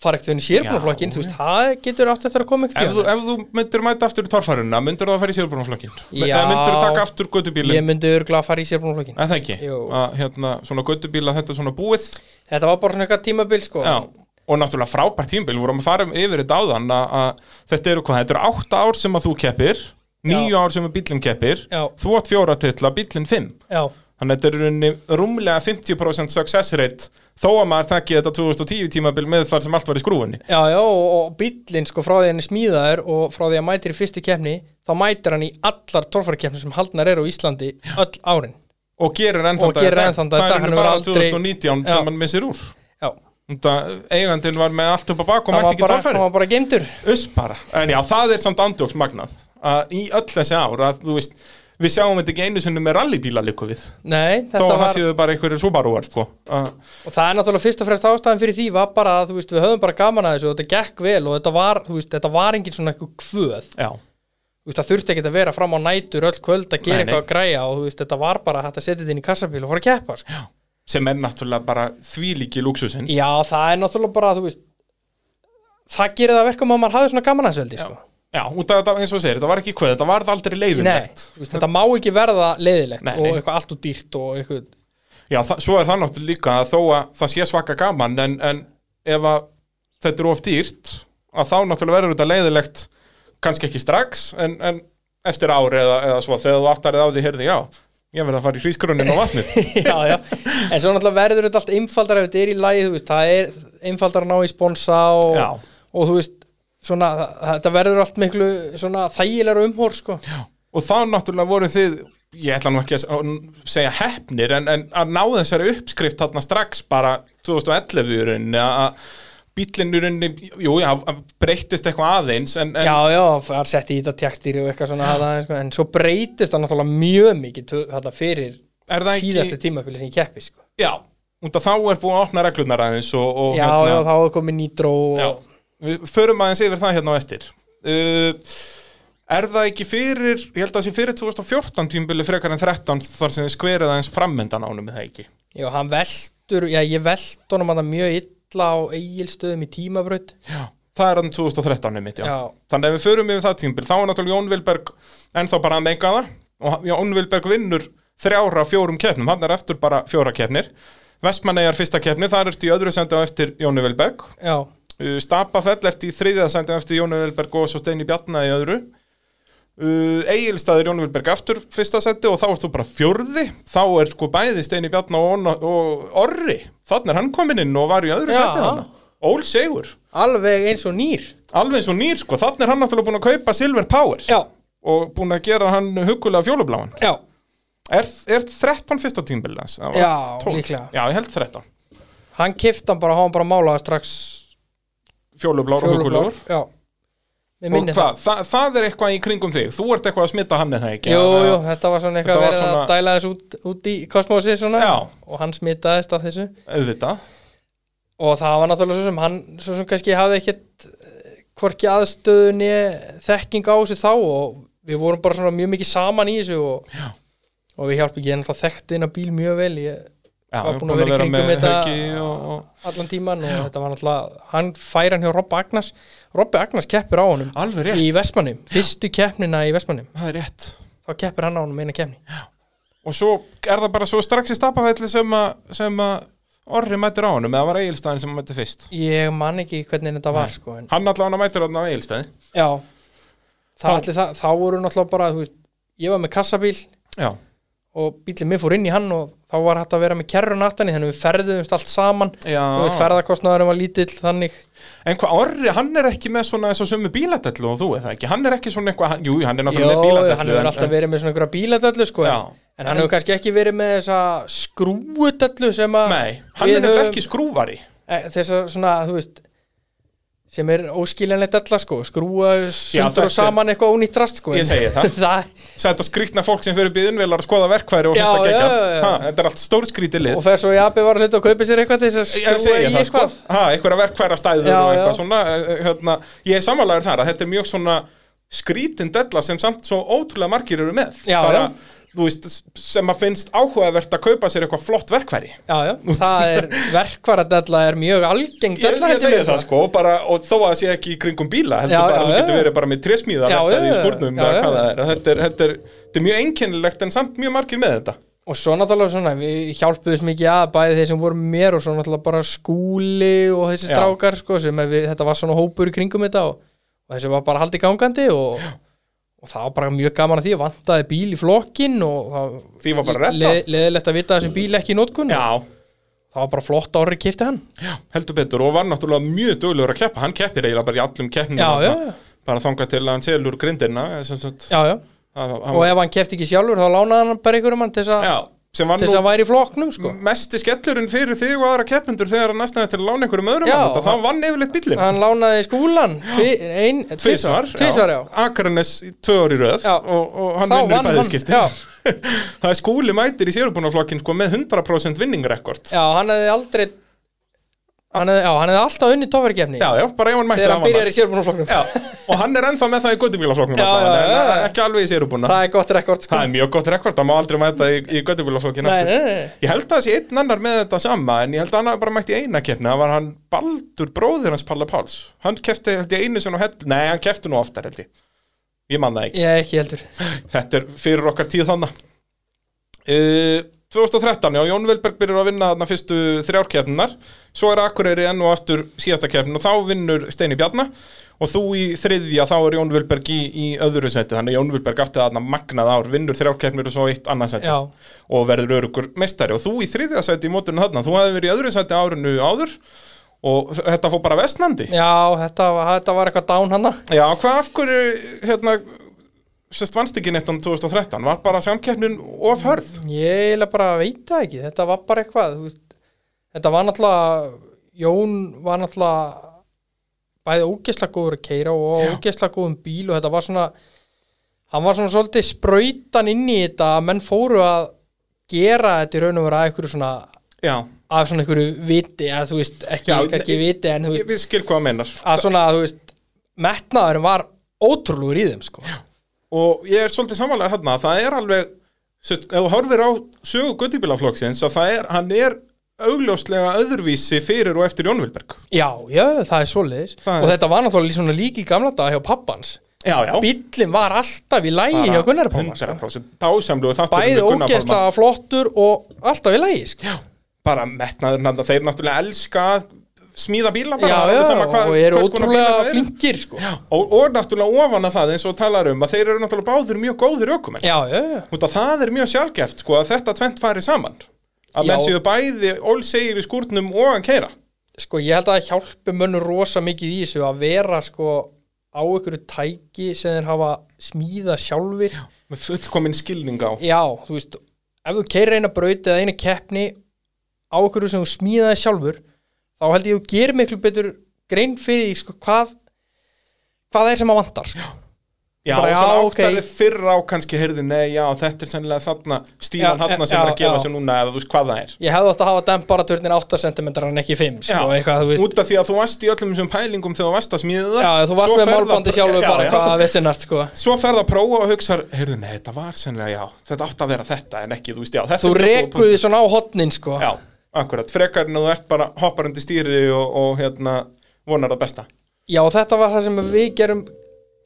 Speaker 2: fara ekkert inn í sérbúnaflokkin,
Speaker 1: Já,
Speaker 2: þú veist, það getur átt eftir að koma
Speaker 1: ef þú,
Speaker 2: ekkert
Speaker 1: ef þú myndir mæta aftur í torfaruna myndir það að fara í sérbrunnaflokkin
Speaker 2: Já.
Speaker 1: myndir þú taka aftur gödubílinn
Speaker 2: ég myndi örgulega að fara í sérbúnaflokkin
Speaker 1: En það ekki,
Speaker 2: Jú.
Speaker 1: að hérna, svona göttubíla þetta er svona búið
Speaker 2: þetta var bara svona eitthvað tímabil sko
Speaker 1: Já, og náttúrulega frábært tímbil vorum að fara um yfir þetta áðan að, að þetta eru hvað, þetta eru átta ár sem að þú keppir níu
Speaker 2: Já.
Speaker 1: ár sem að bílinn keppir
Speaker 2: Já.
Speaker 1: þú átt fjóra titla, bílinn fimm
Speaker 2: já,
Speaker 1: þannig að þetta er í rauninni rúmlega 50% success rate þó að maður takki þetta 2010 tímabil með þar sem allt var í skrúfunni
Speaker 2: já, já, og, og bíllinn sko frá því hann er smíðaður og frá því að mætir í fyrstu keppni þá mætir hann í allar torfarkeppni sem haldnar eru á Íslandi öll árin
Speaker 1: og gerir enn
Speaker 2: Og
Speaker 1: þann dag í
Speaker 2: gerir
Speaker 1: dag.
Speaker 2: enn þann dag í
Speaker 1: það
Speaker 2: dag,
Speaker 1: er í
Speaker 2: hann
Speaker 1: rauninni
Speaker 2: hefur
Speaker 1: bara
Speaker 2: aldrei-
Speaker 1: 2019
Speaker 2: Já.
Speaker 1: sem hann missir úr
Speaker 2: já,
Speaker 1: Það, eigandinn var með allt upp á bak og
Speaker 2: það
Speaker 1: mætti
Speaker 2: var
Speaker 1: ekki
Speaker 2: bara,
Speaker 1: torfæri
Speaker 2: hann var bara geimdur
Speaker 1: Uss bara, en já, það er samt andjóks magnað að í öll þessi ár að þú veist, við sjáum þetta ekki einu sinni með rallybíla líku við,
Speaker 2: Nei,
Speaker 1: þó
Speaker 2: þetta
Speaker 1: að það
Speaker 2: var,
Speaker 1: séu bara einhverjir súbarúar, sko að,
Speaker 2: og það er náttúrulega fyrst og fremst ástæðan fyrir því var bara að þú veist, við höfum bara gaman að þessu og þetta gekk vel og þetta var, þú veist, þetta var engin svona eitthvað kvöð,
Speaker 1: já,
Speaker 2: þú veist, það þurfti ekkert að vera fram á nætur öll kvöld að gera
Speaker 1: Nei, nei.
Speaker 2: eitthvað að græja og þú veist, þetta var bara hægt að setja þetta inn í kassabíl og fara að keppa, sko.
Speaker 1: sem er náttúrulega bara þvílíki lúksusinn
Speaker 2: Já, það er náttúrulega bara, þú veist, það gerir það að verkum að maður hafði svona gaman að þessu veldi, sko.
Speaker 1: Já, út af þetta, eins og þú segir, þetta var ekki hvað, þetta varð aldrei
Speaker 2: Nei,
Speaker 1: leiðinlegt
Speaker 2: þú veist, þetta má ekki verða leiðilegt
Speaker 1: Nei,
Speaker 2: og
Speaker 1: nei.
Speaker 2: eitthvað allt og dýrt og eitthvað,
Speaker 1: Já, það, svo er það náttúrulega líka að þó að það sé svaka gaman en, en ef að þetta er of dýrt að þá náttúrulega verður þetta leiðilegt kannski ekki strax en, en eftir ár eða, eða svo þegar þú aftarið á því heyrði já, ég verð að fara í hrískrönin á vatnið
Speaker 2: já, já, en svo náttúrulega verður þetta allt einfaldar ef þetta er í lagi, þú veist, það er einfaldar að ná í sponsa og,
Speaker 1: Já.
Speaker 2: og þú veist svona, þetta verður allt miklu svona þægilegur umhór sko
Speaker 1: og þá náttúrulega voru þið ég ætla nú ekki að s- að segja hefnir en, en að ná þessari uppskrift þarna strax bara 2011 í rauninni að- að bíllinn í rauninni, jú, já, að breyttist eitthvað aðeins en, en
Speaker 2: já, já, það er sett í þetta tjekstýri og eitthvað svona það, sko. en svo breytist það náttúrulega mjög mikið tö- þarna fyrir
Speaker 1: Er það ekki-
Speaker 2: síðasti tímabili sem ég keppi sko
Speaker 1: já und að þá er búin að opna reglurnar aðeins og, og hérna-
Speaker 2: já, já, þá er komið nýtró og...
Speaker 1: Já, við förum aðeins yfir það hérna á eftir uh, Er það ekki fyrir, ég held að það sé fyrir 2014 tímbili frekar en 13 þar sem þið skverið aðeins frammendan ánum með það ekki
Speaker 2: já, hann veltur, já, ég velt honum að það mjög illa á eigilstöðum í tímabraut
Speaker 1: Já Það er hann 2013 einmitt, já.
Speaker 2: Já.
Speaker 1: Þannig að ef við förum yfir það tímbil, þá er náttúrulega Jón Vilberg ennþá bara að menga það og Jón Vilberg vinnur þrjára af fjórum keppnum, hann er eftir bara fjóra keppnir Vestmannegar fyrsta keppni, það ertu í öðru sendi á eftir Jónu Vilberg
Speaker 2: já,
Speaker 1: Uh, Stapafell ert í þriðja sændum eftir Jónu Vilberg og svo Steini Bjarna í öðru uh, Egilstaður Jónu Vilberg aftur fyrsta sætti og þá ert þú bara fjórði þá er sko bæði Steini Bjarna og, Ona- og Orri þannig er hann kominn inn og var í öðru
Speaker 2: Já.
Speaker 1: sætti hann Ól Sigur,
Speaker 2: alveg eins og nýr
Speaker 1: alveg eins og nýr sko þannig er hann náttúrulega búin að kaupa Silver Power
Speaker 2: já,
Speaker 1: og búin að gera hann hugulega fjólubláan
Speaker 2: já,
Speaker 1: er, er 13 fyrsta tímbilans?
Speaker 2: Já, líklega.
Speaker 1: Já, ég held 13
Speaker 2: hann kifti hann bara, hann bara málaði strax
Speaker 1: Fjólublár og hugulegur
Speaker 2: já
Speaker 1: Og
Speaker 2: Mér minni það
Speaker 1: hvað, Þa, það er eitthvað í kringum þig, þú ert eitthvað að smita hann eða ekki
Speaker 2: Jú,
Speaker 1: Eða-
Speaker 2: jú, þetta var svona eitthvað
Speaker 1: Þetta var
Speaker 2: verið
Speaker 1: svona-
Speaker 2: að dæla þessu út, út í kosmósið svona
Speaker 1: Já.
Speaker 2: og hann smitaðist af þessu
Speaker 1: auðvitað
Speaker 2: og það var náttúrulega svo sem hann svo sem kannski hafði ekkit eh, hvorki aðstöðunni þekking á þessu þá og við vorum bara svona mjög mikið saman í þessu og,
Speaker 1: Já.
Speaker 2: og við hjálpum ekki en alltaf þekkti inn á bíl mjög vel ég,
Speaker 1: Já,
Speaker 2: var
Speaker 1: ég
Speaker 2: búinn að vera í kringum
Speaker 1: með
Speaker 2: þetta-
Speaker 1: Helgi og, og...
Speaker 2: allan tíman og þetta var náttúrulega hann fær hann hjá Robbi Agnars Robbi Agnars keppir á honum
Speaker 1: Alveg rétt.
Speaker 2: í Vestmannum, fyrstu keppnina í Vestmannum
Speaker 1: Það er rétt
Speaker 2: þá keppir hann á honum eina keppni
Speaker 1: Og svo er það bara svo strax í stapafelli sem að sem að Orri mætir á honum eða var Egilstæðin sem hann mætir fyrst
Speaker 2: Ég man ekki hvernig þetta var sko en,
Speaker 1: Hann allan að mætir hann á Egilstæði
Speaker 2: Já Þa,
Speaker 1: Þá-
Speaker 2: allir, það, Þá voru náttúrulega bara þú veist, Ég var með kassabíl
Speaker 1: Já,
Speaker 2: og bílið minn fór inn í hann og þá var hægt að vera með kerrun aftan í þannig við ferðumst allt saman
Speaker 1: Já.
Speaker 2: Þú veist ferðakostnaðurum var lítill þannig
Speaker 1: en hvað Orri, hann er ekki með svona eins og sömu bíladellu og þú er það ekki Hann er ekki svona eitthvað, jú, hann er
Speaker 2: Jó,
Speaker 1: náttúrulega með
Speaker 2: hann
Speaker 1: bíladellu
Speaker 2: hefur alltaf verið með svona einhverja bíladöllu sko en,
Speaker 1: Já.
Speaker 2: En hann hefur kannski ekki verið með þessa skrúudellu sem að
Speaker 1: Nei, hann
Speaker 2: við
Speaker 1: er nefnilega
Speaker 2: höfum-
Speaker 1: ekki skrúvari
Speaker 2: e, Þessar svona, þú veist sem er óskiljanlegt alla sko skrúa
Speaker 1: þetta
Speaker 2: sundur
Speaker 1: er-
Speaker 2: og saman eitthvað ónýtt rast sko
Speaker 1: Ég segi það.
Speaker 2: það
Speaker 1: Þetta skrýtna fólk sem fyrir byðunvelar að skoða verkfæri og
Speaker 2: Já,
Speaker 1: finnst að gegja
Speaker 2: já, já, já.
Speaker 1: Ha, Þetta er allt stórskrýti lið
Speaker 2: og fer svo í abi var hlut og kaupi sér eitthvað til þess að
Speaker 1: Ég
Speaker 2: skrúa
Speaker 1: segi
Speaker 2: í
Speaker 1: það sko,
Speaker 2: eitthvað
Speaker 1: ha, einhverja verkfæra stæður
Speaker 2: Já,
Speaker 1: og eitthvað
Speaker 2: já.
Speaker 1: svona eh, hérna, Ég er samanlegar þar að þetta er mjög svona skrítin della sem samt svo ótrúlega margir eru með
Speaker 2: Já,
Speaker 1: Bara,
Speaker 2: já.
Speaker 1: þú veist, sem að finnst áhugavert að kaupa sér eitthvað flott verkfæri
Speaker 2: já, já, það er verkvaradella er mjög algeng
Speaker 1: Ég,
Speaker 2: della
Speaker 1: ég
Speaker 2: hérna
Speaker 1: segi
Speaker 2: með
Speaker 1: það sko, og bara, og þó að það sé ekki í kringum bíla, heldur
Speaker 2: Já,
Speaker 1: bara
Speaker 2: já,
Speaker 1: að þú getur
Speaker 2: já.
Speaker 1: verið bara með trésmíða
Speaker 2: Já,
Speaker 1: restaði í
Speaker 2: já, já.
Speaker 1: skúrnum
Speaker 2: Já,
Speaker 1: eða
Speaker 2: já.
Speaker 1: hvað það er. Þetta er, þetta er, þetta er mjög einkennilegt en samt mjög margir með þetta.
Speaker 2: og svo náttúrulega svona, við hjálpuðum mikið að bæði þeir sem voru með mér og svo náttúrulega bara skúli og þessi
Speaker 1: Já.
Speaker 2: strákar sko, sem að við, þetta var svona hópur í kringum þetta og, og þessi var bara haldið gangandi og, og það var bara mjög gaman að því að vantaði bíl í flokkin og það
Speaker 1: Því var bara reddað.
Speaker 2: leð- leðilegt að vita að þessi bíl ekki í notkun
Speaker 1: Já,
Speaker 2: það var bara flott að orri kipti hann
Speaker 1: já, heldur betur og var náttúrulega mjög duglegur að keppa. Hann keppir eiginlega bara í allum keppnum.
Speaker 2: Já, já, já.
Speaker 1: Bara þangað til að hann selur grindina. Sem, sagt,
Speaker 2: já, já.
Speaker 1: að, að,
Speaker 2: og ef hann kefti ekki sjálfur þá lánaði hann bara einhverjum hann til þess að-
Speaker 1: já, sem var
Speaker 2: til þess að
Speaker 1: nú
Speaker 2: hann væri í flokknum sko.
Speaker 1: mesti skellurinn fyrir þig og aðra keppendur þegar hann næstnaði til að lána einhverjum öðrum
Speaker 2: Já,
Speaker 1: að þetta. Það vann yfirleitt bílinn.
Speaker 2: hann lánaði skúlan tvi- ein-
Speaker 1: Tvisvar,
Speaker 2: tvisvar, já.
Speaker 1: Akranes í tvö ár í röð
Speaker 2: Já.
Speaker 1: og, og hann
Speaker 2: Þá
Speaker 1: vinnur
Speaker 2: vann
Speaker 1: í
Speaker 2: hann, já.
Speaker 1: bæðiskiptin Það er skúli mætir í sérubunaflokkin sko, með 100% vinningrekord já.
Speaker 2: Já, hann hefði aldrei hann hefði, já, hann hefði alltaf unni tóverkefni
Speaker 1: já, bara ef hann mætti
Speaker 2: þegar hann
Speaker 1: hann vann
Speaker 2: byrjar í sérbúnaflokknum
Speaker 1: það. Og hann er ennþá með það í göttubílaflokknum
Speaker 2: Já, já, já, já.
Speaker 1: ekki alveg í sérubuna
Speaker 2: Það er gott rekord sko
Speaker 1: Það er mjög gott rekord, það má aldrei mæta í, í göttubílaflokkin
Speaker 2: Nei, nei, nei, nei.
Speaker 1: Ég held að það sé einn annar með þetta sama en ég held að hann bara mætti í eina keppni það var hann Baldur bróðir hans Palla Páls hann kefti held ég einu sinni á hell nei, hann kefti nú oftar held ég ég man það ekki
Speaker 2: Ég er ekki heldur
Speaker 1: Þetta er fyrir okkar tíð þannig uh, 2013, já, Jón Vilberg byrjar að vinna þarna fyrstu þrjárkeppninar Svo er Akureyri enn og aftur síðasta keppnin og þá vinnur Steini Bjarna Og þú í þriðja, þá er Jón Vilberg í, í öðru seti Þannig að Jón Vilberg átti þarna magnað ár, vinnur þrjárkeppnir og svo eitt annað seti
Speaker 2: Já,
Speaker 1: Og verður örugur meistari Og þú í þriðja seti í móturinn þarna, þú hefði verið í öðru seti árinu áður Og þetta fór bara vestnandi
Speaker 2: já þetta, var, þetta var eitthvað dán hann
Speaker 1: Já, hvað af hverju, hérna, sérst vannst ekki neitt án 2013, var bara samkeppnin of hörð?
Speaker 2: Ég eiginlega bara veit það ekki Þetta var bara eitthvað þú veist. Þetta var náttúrulega Jón var náttúrulega bæði ógeðslega góður að keira og
Speaker 1: Já.
Speaker 2: ógeðslega góðum bíl og þetta var svona hann var svona svolítið sprautan inn í þetta að menn fóru að gera þetta í raun og vera að einhverju svona
Speaker 1: Já,
Speaker 2: af svona einhverju viti að þú veist, ekki
Speaker 1: Já,
Speaker 2: kannski
Speaker 1: ég-
Speaker 2: viti en þú
Speaker 1: ég,
Speaker 2: veist,
Speaker 1: við skil hvað það meinar.
Speaker 2: að svona þú veist, metnaðurinn var ótrúlegur í þeim sko.
Speaker 1: Og ég er svolítið samanlega hérna, það er alveg, sérst, ef þú horfir á sögu guttibílaflokksins, að það er, hann er augljóslega öðruvísi fyrir og eftir Jón Vilberg.
Speaker 2: já, já, það er svoleiðis
Speaker 1: Það er-
Speaker 2: og þetta var náttúrulega lí- svona líka í gamla dag hjá pappans
Speaker 1: Já, já.
Speaker 2: bíllinn var alltaf í lægi hjá Gunnar Páma sko.
Speaker 1: 100% dásamluðu þáttur
Speaker 2: bæði ógeðslega flottur og alltaf í lægi sko.
Speaker 1: bara metnaður hann þeir náttúrulega elska að smíða bíla
Speaker 2: já,
Speaker 1: bara alveg
Speaker 2: já,
Speaker 1: sama hvað-
Speaker 2: og eru
Speaker 1: hvers konar bílar
Speaker 2: ótrúlega
Speaker 1: það eru.
Speaker 2: flinkir sko. já,
Speaker 1: og, og náttúrulega ofan að það eins og talar um að þeir eru náttúrulega báðir mjög góðir ökumenn
Speaker 2: já, já,
Speaker 1: Út að það er mjög sjálfgeft sko að þetta tvent fari saman að menn
Speaker 2: Já.
Speaker 1: séu bæði ólsegir í skúrnum og að keira
Speaker 2: sko ég held að það hjálpi mönnu rosa mikið í þessu að vera sko á ykkur tæki sem þeir hafa smíða sjálfir já.
Speaker 1: með fullkomin skilning á
Speaker 2: Já, þú veist, ef þú keirir eina braut eða eina keppni á okkur sem þú smíðaði sjálfur þá held ég að þú gerir miklu betur grein fyrir því, sko, hvað hvað það er sem að vantar sko.
Speaker 1: Já,
Speaker 2: Bara,
Speaker 1: og svona
Speaker 2: já,
Speaker 1: áttaði
Speaker 2: ok.
Speaker 1: fyrra á kannski heyrði nei, já, þetta er sennilega þarna stílan
Speaker 2: Já,
Speaker 1: þarna
Speaker 2: já,
Speaker 1: sem er að
Speaker 2: já,
Speaker 1: gefa
Speaker 2: já.
Speaker 1: sér núna eða þú veist hvað það er
Speaker 2: Ég hefði átt að hafa demparaturnin 8 cm en ekki 5 sko, eitthvað, þú veist
Speaker 1: út af því að þú varst í öllum þessum pælingum þegar þú varst að smíða það
Speaker 2: Já, þú varst
Speaker 1: svo
Speaker 2: með
Speaker 1: ferð að-
Speaker 2: málbandi sjálfur
Speaker 1: Já,
Speaker 2: bara
Speaker 1: já.
Speaker 2: hvað að vissinast sko.
Speaker 1: Svo ferð að prófa og hugsa, heyrðu, nei, þetta var sennilega, já, þetta átt að vera þetta en ekki, þú veist, já, þetta
Speaker 2: Þú
Speaker 1: er mjög góð punktur.
Speaker 2: rekuði svona á hotnin sko.
Speaker 1: Já, akkurat, frekar en að þú ert bara hoppar undir stýri og, og hérna vonar það besta
Speaker 2: Já, og þetta var það sem við gerum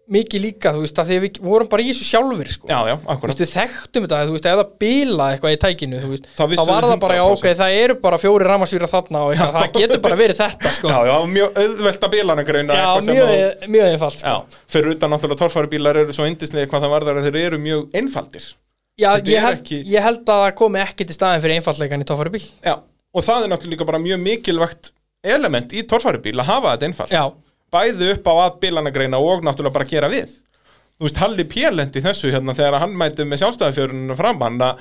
Speaker 2: mikið líka, þú veist, að því að við vorum bara í þessu sjálfur sko.
Speaker 1: Já, já,
Speaker 2: Þú
Speaker 1: akkurat
Speaker 2: veist, við þekktum þetta, þú veist, ef það bila eitthvað í tækinu, þú veist,
Speaker 1: Þá
Speaker 2: þá
Speaker 1: vissum
Speaker 2: var
Speaker 1: við
Speaker 2: það bara, já, ok,
Speaker 1: 100%.
Speaker 2: það eru bara fjóri ramasvíra þarna og eitthvað, það getur bara verið þetta, sko.
Speaker 1: Já, já, mjög auðvelt að bílana greina
Speaker 2: Já,
Speaker 1: eitthvað sem
Speaker 2: mjög,
Speaker 1: að-
Speaker 2: mjög einfalt, sko.
Speaker 1: Já, fyrir utan náttúrulega torfærubílar eru svo yndisniði hvað það varðar að þeir eru mjög einfaldir
Speaker 2: Já,
Speaker 1: Þetta er
Speaker 2: ég held,
Speaker 1: ekki-
Speaker 2: ég held að það komi ekki til staðin fyrir einfaldleikan í tófari bíl.
Speaker 1: Já, og það er náttúrulega líka bara mjög mikilvægt element í torfærubíl að hafa þetta einfalt
Speaker 2: Já.
Speaker 1: Bæði upp á að bílana greina og náttúrulega bara gera við þú veist, Halli Pélendi þessu hérna þegar hann mæti með sjálfstæðanfjörunum fram hann að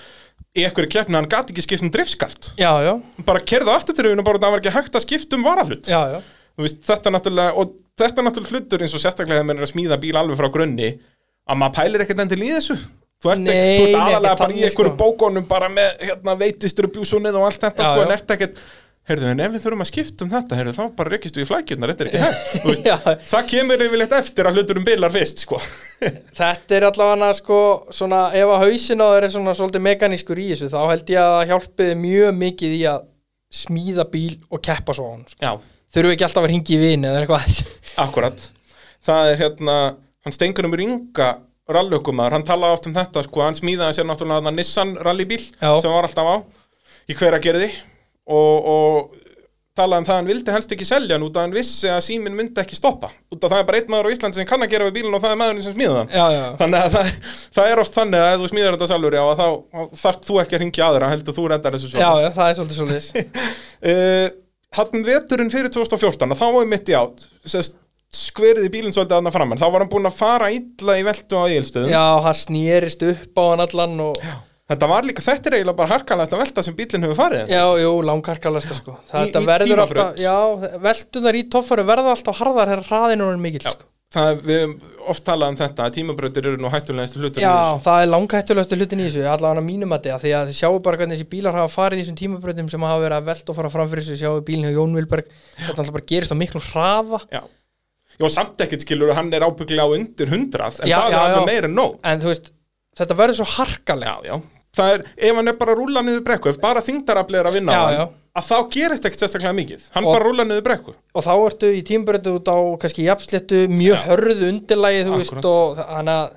Speaker 1: í einhverju keppni hann gati ekki skipt um driftskaft
Speaker 2: já, já,
Speaker 1: Hann bara kerði afturtriðun og bara það var ekki hægt að skipta um varahlut
Speaker 2: já, já.
Speaker 1: þú veist, þetta er náttúrulega og þetta er náttúrulega hlutur eins og sérstaklega þegar maður er að smíða bíl alveg frá grunni að maður pælir ekkert endilega í þessu þú ert, ekki,
Speaker 2: Nei,
Speaker 1: þú ert
Speaker 2: nei,
Speaker 1: aðalega
Speaker 2: ekkert
Speaker 1: bara í
Speaker 2: þannig,
Speaker 1: einhverju
Speaker 2: sko.
Speaker 1: bókonum bara með hérna, veitistur og bjúsunnið og allt þetta
Speaker 2: Já,
Speaker 1: sko, en
Speaker 2: já.
Speaker 1: ert ekkert Heyrðu, en ef við þurfum að skipta um þetta, heyrðu, þá bara reykist við í flækjurnar, þetta er ekki hægt. þú veist.
Speaker 2: Já.
Speaker 1: Það kemur yfirleitt eftir að hlutur um bilar fyrst, sko.
Speaker 2: Þetta er allavega sko, svona, ef að hausin á þeir er svona svolítið mekanískur í þessu, þá held ég að það hjálpiði mjög mikið í að smíða bíl og keppa svo á hann, sko.
Speaker 1: Já.
Speaker 2: Þurfu ekki alltaf að vera hingi í vini eða eitthvað.
Speaker 1: Akkurat. Það er hérna, hann stengunum er ynga rallaukumar, hann talaði oft um þetta, sko, hann smíðaði sér náttúrulega þarna Nissan rallybíl
Speaker 2: Já.
Speaker 1: sem hann var alltaf á í hverja gerði og, og talaði um það að hann vildi helst ekki selja hann út að hann vissi að síminn myndi ekki stoppa út að það er bara einn maður á Íslandi sem kann að gera við bílinn og það er maðurinn sem smíða hann
Speaker 2: Já, já,
Speaker 1: þannig að það, það er oft þannig að ef þú smíðar þetta sjálfur já, að þá þarf þú ekki að ringja aðra heldur þú reddar þessu
Speaker 2: já,
Speaker 1: sjálfur
Speaker 2: já, það er svolítið svolítið.
Speaker 1: uh, Hattum veturinn fyrir 2014 að þá var ég mitt í átt sest, skverið í bílinn svolítið aðna fram en þá var hann búinn að fara illa í veltu á eigilstöðum
Speaker 2: Já, hann snýrist upp á hann allan og,
Speaker 1: þetta var líka, þetta er eiginlega bara harkalegast að velta sem bílinn hefur farið
Speaker 2: já, jú, langkarkalasta sko.
Speaker 1: Í-
Speaker 2: Þetta
Speaker 1: í
Speaker 2: verður
Speaker 1: tímabraut.
Speaker 2: alltaf, já, veldunar í toffaru verða alltaf harðar herra hraðinur en mikill sko.
Speaker 1: það, er- við höfum oft talað um þetta að tímabrautir eru nú hættulegast hlutur í
Speaker 2: Já,
Speaker 1: þessu.
Speaker 2: það er langættulegastu hlutin í þessu, allavega hann að mínum að þetta, því að þið sjáu bara hvernig þessi bílar hafa farið í þessum tímabröndum sem hafa verið að velta og fara framfyrir þessu, sjáu bílinn hjá Jón Vilberg, þetta alltaf bara gerist á miklu hraða,
Speaker 1: já. já, samt ekkert skilur hann er ábygglega á undir hundrað en
Speaker 2: Já,
Speaker 1: það er
Speaker 2: já, já.
Speaker 1: alveg meira en nóg
Speaker 2: en þú veist, þetta verður svo harkalega.
Speaker 1: já, já. það er, ef hann er bara að rúla niður brekku ef bara þingdaraflið er að vinna á
Speaker 2: Já,
Speaker 1: hann
Speaker 2: já.
Speaker 1: að þá gerist ekkert sérstaklega mikið hann
Speaker 2: Og-
Speaker 1: bara rúla niður brekku
Speaker 2: Og þá ertu í tímabröndu út á kannski jafnsléttu, mjög hörðu undirlægi, þú
Speaker 1: Akkúrat.
Speaker 2: veist, og þa- þannig að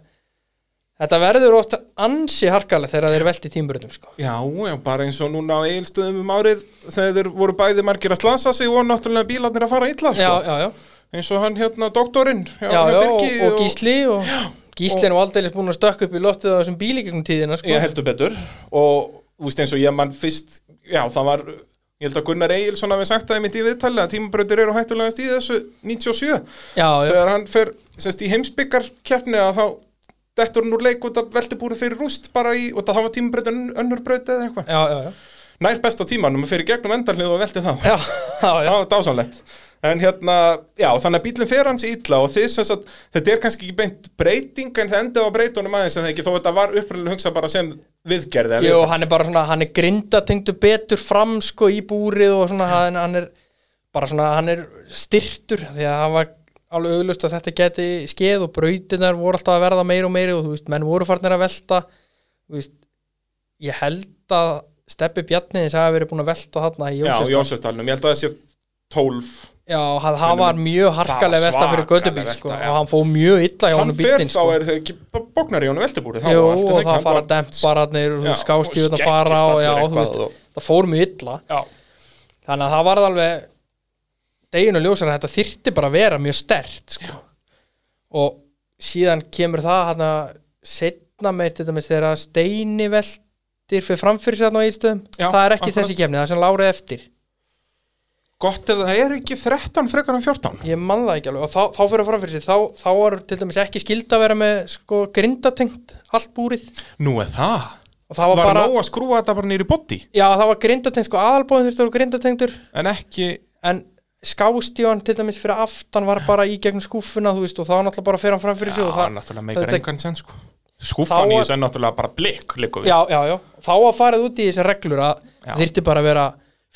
Speaker 2: þetta verður oft ansi harkalega þegar þeir velta í tímabröndum, sko.
Speaker 1: já, já, bara eins og núna á eigilstöðum um árið þegar þeir voru bæði margir að slasa sig og náttúrulega bílarnir að fara illa
Speaker 2: Já,
Speaker 1: sko.
Speaker 2: já, já,
Speaker 1: eins og hann hérna, doktorinn
Speaker 2: já, já, og,
Speaker 1: Birgi
Speaker 2: og Gísli og... Gísli er nú aldeilis búin að stökka upp í loftið á þessum bíl í gegnum tíðina, sko.
Speaker 1: ég heldur betur og þú veist eins og ég mann fyrst já það var, ég held að Gunnar Egilson hafi sagt það í mitt í viðtali að tímabrautir eru hættulegast í þessu 97
Speaker 2: Já, já.
Speaker 1: þegar hann fer semst, í heimsbyggarkeppni að þá dettur hann úr leik út að veltibúri fyrir rúst bara í, og það var tímabraut önn- önnur braut eða eitthvað.
Speaker 2: Já, já, já.
Speaker 1: Nær besta tímanum að fyrir gegnum endarlið og velti þá.
Speaker 2: Já, já,
Speaker 1: Það
Speaker 2: já.
Speaker 1: var dásanlegt. En hérna, já, þannig að bílinn fer hans illa og þið sem sagt, þetta er kannski ekki beint breyting en það endið á breytunum aðeins en það ekki þó þetta var upprænlega hugsað bara sem viðgerði. eða
Speaker 2: Jú,
Speaker 1: viðferð.
Speaker 2: hann er bara svona, hann er grindatengdu betur fram sko í búrið og svona, hann, hann er bara svona, hann er styrtur því að hann var alveg auglust að þetta geti skeð og brautinar voru alltaf að verða meira og meira og þú veist, menn voru farnir að velta þú veist, ég held að Steppi Bjarniðins hafi verið búin að velta þarna í
Speaker 1: Já,
Speaker 2: Jónsjösta
Speaker 1: Jósefstalnum, ég held að það sé 12.
Speaker 2: Já, hann, hann var mjög harkalega
Speaker 1: Það var
Speaker 2: velta fyrir
Speaker 1: svakaleg
Speaker 2: gödubíl sko,
Speaker 1: velta, já.
Speaker 2: og hann fóð mjög illa hjá
Speaker 1: Hann
Speaker 2: honum
Speaker 1: fer
Speaker 2: bílinn
Speaker 1: þá
Speaker 2: sko.
Speaker 1: er þau ekki bóknar í honum veltibúri. þá
Speaker 2: Jú,
Speaker 1: allt er
Speaker 2: og
Speaker 1: ekki, hann
Speaker 2: það fara
Speaker 1: bara-
Speaker 2: dempararnir og
Speaker 1: Já,
Speaker 2: skáskjöðun
Speaker 1: og
Speaker 2: að fara og já,
Speaker 1: skekkistallur
Speaker 2: þú veist,
Speaker 1: eitthvað og-
Speaker 2: það fór mjög illa
Speaker 1: Já,
Speaker 2: þannig að það varð alveg deginu ljósar að þetta þyrfti bara að vera mjög stert sko. og síðan kemur það hann að setna með þetta með þegar að steini veltir fyrir framfyrir sér þarna á eilstöðum
Speaker 1: Já,
Speaker 2: það er ekki
Speaker 1: akkurat.
Speaker 2: þessi kemni, það er sem lárið eftir
Speaker 1: gott ef það er ekki 13 frekar en 14
Speaker 2: ég man það ekki alveg og þá, þá fyrir að framfyrir sér þá, þá var til dæmis ekki skild að vera með sko, grindatengt allt búrið
Speaker 1: Nú er það
Speaker 2: og það
Speaker 1: Var,
Speaker 2: var, bara
Speaker 1: nóg að skrúa þetta bara nýri bótti
Speaker 2: Já, það var grindatengd, sko aðalbóðin þurftur og grindatengdur
Speaker 1: En ekki
Speaker 2: en skástíðan til dæmis fyrir aftan var bara í gegnum skúfuna þú veist og þá náttúrulega bara fer hann fram fyrir sig og
Speaker 1: Já,
Speaker 2: það,
Speaker 1: náttúrulega meikar
Speaker 2: þetta-
Speaker 1: engan sen sko Skúfan
Speaker 2: Þá
Speaker 1: í
Speaker 2: var-
Speaker 1: þessu er náttúrulega bara blik liggur við.
Speaker 2: já, já, já, þá að farið út í þessi reglur að
Speaker 1: Já.
Speaker 2: þyrfti bara að vera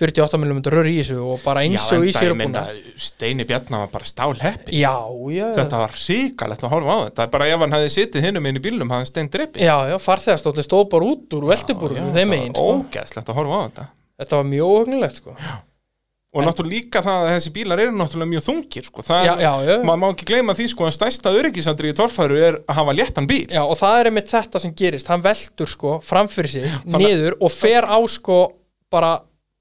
Speaker 2: 48 mm rör í þessu og bara eins og í
Speaker 1: en
Speaker 2: sér
Speaker 1: ég
Speaker 2: og búin
Speaker 1: minna Steini Bjarnar var bara stálheppi
Speaker 2: Já, já,
Speaker 1: Þetta var ríkalegt að horfa á þetta Bara ef hann hefði sitið hinum inn í bílnum hafði Stein dreipið
Speaker 2: já, já, farþegastóllin stóð bara út úr veltubúrum þeim megin, sko
Speaker 1: Ógeðslegt að horfa á þetta
Speaker 2: Þetta var mjög óhugnilegt, sko
Speaker 1: Og náttúrulega líka það að þessi bílar eru náttúrulega mjög þungir sko. Það
Speaker 2: Já,
Speaker 1: er-
Speaker 2: já, já.
Speaker 1: Maður má ekki gleyma því sko að stærsta öryggisandri í torfæru er að hafa léttan bíl
Speaker 2: Já, og það er einmitt þetta sem gerist, hann veltur sko framfyrir sig,
Speaker 1: þannig-
Speaker 2: niður og fer á sko bara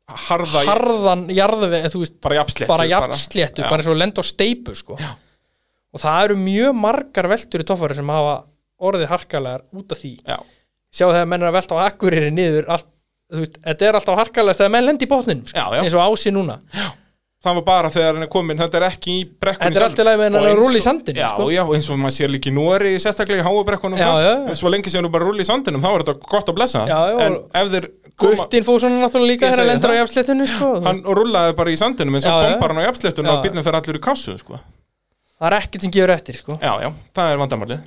Speaker 1: Harða, í-
Speaker 2: harðan jarðveg, þú veist,
Speaker 1: bara jafnsléttu
Speaker 2: bara jafnsléttu,
Speaker 1: Já.
Speaker 2: bara eins og lenda á steipu sko. og það eru mjög margar veltur í toffari sem hafa orðið harkalegar út af því
Speaker 1: Já,
Speaker 2: sjá þegar menn er að velta á akkurýri niður allt, þú veist, þetta er alltaf harkalegast þegar menn lendi í botninum sko,
Speaker 1: Já, já.
Speaker 2: eins og ási núna já.
Speaker 1: það var bara þegar hann er komin, þetta er ekki í brekkunni
Speaker 2: Þetta er allt í lagi með hann
Speaker 1: Og
Speaker 2: að
Speaker 1: eins
Speaker 2: rúlla í
Speaker 1: og-
Speaker 2: sandinum,
Speaker 1: já,
Speaker 2: sko.
Speaker 1: já, eins og maður sér líka í Nóri sérstaklega í háabrekkunum
Speaker 2: Já,
Speaker 1: þar.
Speaker 2: já, já.
Speaker 1: En svo lengi sem þú bara rúli í sandinum þá er þetta gott að blessa
Speaker 2: Já, já,
Speaker 1: en
Speaker 2: og-
Speaker 1: ef þeir koma
Speaker 2: Guttin fóð svona náttúrulega líka
Speaker 1: Ég
Speaker 2: þegar
Speaker 1: segi
Speaker 2: hann lendur
Speaker 1: það.
Speaker 2: á jafnsléttunni sko.
Speaker 1: hann rúlaði bara í sandinum eins og
Speaker 2: Já, já.
Speaker 1: bombar hann á jafnsléttun
Speaker 2: Já,
Speaker 1: og
Speaker 2: já.
Speaker 1: bílnum fer allur í kassu sko.
Speaker 2: það er ekkert sem gefur eftir sko.
Speaker 1: já, já, það er vandamálið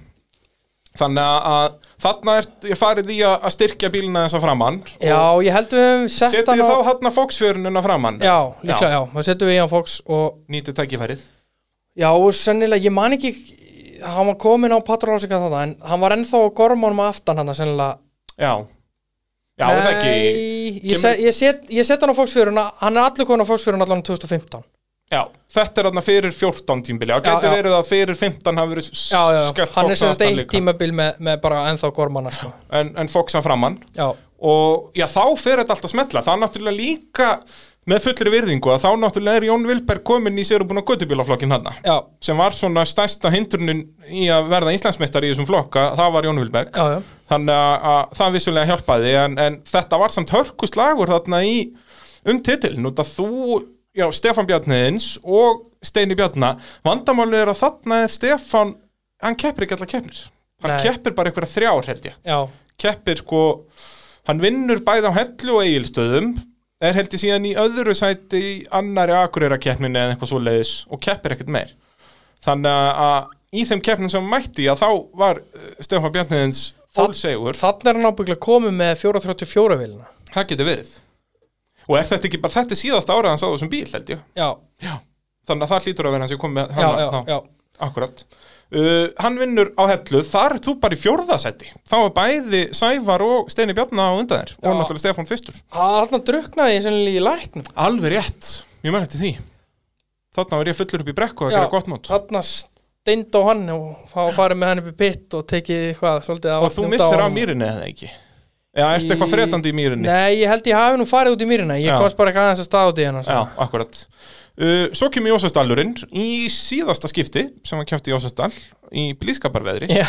Speaker 1: þannig að- að þarna er ég farið í að að styrkja bílina þessa framann
Speaker 2: Já, ég held við höfum sett
Speaker 1: setið
Speaker 2: hann
Speaker 1: þá
Speaker 2: á
Speaker 1: hann að fóksfjörununa framann
Speaker 2: Já, líklega, já, þá settum við í hann Fox og
Speaker 1: nýtið tækifærið
Speaker 2: Já, og sennilega, ég man ekki hann var komin á Patrólásika þarna en hann var ennþá á gormónum að aftan hann sennilega
Speaker 1: já, já, er það ekki
Speaker 2: Nei,
Speaker 1: Kemur-
Speaker 2: ég, se, ég, set, ég set hann á fóksfjöruna hann er allir komin á fóksfjöruna allan um 2015
Speaker 1: já, þetta er þarna fyrir 14 tímbili það
Speaker 2: Já,
Speaker 1: geti
Speaker 2: já.
Speaker 1: verið að fyrir 15 hafi verið s-
Speaker 2: Já, já, já,
Speaker 1: skellt
Speaker 2: hann er
Speaker 1: Fox að
Speaker 2: sem sagt
Speaker 1: aftan
Speaker 2: eitt
Speaker 1: líka.
Speaker 2: tímabil með, með bara ennþá gormana sko.
Speaker 1: en, en fóksa framann
Speaker 2: Já,
Speaker 1: og já, þá fer þetta allt að smetla það er náttúrulega líka með fullri virðingu að þá náttúrulega er Jón Vilberg komin í sérubúna göttubílaflokkin hann
Speaker 2: já,
Speaker 1: sem var svona stærsta hindrunin í að verða Íslandsmeistar í þessum flokka það var Jón Vilberg
Speaker 2: já, já
Speaker 1: þannig að, að það vissulega hjálpaði en, en þetta var samt hörkuslagur þarna í um titilin út að þú, já, Stefán Bjarniðins og Steini Bjarna vandamálið er að þarna er Stefán hann keppir ekki allar keppnir hann
Speaker 2: Nei.
Speaker 1: keppir bara einhverja þrjár held ég
Speaker 2: Já,
Speaker 1: keppir sko hann vinnur bæði á hellu og eigilstöðum er held ég síðan í öðru sæti í annari akureyra keppninni eða eitthvað svoleiðis og keppir ekkert meir þannig að í þeim keppnum sem hann mætti að þá var eh, Stefán Bjarniðins
Speaker 2: Það-
Speaker 1: fólksegur,
Speaker 2: þannig er hann ábygglega komið með 434 vilina
Speaker 1: það getur verið og er þetta ekki bara þetta er síðasta ára hans á þessum bíl held ég
Speaker 2: Já,
Speaker 1: þannig að það hlýtur að vera hans ég kom með
Speaker 2: já,
Speaker 1: hann
Speaker 2: já,
Speaker 1: þá
Speaker 2: já
Speaker 1: Akkurat. Uh, hann vinnur á hellu, þar ert þú bara í fjórðasæti. Þá er bæði Sævar og Steini Bjarna á undan þér og
Speaker 2: Já.
Speaker 1: náttúrulega Stefán Fyrstur.
Speaker 2: Þannig druknaði ég sennilega í læknum
Speaker 1: Alveg rétt, ég menn eftir því. Þarna var ég fullur upp í brekku að
Speaker 2: Já.
Speaker 1: gera gott mót.
Speaker 2: Þannig steind á hann og fá að fara með hann upp í pitt og tekið eitthvað svolítið
Speaker 1: Og þú missir af mýrinni eða ekki? Já, ertu
Speaker 2: Í-
Speaker 1: eitthvað fretandi í mýrinni?
Speaker 2: Nei, ég held ég hafi nú farið út í mýrina Ég
Speaker 1: Já.
Speaker 2: komst bara ekki aðeins að staða út í hennar sko.
Speaker 1: Já, akkurat. Uh, svo kemur Jósastallurinn í síðasta skipti sem hann kæfti Jósastall í blískaparveðri.
Speaker 2: Já,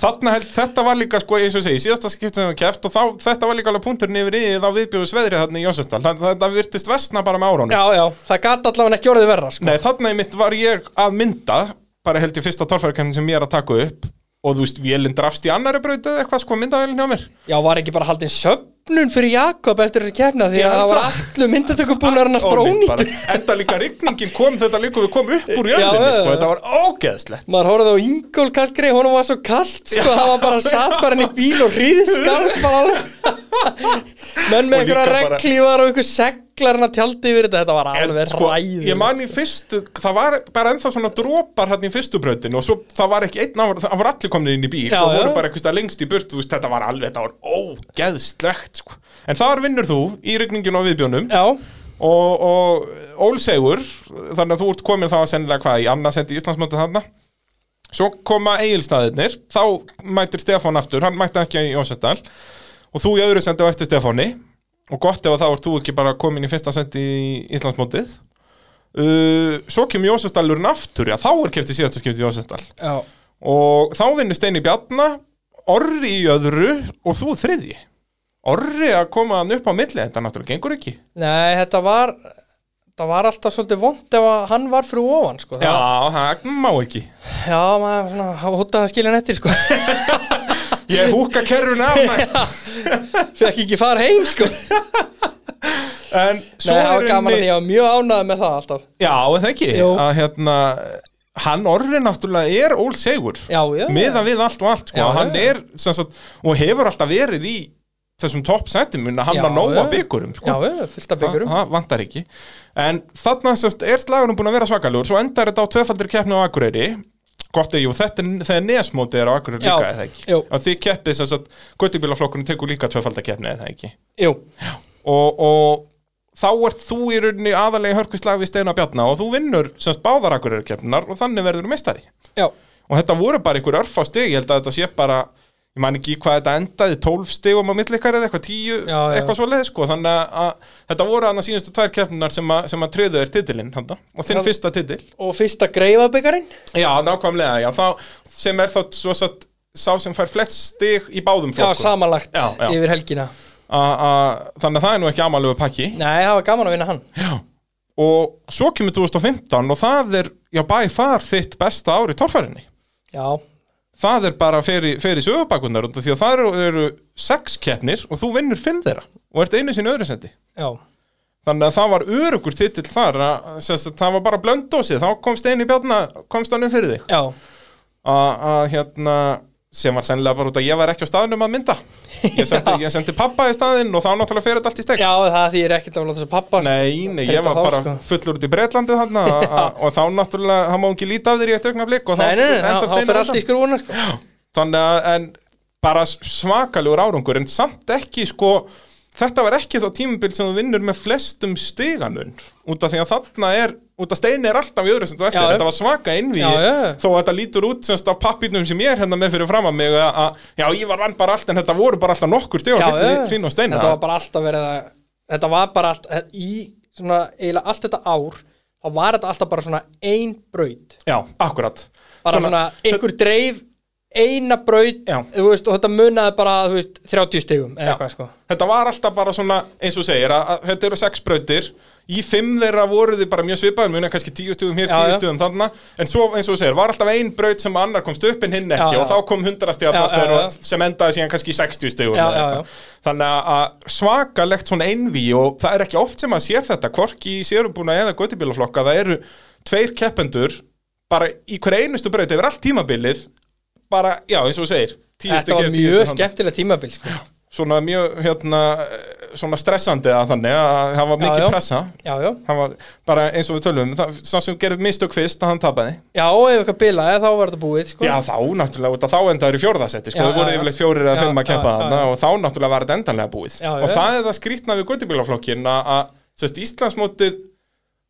Speaker 1: Þarna held, þetta var líka, sko, eins og ég segi, síðasta skiptum við keft og þá, þetta var líka alveg punkturinn yfir í þá viðbjóðu sveðrið þarna í Jónsvöldal. Þetta virtist vestna bara með árónum.
Speaker 2: já, já, það gat allavega ekki orðið verra sko.
Speaker 1: Nei, þarna í mitt var ég að mynda, bara held ég fyrsta torfærkennin sem ég er að taka upp og þú veist, vélinn drafst í annari braut eða eitthvað, sko, myndavélinn hjá mér.
Speaker 2: Já, var ekki bara haldin söfnun fyrir Jakob eftir þessi kefna Því
Speaker 1: Ég
Speaker 2: að
Speaker 1: held
Speaker 2: það var
Speaker 1: það.
Speaker 2: allu myndatökubúnar hann að spara
Speaker 1: Ónýtt bara.
Speaker 2: ónýttur
Speaker 1: Enda líka rigningin kom, þetta líka við komum upp úr jörðinni,
Speaker 2: Já, já,
Speaker 1: sko,
Speaker 2: já.
Speaker 1: þetta var ógeðslegt.
Speaker 2: Maður horfði á Ingól Kallgrei, honum var svo kallt sko,
Speaker 1: Já.
Speaker 2: það var bara satt bara hann í bíl og hríðskalf bara alveg Menn
Speaker 1: Og líka
Speaker 2: með einhverja
Speaker 1: bara-
Speaker 2: reglífar og einhver seglar hann að tjaldi yfir þetta, þetta var
Speaker 1: En,
Speaker 2: alveg
Speaker 1: sko,
Speaker 2: ræður
Speaker 1: ég man í fyrstu, það var bara ennþá svona dropar hann í fyrstu brautin og svo það var ekki einn, það var- það var allir komin inn í bíl
Speaker 2: Já,
Speaker 1: og voru
Speaker 2: já.
Speaker 1: bara eitthvað lengst í burt, þú veist, þetta var alveg, þetta var ógeðslegt, sko. En þar vinnur þú í rigningin og viðbjónum
Speaker 2: Já,
Speaker 1: og, og ólsegur, þannig að þú ert komin þá að sennilega hvað í annarsendi í Íslandsmöndu þarna. Svo koma eigilstaðirnir, þá mætir Stefán aftur, hann mætti ekki í Jónsvestall og þú í öðru sendi á eftir Stefáni og gott ef að þá ert þú ekki bara komin í fyrsta sendi í Íslandsmótið uh, Svo kemur Jósestallurinn aftur, já þá er kefti síðasta skipti Jósestall
Speaker 2: já,
Speaker 1: og þá vinnur Steini Bjarna, Orri í öðru og þú þriðji Orri að koma hann upp á milli, þetta náttúrulega gengur ekki
Speaker 2: nei, þetta var það var alltaf svolítið vond ef að hann var fyrir ofan sko.
Speaker 1: Já,
Speaker 2: það,
Speaker 1: það má ekki
Speaker 2: já, maður svona, hann hótaði að skilja hann eftir sko.
Speaker 1: Ég húka kerruna af næst
Speaker 2: fekk ekki fara heim sko. nei,
Speaker 1: En svo
Speaker 2: það
Speaker 1: er
Speaker 2: var gaman að
Speaker 1: unni
Speaker 2: ég var mjög ánægð með það alltaf
Speaker 1: Já, er það ekki
Speaker 2: Jú.
Speaker 1: að hérna Hann Orri náttúrulega er ólsegur
Speaker 2: já, já,
Speaker 1: miða við allt og allt sko.
Speaker 2: Já,
Speaker 1: hann
Speaker 2: já.
Speaker 1: er sem sagt, og hefur allaf verið í þessum toppsættum en hann
Speaker 2: Já,
Speaker 1: var nóga
Speaker 2: já.
Speaker 1: byggurum sko.
Speaker 2: já, já, fyllt að byggurum
Speaker 1: það vantar ekki en þarna sem sagt, er slagunum búin að vera svakalugur svo endar þetta á tvefaldir keppni á Akureyri gott er, jú, þetta er þegar nesmóti er á Akureyri
Speaker 2: Já,
Speaker 1: líka eða ekki
Speaker 2: jú.
Speaker 1: og því keppið sem sagt, göttubílaflokkurinn tekur líka tvefaldar keppni eða ekki
Speaker 2: jú,
Speaker 1: og, og þá ert þú í rauninni aðalegi hörkvislag við Steina Bjarna og þú vinnur sem sagt, báðar Akureyri keppnar og þannig verður meistari
Speaker 2: já,
Speaker 1: og þetta voru bara einhver örf á stig ég held að þetta sé bara, ég man ekki í hvað þetta endaði 12 stigum á milli ykkar eða eitthvað 10
Speaker 2: Já, já.
Speaker 1: eitthvað svoleið sko þannig að, að þetta voru annars síðustu tvær keppnunar sem, að- sem að treðu er titilinn handa, og þinn
Speaker 2: Það-
Speaker 1: fyrsta titil
Speaker 2: og fyrsta greifabyggarinn
Speaker 1: já, nákvæmlega, já, þá, sem er þá svo satt, sá sem fær flest stig í báðum
Speaker 2: já,
Speaker 1: flokkum
Speaker 2: samanlagt
Speaker 1: sko. Já, já.
Speaker 2: yfir helgina
Speaker 1: A- a- þannig að það er nú ekki amalegu pakki
Speaker 2: nei, það var gaman að vinna hann
Speaker 1: já og svo kemur 2015 og það er, já, by far þitt besta ár í torfærinni
Speaker 2: já,
Speaker 1: það er bara fyrir, fyrir sögubakunar því að það eru, eru sex keppnir og þú vinnur fimm þeirra og ert einu sinni öðru sendi
Speaker 2: já,
Speaker 1: þannig að það var örugur titill þar að, sem sagt, það var bara blöndósið þá komst einu bjarna, komst hann um fyrir þig
Speaker 2: já,
Speaker 1: að að, hérna sem var sennilega bara út að ég var ekki á staðnum að mynda ég sendi, ég sendi pappa í staðinn og þá náttúrulega fer þetta allt í stek
Speaker 2: já, það þýðir ekkert að láta þessu pappa sko.
Speaker 1: Nei, nei, ég
Speaker 2: Telst
Speaker 1: var
Speaker 2: á þá,
Speaker 1: bara
Speaker 2: sko.
Speaker 1: fullur út í Breitlandi þarna a- a- og þá náttúrulega, það má ekki líta af þér í eitt augnablik og þá
Speaker 2: Nei, nei, nei, þá- þá
Speaker 1: Steinar
Speaker 2: fyrir
Speaker 1: undan.
Speaker 2: allt í skrúuna sko.
Speaker 1: Þannig að, en bara s- svakalegur árangur, en samt ekki sko, þetta var ekki þá tímabil sem þú vinnur með flestum stiganun út af því að þarna er, út af steini er alltaf í öðru sem þú eftir,
Speaker 2: Já, já.
Speaker 1: þetta var svaka innví
Speaker 2: Já, já, já.
Speaker 1: þó að þetta lítur út semst af pappirnum sem ég er hérna með fyrir fram að mig að, að já, ég var vann bara allt, en þetta voru bara alltaf nokkur stiga
Speaker 2: Já,
Speaker 1: milli
Speaker 2: já.
Speaker 1: þín og steina
Speaker 2: Þetta var bara alltaf verið að Þetta var bara allt, í svona, eiginlega allt þetta ár þá var þetta alltaf bara svona ein braut
Speaker 1: Já, akkurat
Speaker 2: bara svona, einhver dreif eina braut
Speaker 1: Já.
Speaker 2: þú veist, og þetta munaði bara þú veist, 30 stigum eða eitthvað sko
Speaker 1: þetta var alltaf bara svona eins og þú segir að, að þetta eru sex brautir í fimm þeirra voru þið bara mjög svipaður muna kannski tíu stugum hér,
Speaker 2: Já,
Speaker 1: tíu
Speaker 2: já.
Speaker 1: stugum þarna en svo eins og þú segir, var alltaf ein braut sem annar komst upp en hinn ekki
Speaker 2: Já,
Speaker 1: og þá
Speaker 2: já.
Speaker 1: kom hundrasti að
Speaker 2: Já, já, já.
Speaker 1: það sem endaði síðan kannski í 60 stugum
Speaker 2: Já, já, já.
Speaker 1: þannig að- að svakalegt svona einví og það er ekki oft sem að sé þetta hvorki í sérubúna eða göttibílaflokka það eru tveir keppendur bara í hverja einustu braut yfir allt tímabilið bara, já, eins og þú segir tíu
Speaker 2: Þetta
Speaker 1: stug
Speaker 2: var
Speaker 1: hér, tíu stug
Speaker 2: mjög
Speaker 1: þarna
Speaker 2: skemmtilega tímabil sko.
Speaker 1: svona mjög hérna, eh, svona stressandi að þannig að það var
Speaker 2: Já,
Speaker 1: mikið
Speaker 2: já.
Speaker 1: pressa
Speaker 2: Já, já,
Speaker 1: það var bara eins og við tölum um, það, sá sem gerði mistök fyrst að hann tapaði
Speaker 2: já, ef eitthvað bilaði þá var þetta búið sko.
Speaker 1: já þá náttúrulega út að þá endaður í fjórðasetti sko,
Speaker 2: Já,
Speaker 1: það voru
Speaker 2: já, já.
Speaker 1: yfirleitt fjórir að
Speaker 2: Já,
Speaker 1: fimm að
Speaker 2: já,
Speaker 1: keppa
Speaker 2: já,
Speaker 1: þarna og þá náttúrulega var þetta endanlega búið
Speaker 2: Já,
Speaker 1: og
Speaker 2: já.
Speaker 1: það er það skrýtna við göttibílaflokkin að að, sest, Íslandsmótið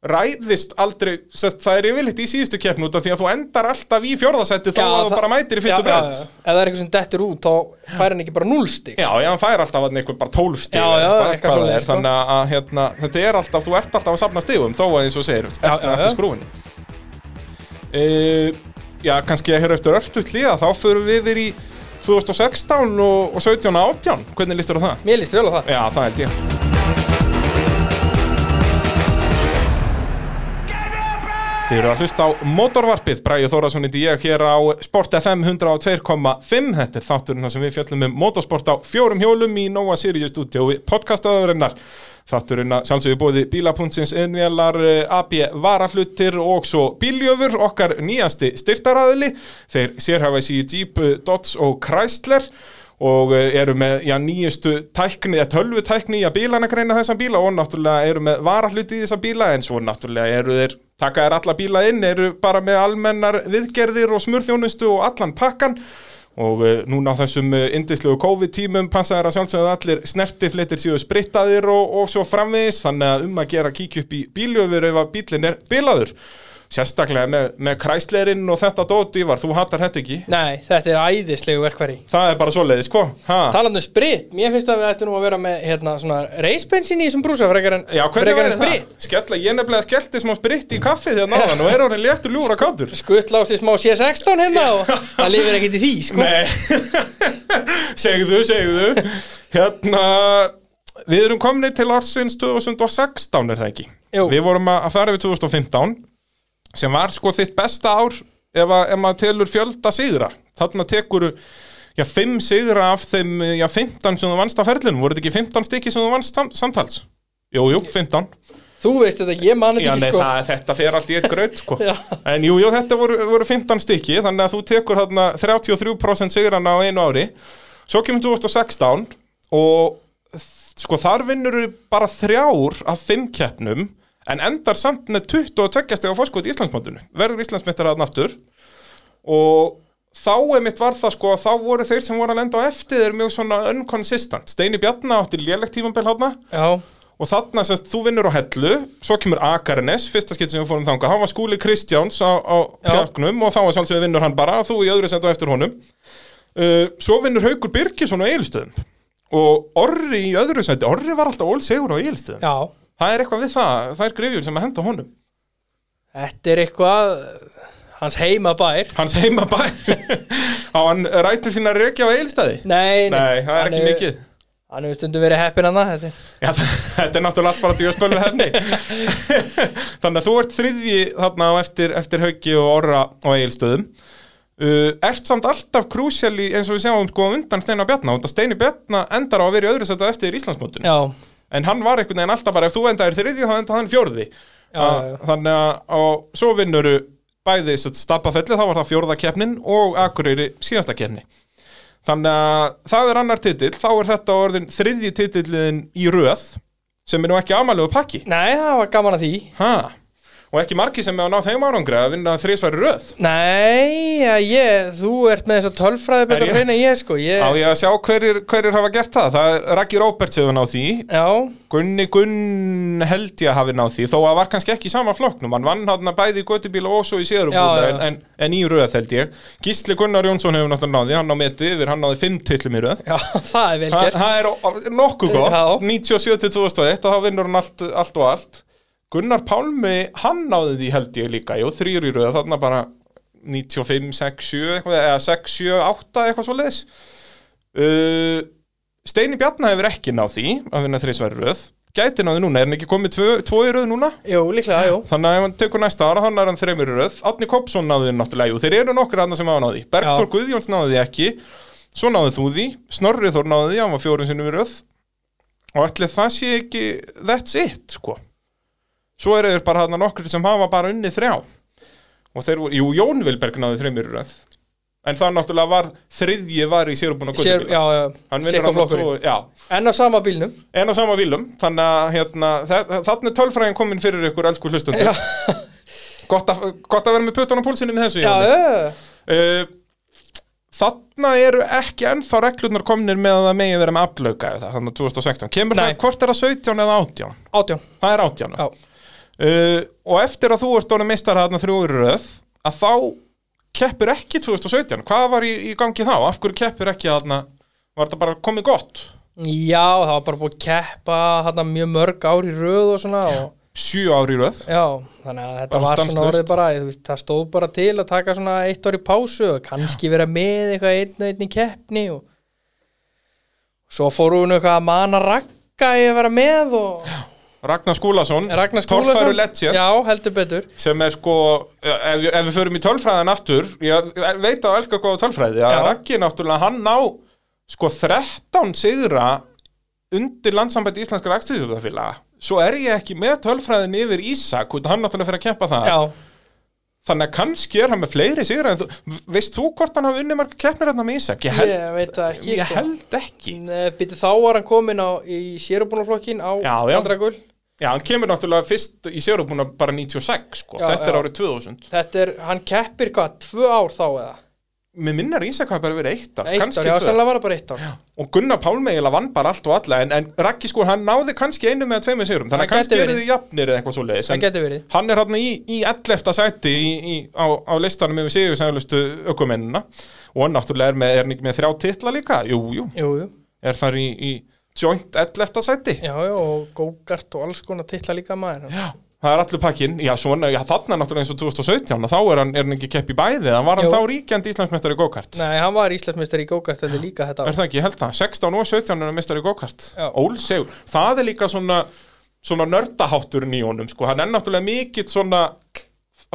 Speaker 1: ræðist aldrei sest, það er yfirleitt í síðustu keppn út af því að þú endar alltaf í fjórðasetti þó
Speaker 2: Já,
Speaker 1: að þú
Speaker 2: það-
Speaker 1: bara mætir í fyrstu
Speaker 2: Já, já,
Speaker 1: breynd
Speaker 2: já. Ef það er eitthvað sem dettur út þá fær hann ekki bara 0 stig sko.
Speaker 1: Já, já, hann fær alltaf hann einhver bara 12 stig
Speaker 2: Já,
Speaker 1: eða
Speaker 2: já,
Speaker 1: eitthvað,
Speaker 2: eitthvað
Speaker 1: hvað það
Speaker 2: svoleiðis,
Speaker 1: er.
Speaker 2: sko.
Speaker 1: Þannig að, að hérna, þetta er alltaf, þú ert alltaf að safna stigum Þó að eins og þú segir, eftir,
Speaker 2: já,
Speaker 1: eftir
Speaker 2: já.
Speaker 1: skrúfunni uh, Já, kannski að hér eftir öllu tlíða Þá förum við yfir í 2016 og, og 17 og 18 Hvernig listur á það?
Speaker 2: Mér líst vel á það
Speaker 1: Já, það held ég Þið eru að hlusta á Motorvarpið, Bræði Þóraðsson í ég hér á Sport FM 102.5 Þetta er þátturinn þar sem við fjöllum um motorsport á fjórum hjólum í Nova Sirius stúdíói podcastaðurinnar Þátturinn að sjálfsögðu bóði bílapuntsins eh, innvélar AB varaflutir og svo bíljöfur okkar nýjasti styrtaraðili Þeir sérhafa sig í Jeep, eh, Dodge og Chrysler og eh, eru með já, nýjustu tækni, eða tölvu tækni í að bílana greina þessa bíla og náttúrulega eru með varahluti í þessa bíla en svo náttúrulega eru þeir taka þeir alla bíla inn, eru bara með almennar viðgerðir og smurþjónustu og allan pakkan og uh, núna á þessum uh, indislegu COVID-tímum passa þær að sjálfsögðu að allir snertifletir séu sprittaðir og, og svo framvegis þannig að um að gera að kíkja upp í bíljöfur ef að bílinn er bilaður sérstaklega með, með kræslerinn og þetta dót Ívar, þú hattar þetta ekki
Speaker 2: Nei, þetta er æðislegu verkværi
Speaker 1: það er bara svoleiðis, sko ha?
Speaker 2: Talandi um sprit, mér finnst að við ættum nú að vera með hérna, svona reisbensin í þessum brúsa frekar en,
Speaker 1: Já, hvernig
Speaker 2: frekar
Speaker 1: verður
Speaker 2: en
Speaker 1: það?
Speaker 2: sprit
Speaker 1: Skella, ég nefnilega skellti smá spritt í kaffið þegar náðan og er orðin léttur ljúra káttur
Speaker 2: Skuttlásti smá C16 hérna og það lifir ekkert í því sko.
Speaker 1: Nei, segðu, segðu Hérna, við erum komni til ársins 2016 er það ekki
Speaker 2: Jú.
Speaker 1: Við vorum að að fara við 2015 sem var sko þitt besta ár ef, að, ef maður telur fjölda sigra Þarna tekur já, 5 sigra af þeim já, 15 sem þú vannst á ferlinum voru þetta ekki 15 stykki sem þú vannst sam samtals? Jú, jú, 15
Speaker 2: Þú veist þetta, ég man
Speaker 1: Já,
Speaker 2: þetta
Speaker 1: nei,
Speaker 2: ekki sko.
Speaker 1: það, þetta fer allt í eitt gröð, sko.
Speaker 2: Já.
Speaker 1: En jú, jú, þetta voru, voru 15 stykki, þannig að þú tekur þarna 33% sigrana á einu ári. Svo kemur 2016 og þ- sko þar vinnur bara þrjár af fimm keppnum en endar samt með 22 steg á fórskot í Íslandsmótinu. Verður Íslandsmeistar þarna aftur og þá einmitt var það sko að þá voru þeir sem voru að lenda á eftir þeir mjög svona unconsistent. Steini Bjarna átti lélegt tímambil hátna
Speaker 2: Já,
Speaker 1: og þarna semst þú vinnur á hellu svo kemur Akarnes, fyrsta skipt sem við fórum þangað hann var skúli Kristjáns á, á
Speaker 2: Já.
Speaker 1: pjöknum og þá var sjálfsögðu vinnur hann bara þú í öðru senda eftir honum uh, svo vinnur Haukur Birgisson á Egilstöðum og Orri í öðru senda Orri var alltaf ólsegur á Egilstöðum
Speaker 2: já
Speaker 1: það er eitthvað við það, það er grifjur sem að henda honum
Speaker 2: Þetta er eitthvað hans heimabær
Speaker 1: hans heima bæ á hann rætur sína að rekja á Egilstöði
Speaker 2: Nei,
Speaker 1: nei, það er
Speaker 2: hann
Speaker 1: ekki mikið
Speaker 2: hann hefur stundum verið heppin hann þetta er
Speaker 1: Já, þetta er náttúrulega allt bara djöðspölu hefni Þannig að þú ert þriðji þarna á eftir, eftir Hauki og Orra á Egilstöðum uh, Ert samt alltaf krúsjali eins og við sjáum sko undan Steina Bjarna og Steini Bjarna endar á að vera í öðru setja eftir Íslandsmótinu
Speaker 2: já,
Speaker 1: En hann var einhvern veginn alltaf bara ef þú endaðir þriðji þá endaði hann fjórði
Speaker 2: Já,
Speaker 1: Að-
Speaker 2: já, já.
Speaker 1: Þannig að og svo vinnuru bæði stappafelli þá var það fjórða keppnin og Akureyri síðasta keppni Þannig að það er annar titill, þá er þetta orðin þriðji titillin í röð sem er nú ekki amalegu pakki.
Speaker 2: nei, það var gaman að því
Speaker 1: Ha? Og ekki margi sem er að ná þeim árangri að vinna þrísværi röð.
Speaker 2: nei, já, ég, þú ert með þess að tölfræði
Speaker 1: Er
Speaker 2: betur
Speaker 1: ég?
Speaker 2: að reyna en ég sko ég,
Speaker 1: Á ég að sjá hverjir, hverjir hafa gert það. Það er Raggi Róberts hefur náð því,
Speaker 2: já,
Speaker 1: Gunni Gunn held ég að hafi náð því, þó að var kannski ekki í sama flokknum. Hann vann hann bæði í göttubíla og svo í
Speaker 2: Já,
Speaker 1: síðarúbúla
Speaker 2: já.
Speaker 1: en, en, en í röð held ég. Gísli Gunnar Jónsson hefur náttúrulega náð því, hann á meti yfir, hann náði fimm tillum í röð.
Speaker 2: já, það er vel
Speaker 1: Þa-
Speaker 2: gert
Speaker 1: Það er o- nokkuð gott,
Speaker 2: Já.
Speaker 1: 97 til 2001 að þá vinnur hann allt, allt og allt Gunnar Pálmi, hann náði því held ég líka, jú, þrýr í röða þarna bara 95, 6, 7 eitthvað, eða 6, 7, 8 eitthvað svo leis uh, Steini Bjarna hefur ekki náð því að vinna þrísværi röð, gæti náði núna er hann ekki komið tvö, tvo í röð núna?
Speaker 2: jú, líklega, jú
Speaker 1: Þannig að ef hann tekur næsta ára, hann er hann þreymur í röð Átni Kopsson náði því náttúrulega, jú, þeir eru nokkur annað sem hafa náði Bergþór
Speaker 2: Já.
Speaker 1: Guðjóns náði því ekki Svo náði þú því, Snorri Þór náði því, hann var fjórun sinnum í röð Og ætli það sé ekki, that's it, sko Svo eru þeir bara hann nokkur sem hafa bara unni þrjá Og þeir voru, jú, Jón Vilberg náði þreymur í röð En það náttúrulega var, þriðji var í sér og búin að
Speaker 2: Sér, já, já,
Speaker 1: Hann vinnur
Speaker 2: sikka
Speaker 1: hann
Speaker 2: flokkur
Speaker 1: tvo, já,
Speaker 2: en á sama bílnum
Speaker 1: en á sama vilum þannig að hérna, þannig er tölfræðin komin fyrir ykkur elsku hlustandur
Speaker 2: Já.
Speaker 1: gott, að, gott að vera með putan á púlsinni með þessu
Speaker 2: já,
Speaker 1: Jóni.
Speaker 2: já, já.
Speaker 1: uh, þannig eru ekki ennþá reglurnar komnir með að það megi vera með aflauka eða það, þannig að 2016 kemur
Speaker 2: Nei.
Speaker 1: það, hvort er það 17 eða 18
Speaker 2: átján
Speaker 1: það er 18
Speaker 2: Já.
Speaker 1: uh, og eftir að þú ert orðin meistar þarna þrjú í röð að þá keppir ekki 2017 hvað var í, í gangi þá, af hverju keppir ekki þarna, var þetta bara komið gott
Speaker 2: já, það var bara búið að keppa þarna mjög mörg ár í röð og svona og,
Speaker 1: sjö ári í röð
Speaker 2: já, þannig að þetta
Speaker 1: Bara
Speaker 2: var svona
Speaker 1: stanslaust.
Speaker 2: orðið bara þú veist, það stóð bara til að taka svona eitt ár í pásu og kannski vera með eitthvað einn og einn í keppni og svo fór hún eitthvað að mana rakka í að vera með og
Speaker 1: Ragnar Skúlason,
Speaker 2: Ragnar
Speaker 1: torfæru
Speaker 2: Skúlason
Speaker 1: legend
Speaker 2: já, heldur betur
Speaker 1: sem er sko, ef, við- ef við förum í tölfræðan aftur, ég veit að elska góða tölfræði, að
Speaker 2: Já.
Speaker 1: Raggi náttúrulega hann ná sko 13 sigra undir landsambætt íslenskar akstuðjóðafélaga svo er ég ekki með tölfræðin yfir Ísak út að hann náttúrulega fyrir að keppa það
Speaker 2: já,
Speaker 1: þannig að kannski er hann með fleiri sigra en þú, veist þú hvort hann hafi unnið marga keppnir hérna með Ísak? Ég held,
Speaker 2: ég veit það ekki sko.
Speaker 1: ég held ekki
Speaker 2: Býti þá var hann komin á, í sérubunarflokkin á
Speaker 1: Já, já.
Speaker 2: Galdragull
Speaker 1: Já, hann kemur náttúrulega fyrst í sérubúna bara 96 sko,
Speaker 2: Já,
Speaker 1: þetta er
Speaker 2: já.
Speaker 1: árið 2000
Speaker 2: Þetta er, hann keppir hvað, tvö ár þá eða?
Speaker 1: Mér minnar Ísak hafa bara verið eitt ár,
Speaker 2: Eitt ár,
Speaker 1: kannski
Speaker 2: já,
Speaker 1: tvö
Speaker 2: sennilega var það bara eitt ár
Speaker 1: Og Gunnar Pálmi eiginlega vann bara allt og alla En, en Raggi sko, hann náði kannski einu með tveimur sigurum Þannig að
Speaker 2: Það gæti
Speaker 1: kannski eru
Speaker 2: verið.
Speaker 1: þið jafnir eða eitthvað svo leiðis
Speaker 2: Það geti verið
Speaker 1: Hann er hann í, í 11. sæti í, í, á, á listanum yfir sigur sælustu ökumennina Og hann náttúrulega er, með, er hann ekki með þrjá titla líka Jú, jú,
Speaker 2: Jú, jú,
Speaker 1: er þar í, í joint 11. sæti
Speaker 2: já, já, og gókart og alls konar titla líka maður
Speaker 1: Já, það er allur pakkin Já, svona, já, þarna náttúrulega eins og 2017 að Þá er hann, er hann ekki kepp í bæði En var hann
Speaker 2: Jú.
Speaker 1: þá ríkjandi Íslandsmeistari í go-kart
Speaker 2: Nei, hann var Íslandsmeistari í gókart þetta er líka þetta
Speaker 1: Er
Speaker 2: ár
Speaker 1: það ekki, ég held það, 16 og 17 er mistari go-kart
Speaker 2: Já.
Speaker 1: Ólsegur, það er líka svona svona nördahátturinn í honum sko. hann er náttúrulega mikill svona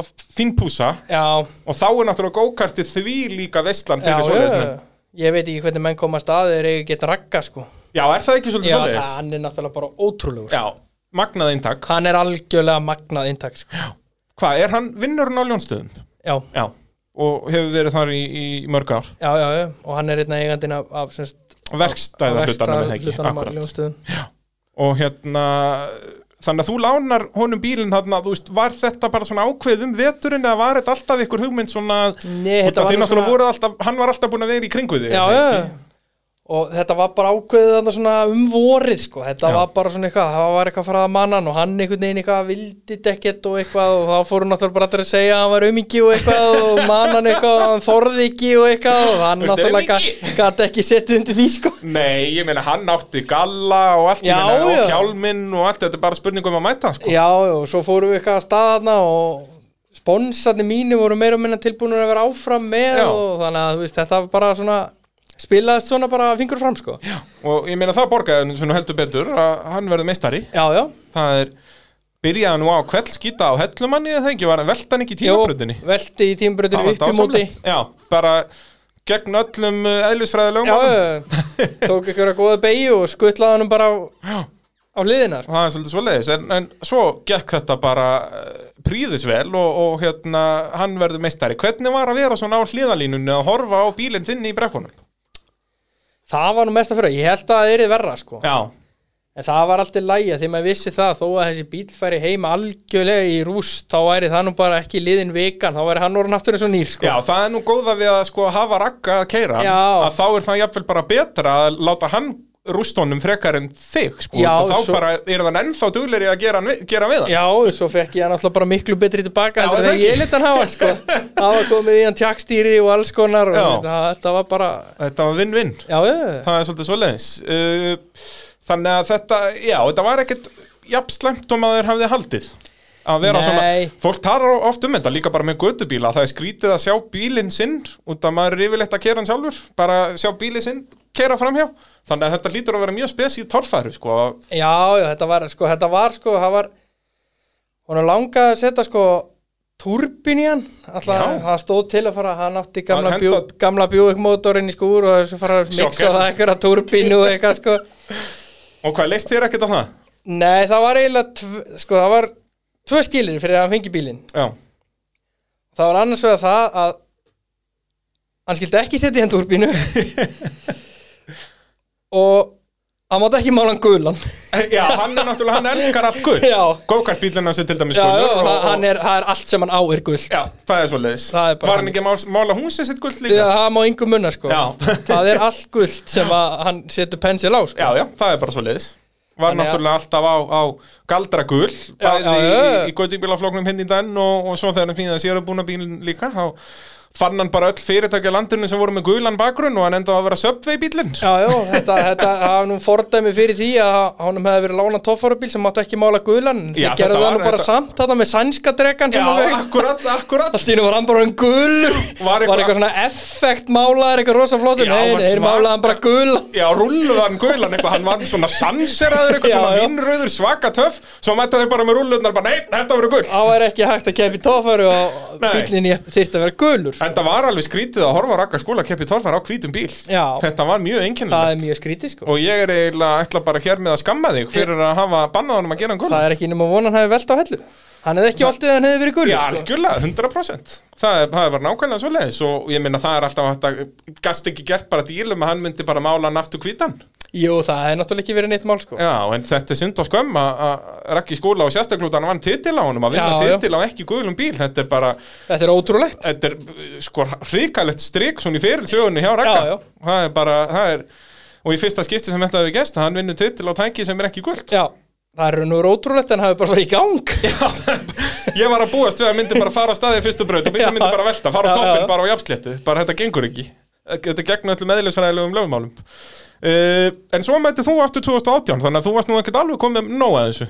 Speaker 1: f- fínpúsa
Speaker 2: Já,
Speaker 1: og þá er náttúrulega go-karti því líka veistlan
Speaker 2: já,
Speaker 1: fyrir
Speaker 2: já,
Speaker 1: svoleiðismenn
Speaker 2: ég veit ekki hvernig menn komast að þeir eiga geta ragga sko
Speaker 1: Já, er það ekki svolítið
Speaker 2: Já, það,
Speaker 1: svoleiðis?
Speaker 2: hann er náttúrulega bara ótrúlegur sko.
Speaker 1: Já, magnað eintak
Speaker 2: Hann er algjörlega magnað inntak sko
Speaker 1: Hvað, er hann vinnurinn á ljónstöðum?
Speaker 2: Já,
Speaker 1: Já, og hefur verið þar í, í mörg ár
Speaker 2: já, já, já, og hann er einna eigandinn af, af semst
Speaker 1: Verkstæða hlutarnum er það ekki, akkurat
Speaker 2: hlutanum
Speaker 1: og hérna þannig að þú lánar honum bílinn þarna, þú veist, var þetta bara svona ákveðum veturinn eða var þetta alltaf ykkur hugmynd svona
Speaker 2: Nei,
Speaker 1: út af
Speaker 2: þetta var
Speaker 1: því
Speaker 2: nú
Speaker 1: náttúrulega voru alltaf, hann var alltaf búin að vera í kringu því
Speaker 2: já, já. og þetta var bara ákveðið þarna svona um vorið sko. þetta
Speaker 1: Já.
Speaker 2: var bara svona eitthvað, það var eitthvað farað að manna hann og hann einhvern veginn eitthvað vildi dekkett og eitthvað og þá fóru náttúrulega bara allir að segja að hann var umingi og eitthvað og mannan eitthvað og hann þorði ekki og eitthvað og hann
Speaker 1: Ertu
Speaker 2: náttúrulega
Speaker 1: aumingi?
Speaker 2: gæti ekki setið undir því sko
Speaker 1: Nei, ég meina hann átti galla og allt,
Speaker 2: Já,
Speaker 1: ég meina,
Speaker 2: já.
Speaker 1: og hjálminn og allt, þetta er bara spurningum að mæta sko.
Speaker 2: já og svo fórum við eitthvað að staðna og sponsarnir mínu voru meira og minna tilbúinur að vera áfram með
Speaker 1: Já.
Speaker 2: og þannig að þú veist, þetta var bara svona spilaðist svona bara fingur fram sko
Speaker 1: Já. og ég meina það borgaði svona heldur betur að hann verði meistari
Speaker 2: já, já,
Speaker 1: það er byrjaði nú á kveld skýta á hellumanni eða það ekki, var hann velta hann ekki í tímabrutinni
Speaker 2: Jó, velti í tímabröðinu upp í móti
Speaker 1: já, bara gegn öllum eh, eðlisfræðilegum
Speaker 2: já,
Speaker 1: málum.
Speaker 2: já, tók einhverja góða beigju og skuttlaði hann bara á,
Speaker 1: Já.
Speaker 2: á liðinar
Speaker 1: það er svolítið svoleiðis en, en svo gekk þetta bara eh, príðisvel og, og hérna hann verður meistari, hvernig var að vera svona á hliðalínunni að horfa á bílinn þinn í brekkunum
Speaker 2: það var nú mesta fyrir, ég held að það er verra sko
Speaker 1: já,
Speaker 2: en það var alltaf lægja því maður vissi það þó að þessi bíl færi heima algjörlega í rúst þá væri það nú bara ekki liðin vikan þá væri hann orðin aftur eins og nýr sko
Speaker 1: Já, það er nú góða við að sko hafa ragga að keira
Speaker 2: Já.
Speaker 1: að þá er það jafnvel bara betra að láta hann rústónum frekar en þig sko,
Speaker 2: Já,
Speaker 1: og þá
Speaker 2: svo-
Speaker 1: bara er þann ennþá dugleiri að gera, hann við- gera við hann
Speaker 2: Já, svo fekk ég hann alltaf bara miklu betri tilbaka
Speaker 1: Já,
Speaker 2: heldur en
Speaker 1: það
Speaker 2: þegar
Speaker 1: ekki.
Speaker 2: ég lit hann hafa sko. það var komið í hann tjakkstýri og alls konar og
Speaker 1: Já.
Speaker 2: þetta, þetta var bara
Speaker 1: Þetta var vinn-vinn,
Speaker 2: já, já,
Speaker 1: það er svolítið svoleiðis uh, Þannig að þetta, já, þetta var ekkit jafn slæmt um að þeir hafði haldið að vera
Speaker 2: Nei.
Speaker 1: svona, fólk tarar oft um þetta líka bara með gödubíla, það er skrítið að sjá bílinn sinn, út að maður er yfirleitt að kera hann sjálfur, bara sjá bílinn sinn kera framhjá, þannig að þetta lítur að vera mjög spesíð torfæru, sko, að
Speaker 2: já, já, þetta var sko, þetta var sko, það var hún langaði að setja sko turbin í hann alltaf,
Speaker 1: Já.
Speaker 2: það stóð til að fara hann átti gamla,
Speaker 1: Að
Speaker 2: bjú,
Speaker 1: henda-
Speaker 2: gamla bjúik mótorinn í skúr og þessu fara að
Speaker 1: Sjokker.
Speaker 2: miksa það einhverja turbinu og eitthvað sko
Speaker 1: Og hvað, leist þér ekkert á það?
Speaker 2: nei, það var eiginlega tv, sko, það var tvö skilir fyrir að hann fengi bílinn
Speaker 1: Já,
Speaker 2: það var annars vegar það að hann skildi ekki setja í hendur bínu og hann mátt ekki mála hann gulan
Speaker 1: já hann er náttúrulega, hann elskar allt gull
Speaker 2: Já.
Speaker 1: Gókartbílina sem til dæmis
Speaker 2: já, já,
Speaker 1: gullur
Speaker 2: og það- hann er, það er allt sem hann á er gul
Speaker 1: Já, það er svoleiðis
Speaker 2: Það er bara
Speaker 1: Var hann ekki að máls- mála húsið sitt gull líka?
Speaker 2: það má yngum munna sko
Speaker 1: Já.
Speaker 2: það er allt gult sem að hann setur pensil á sko.
Speaker 1: já, það er bara svoleiðis Var
Speaker 2: Þannig að-
Speaker 1: náttúrulega allaf á, á galdra gull Bæði
Speaker 2: já, já.
Speaker 1: í, í gautubílaflóknum hinn í dan og, og svo þegar hann fínaði sér að búna bílinn líka þá fann hann bara öll fyrirtækja landinu sem voru með gulan bakgrunn og hann endaði að vera subway bílinn
Speaker 2: já, já, þetta, þetta hafa nú fordæmi fyrir því að honum hefði verið lána toffarubíl sem mátt ekki mála gulan
Speaker 1: Já,
Speaker 2: það gerði
Speaker 1: þetta
Speaker 2: það nú
Speaker 1: var-
Speaker 2: bara
Speaker 1: þetta-
Speaker 2: samt þetta með sænska dregan
Speaker 1: Já, akkurat, akkurat
Speaker 2: Allt í nú var hann bara um gul
Speaker 1: Var
Speaker 2: Var
Speaker 1: eitthvað-
Speaker 2: eitthvað, svona effekt málaður eitthvað rosa flótur
Speaker 1: Já,
Speaker 2: Nei,
Speaker 1: var
Speaker 2: nei, þeir
Speaker 1: svaka-
Speaker 2: málaði hann bara gul
Speaker 1: Já, rulluðan gulan eitthvað, hann var svona sanseraður eitthvað
Speaker 2: Já,
Speaker 1: svona
Speaker 2: já.
Speaker 1: vinnröður, svaka töff svo mæta þeir bara með rulluðnar, bara nei, þetta verður gul
Speaker 2: Á er ekki hægt að keppi tófaru og
Speaker 1: Nei.
Speaker 2: bílinni þyrfti að vera gulur
Speaker 1: En það var alveg skrítið að horfa á rakka skóla keppi torfar á hvítum bíl
Speaker 2: Já.
Speaker 1: Þetta var mjög
Speaker 2: Það
Speaker 1: einkennilegt
Speaker 2: er mjög skrítið sko
Speaker 1: Og ég er eiginlega ætla bara hér með að skamma þig fyrir að hafa bannað honum að gera um hann gul
Speaker 2: Það er ekki nema vonan hann hefði velt á hellu Hann hefði ekki valtið að hann hefði verið
Speaker 1: Já,
Speaker 2: gulur sko.
Speaker 1: algjörlega, 100% Það, er, það var nákvæmlega svoleiðis og ég minna það er alltaf hægt að gast ekki gert bara dílum að hann myndi bara mála hann aftur hvítan
Speaker 2: Jú, það hefði náttúrulega ekki verið neitt mál sko
Speaker 1: Já, en þetta er synd og skömm að að rakki skóla og sérstaklega hann vann titil á honum að vinna
Speaker 2: Já, já.
Speaker 1: titil á ekki gulum bíl, þetta er bara
Speaker 2: Þetta er ótrúlegt
Speaker 1: þetta er uh, sko hrikalegt strik svona í fyrir sögunni hjá Raka
Speaker 2: Já, já.
Speaker 1: það er bara, það er og í fyrsta skipti sem þetta hefur gest, hann vinnur titil á tæki sem er ekki guld
Speaker 2: Já, það er nú ótrúlegt en hann hefði bara farið í gang
Speaker 1: ég var að búast við að myndi bara fara á staði í fyrstu braut og myndi,
Speaker 2: Já.
Speaker 1: myndi bara velta, fara á
Speaker 2: Já,
Speaker 1: toppin
Speaker 2: já.
Speaker 1: bara á jafnsléttu, bara þetta gengur ekki þetta er gegn öllum eðlisfræðilegum lögumálum uh, en svo mætti þú aftur 2018, þannig að þú varst nú ekkert alveg komið með nóg að þessu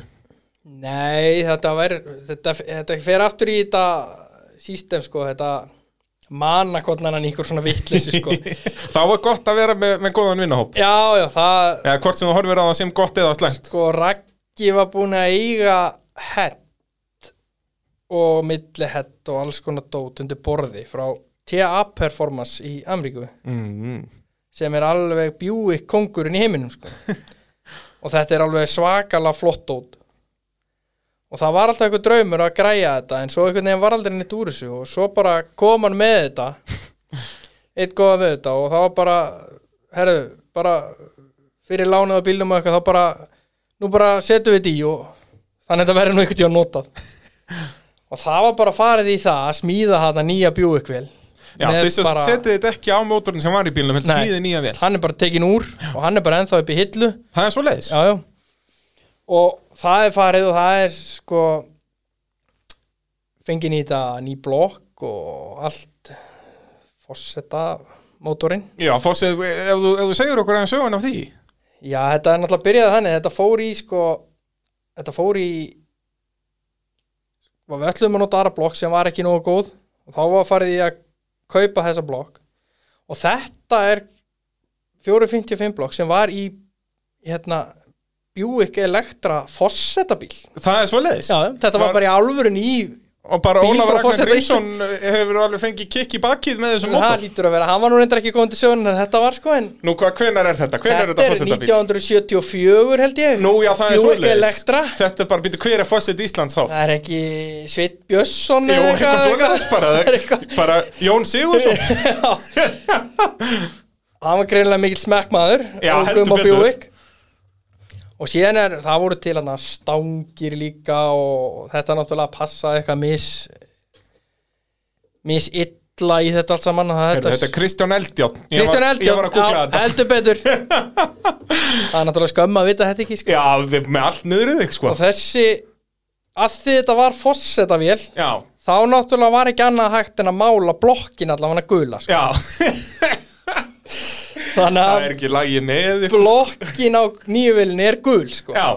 Speaker 2: Nei, þetta var þetta, þetta fer aftur í þetta sístem sko, þetta manakotnan hann í einhver svona vitleysu sko.
Speaker 1: þá var gott að vera með, með góðan vinnahóp
Speaker 2: Já, já, það
Speaker 1: eða hvort sem þú horfir á það sem gott eða slæmt
Speaker 2: sko, Raggi var búin að eiga hett og millihett og alls konar dót undir borði frá TA Performance í Amríku
Speaker 1: mm.
Speaker 2: sem er alveg bjúik kongurinn í heiminum sko. og þetta er alveg svakalega flott út og það var alltaf einhver draumur að græja þetta en svo einhvern veginn var aldrei neitt úr þessu og svo bara kom hann með þetta eitt góða við þetta og það var bara herru, bara fyrir lánað á bílnum og eitthvað þá bara, nú bara setjum við þetta í og þannig að þetta verður nú einhvern tíu að nota og það var bara farið í það að smíða þetta nýja bjúikvél
Speaker 1: Já,
Speaker 2: með
Speaker 1: þess að
Speaker 2: bara-
Speaker 1: setja þetta ekki á mótorinn sem var í bílnum, heldur
Speaker 2: Nei.
Speaker 1: smíði nýja vel
Speaker 2: hann er bara tekin úr og hann er bara ennþá upp í hillu
Speaker 1: Það er svo leiðis
Speaker 2: já, já. og það er farið og það er sko fengið í þetta ný blokk og allt fórseta mótorinn
Speaker 1: Já, Fossið, ef þú, ef þú segir okkur aðeins sögun af því
Speaker 2: já þetta er náttúrulega byrjaði þannig þetta fór í sko þetta fór í var við ætlum að nota aðra blokk sem var ekki nógu góð og þá var farið í að kaupa þessa blokk og þetta er 455 blokk sem var í hérna Buick Electra fossetabíl
Speaker 1: Það er svoleiðis.
Speaker 2: Já, þetta var bara í alvörun í
Speaker 1: Og bara
Speaker 2: Bíl
Speaker 1: Ólafur
Speaker 2: frá
Speaker 1: Ragnar
Speaker 2: forseta
Speaker 1: Grímsson eh, hefur alveg fengið kikk í bakið með þessum
Speaker 2: það
Speaker 1: mótor.
Speaker 2: lítur að vera, hann var nú reyndar ekki góðan til sögun en þetta var sko en
Speaker 1: Nú, hvað, hvenar er þetta? Hvenar er
Speaker 2: þetta
Speaker 1: þetta
Speaker 2: er
Speaker 1: fórsetabíl?
Speaker 2: 1974 held ég
Speaker 1: Nú, já, það er
Speaker 2: Buick
Speaker 1: svoleiðis.
Speaker 2: Electra
Speaker 1: Þetta er bara, býtu, hver er fórset Íslands þá?
Speaker 2: það er ekki Sveit Björnsson
Speaker 1: Jú, eitthvað svoleiðis bara.
Speaker 2: það er eitthvað
Speaker 1: Bara Jón Sigursson.
Speaker 2: hann var greinilega mikill smekkmaður
Speaker 1: Já,
Speaker 2: og
Speaker 1: heldur
Speaker 2: kom á
Speaker 1: betur.
Speaker 2: Buick. og síðan er, það voru til hann stangir líka og þetta náttúrulega passaði eitthvað mis mis illa í þetta allt saman og það-
Speaker 1: Heyrðu, Þetta er Kristján Eldjárn. Ég var-
Speaker 2: Kristján
Speaker 1: Ég var að googla
Speaker 2: Eldjón,
Speaker 1: þetta.
Speaker 2: heldur betur það er náttúrulega skömm að vita þetta ekki sko.
Speaker 1: Já, þið- með allt niður í þig, sko.
Speaker 2: og þessi að því þetta var fossetavél
Speaker 1: Já,
Speaker 2: þá náttúrulega var ekki annað hægt en að mála blokkin allavega gula sko.
Speaker 1: já.
Speaker 2: þannig
Speaker 1: Það er
Speaker 2: að
Speaker 1: ekki lagið með. ykkur.
Speaker 2: blokkin á nýjuvelinni er gul sko.
Speaker 1: Já.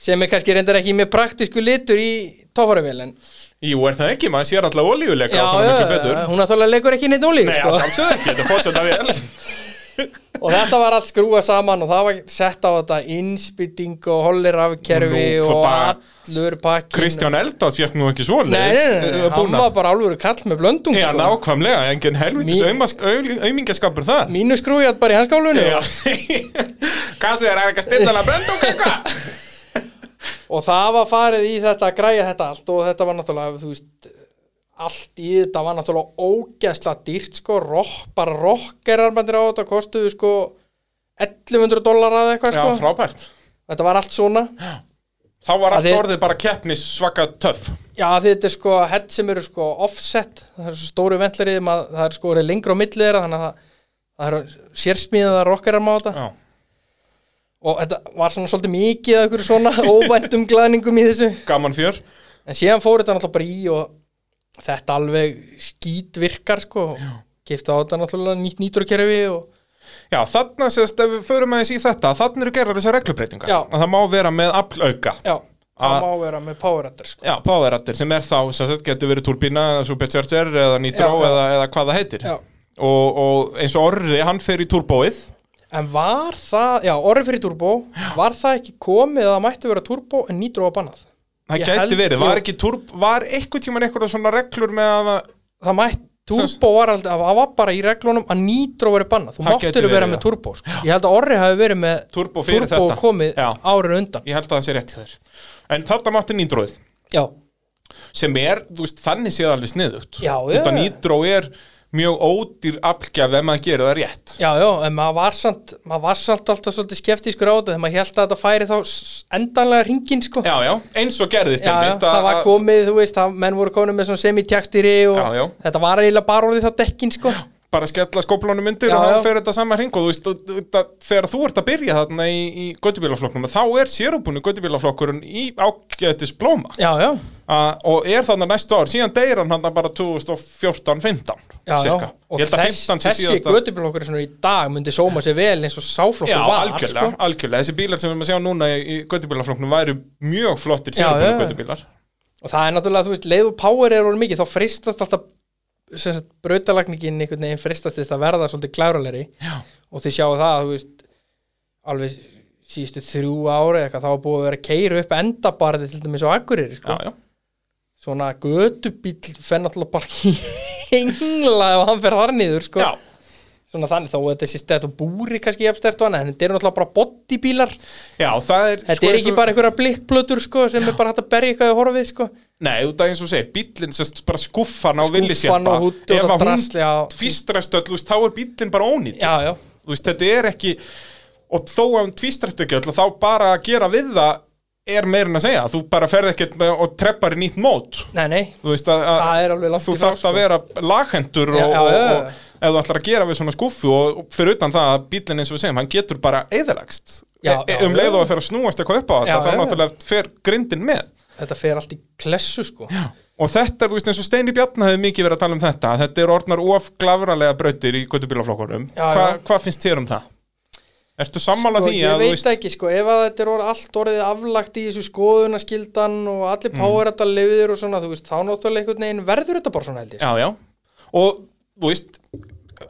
Speaker 2: sem er kannski reyndar ekki með praktísku litur í tófaravél
Speaker 1: Jú, er það ekki? Maður sér alltaf olíuleika og svona mikið betur.
Speaker 2: hún náttúrulega leikur ekki neitt ólík
Speaker 1: Nei, að
Speaker 2: sko.
Speaker 1: sjálfsögðu ekki, þetta er fórseta vel
Speaker 2: og þetta var allt skrúa saman og það var sett á þetta innspýting og hollirafkerfi
Speaker 1: Nú, hvað
Speaker 2: og
Speaker 1: bara-
Speaker 2: allur pakkin
Speaker 1: Kristján Eldað fjökk nú ekki svoleiðis
Speaker 2: Nei, nei, nei,
Speaker 1: eh,
Speaker 2: nei, hann
Speaker 1: búnað.
Speaker 2: var bara alvöru kall með blöndung
Speaker 1: Já,
Speaker 2: sko.
Speaker 1: nákvæmlega, engin helvitis
Speaker 2: Mín-
Speaker 1: aumask- au- aumingaskapur það
Speaker 2: Mínu skrúið bara í hans gálunni
Speaker 1: Já Kassi, það er ekki að stilla hana brendung eitthvað
Speaker 2: og það var farið í þetta að græja þetta allt og þetta var náttúrulega, þú veist allt í þetta var náttúrulega ógeðsla dýrt sko, rock, bara rockerarmændir á þetta kostuðu sko 1100 dólar að eitthvað
Speaker 1: Já,
Speaker 2: sko
Speaker 1: frábært
Speaker 2: þetta var allt svona
Speaker 1: Þá var
Speaker 2: Það
Speaker 1: allt
Speaker 2: er-
Speaker 1: orðið bara keppni svaka töff
Speaker 2: já þetta er sko hett sem eru sko offset það eru svo stóru ventlariðum að það er sko orðið lengra á milli þeirra þannig að það, það eru sérsmíðaða rockerarm á þetta
Speaker 1: Já,
Speaker 2: og þetta var svona svolítið mikið af einhverju svona óvæntum glæðningum í þessu
Speaker 1: gaman fjör
Speaker 2: en síðan fór þetta náttúrulega bara í og þetta alveg skýt virkar sko kipta á þetta náttúrulega nýtt nýtrókerfi og
Speaker 1: Já, þarna sérst, ef við förum aðeins í þetta Þarna eru gerðar þessar reglubreitingar
Speaker 2: Já.
Speaker 1: Að það má vera með aflauka
Speaker 2: já,
Speaker 1: A-
Speaker 2: það má vera með powerrættir sko
Speaker 1: Já, báðarættir sem er þá, sem sagt, getur verið turbína eða supercharger eða nitró
Speaker 2: Já, já.
Speaker 1: eða, eða hvað það heitir
Speaker 2: Já.
Speaker 1: og, og eins og orri, hann fer í turbóið
Speaker 2: en var það, já, orðið fyrir turbo var það ekki komið að það mætti vera turbo en nýtró var bannað
Speaker 1: það
Speaker 2: Ég
Speaker 1: gæti
Speaker 2: held-
Speaker 1: verið, var
Speaker 2: jú.
Speaker 1: ekki turb, var einhvern tíman einhverja svona reglur með að það-
Speaker 2: það mætti,
Speaker 1: Sem-
Speaker 2: turbo var aldrei það var bara í reglunum að nýtró verið bannað þú
Speaker 1: Það gæti
Speaker 2: máttur vera,
Speaker 1: verið,
Speaker 2: vera
Speaker 1: já.
Speaker 2: með turbo sko. ég held að orðið hafi verið með
Speaker 1: Turbo fyrir
Speaker 2: turbo
Speaker 1: þetta.
Speaker 2: komið
Speaker 1: Já.
Speaker 2: árið undan
Speaker 1: ég held að það sé rétt hjá þér en þarna mátti nýtróið
Speaker 2: já,
Speaker 1: sem er, þú veist, þannig séð alveg sniðugt
Speaker 2: Já, já.
Speaker 1: þetta nýtró er mjög ódýr aflgjaf ef maður gerir það rétt
Speaker 2: Já, já, en maður var samt, maður var samt alltaf svolítið skeftískur á þetta þegar maður held að þetta færi þá s- endanlega ringin, sko.
Speaker 1: já, já, eins og gerðist
Speaker 2: já, já,
Speaker 1: einmitt að-
Speaker 2: það var
Speaker 1: að-
Speaker 2: komið, þú veist, það, menn voru konum með svona semitjækstýri og
Speaker 1: Já, já.
Speaker 2: þetta var eiginlega bara orðið það dekkin, sko. Já,
Speaker 1: bara skella skóplónum undir
Speaker 2: Já,
Speaker 1: og
Speaker 2: já.
Speaker 1: þá fer þetta sama hring og þú veist, og, og, það, þegar þú ert að byrja þarna í, í göttubílaflokknum þá er sérubunni göttubílaflokkurinn í ágætis blóma
Speaker 2: já, já,
Speaker 1: uh, og er þarna næstu ár, síðan deyr hann hann bara 2014-15
Speaker 2: já.
Speaker 1: cirka.
Speaker 2: Og
Speaker 1: ég held að
Speaker 2: þess,
Speaker 1: 15 sé
Speaker 2: þessi
Speaker 1: síðasta
Speaker 2: götubílokkur svona í dag myndi sóma sér vel eins og sáflokkur
Speaker 1: Já,
Speaker 2: var,
Speaker 1: algjörlega,
Speaker 2: sko.
Speaker 1: algjörlega, þessi bílar sem við erum að sjá núna í, í göttubílaflokknum væru mjög flottir
Speaker 2: Já,
Speaker 1: sérubunni
Speaker 2: já.
Speaker 1: göttubílar
Speaker 2: Og það er náttúrulega, þú veist, leið og power er orðið mikið, þá fristast alltaf, sem sagt, brautalagningin einhvern veginn fristast þess að verða svolítið kláralegri.
Speaker 1: Já,
Speaker 2: og þið sjáu það, þú veist alveg síðustu þrjú ári eitthvað, þá var búið að vera að keira upp endabarði til dæmis á
Speaker 1: já,
Speaker 2: Akureyri, sko
Speaker 1: já,
Speaker 2: svona götubíll fenn alltaf bara í engla ef hann fer þar niður, sko
Speaker 1: já.
Speaker 2: svona þannig, þá er þessi stætt og búri kannski jafnstært og annað, en þetta eru náttúrulega bara bodybílar,
Speaker 1: já það er
Speaker 2: þetta
Speaker 1: sko,
Speaker 2: er
Speaker 1: eins
Speaker 2: ekki
Speaker 1: og-
Speaker 2: bara einhverja blikkplötur, sko, sem er bara hægt að berja eitthvað í horfið, sko,
Speaker 1: Nei, út af eins og segir, bíllinn sest bara skuffan á
Speaker 2: skúfan
Speaker 1: villisjappa
Speaker 2: og hútt og
Speaker 1: Ef að hún
Speaker 2: drasli á,
Speaker 1: tvístrast öll, þú veist, þá er bíllinn bara ónýtt
Speaker 2: já, já
Speaker 1: Þú veist, þetta er ekki og þó að hún tvístrast ekki öll þá bara að gera við það er meirinn að segja, þú bara ferð ekkert með, og treppar í nýtt mót
Speaker 2: nei, nei,
Speaker 1: þú veist að, að
Speaker 2: það er alveg langt
Speaker 1: þú
Speaker 2: í frá, sko.
Speaker 1: þarft að vera laghendur
Speaker 2: Já,
Speaker 1: og,
Speaker 2: já,
Speaker 1: og,
Speaker 2: já, já.
Speaker 1: og ef þú ætlar að gera við svona skuffu og, og fyrir utan það að bíllinn eins og við segjum, hann getur bara eðalagst
Speaker 2: Já, já,
Speaker 1: um
Speaker 2: já.
Speaker 1: leið og að fer að snúast eitthvað upp á
Speaker 2: Já,
Speaker 1: þetta
Speaker 2: já,
Speaker 1: þá
Speaker 2: já.
Speaker 1: náttúrulega fer grindin með
Speaker 2: þetta fer allt í klessu, sko já,
Speaker 1: Og þetta, er, þú veist, eins og Steini Bjarni hefði mikið verið að tala um þetta, að þetta eru orðnar of glavralega brautir í kvötubílaflokkurum.
Speaker 2: Já,
Speaker 1: Hva,
Speaker 2: já.
Speaker 1: Hvað finnst þér um það? Ertu sammála
Speaker 2: sko,
Speaker 1: því
Speaker 2: ég
Speaker 1: að
Speaker 2: veit ekki sko, ef að þetta er orð, allt orðið aflagt í þessu skoðunaskildan og
Speaker 1: Mm.
Speaker 2: allir powerrætta leiðir og svona, þú veist, þá náttúrulega einhvern veginn verður þetta bara svona held ég sko.
Speaker 1: Já, já. Og, þú veist,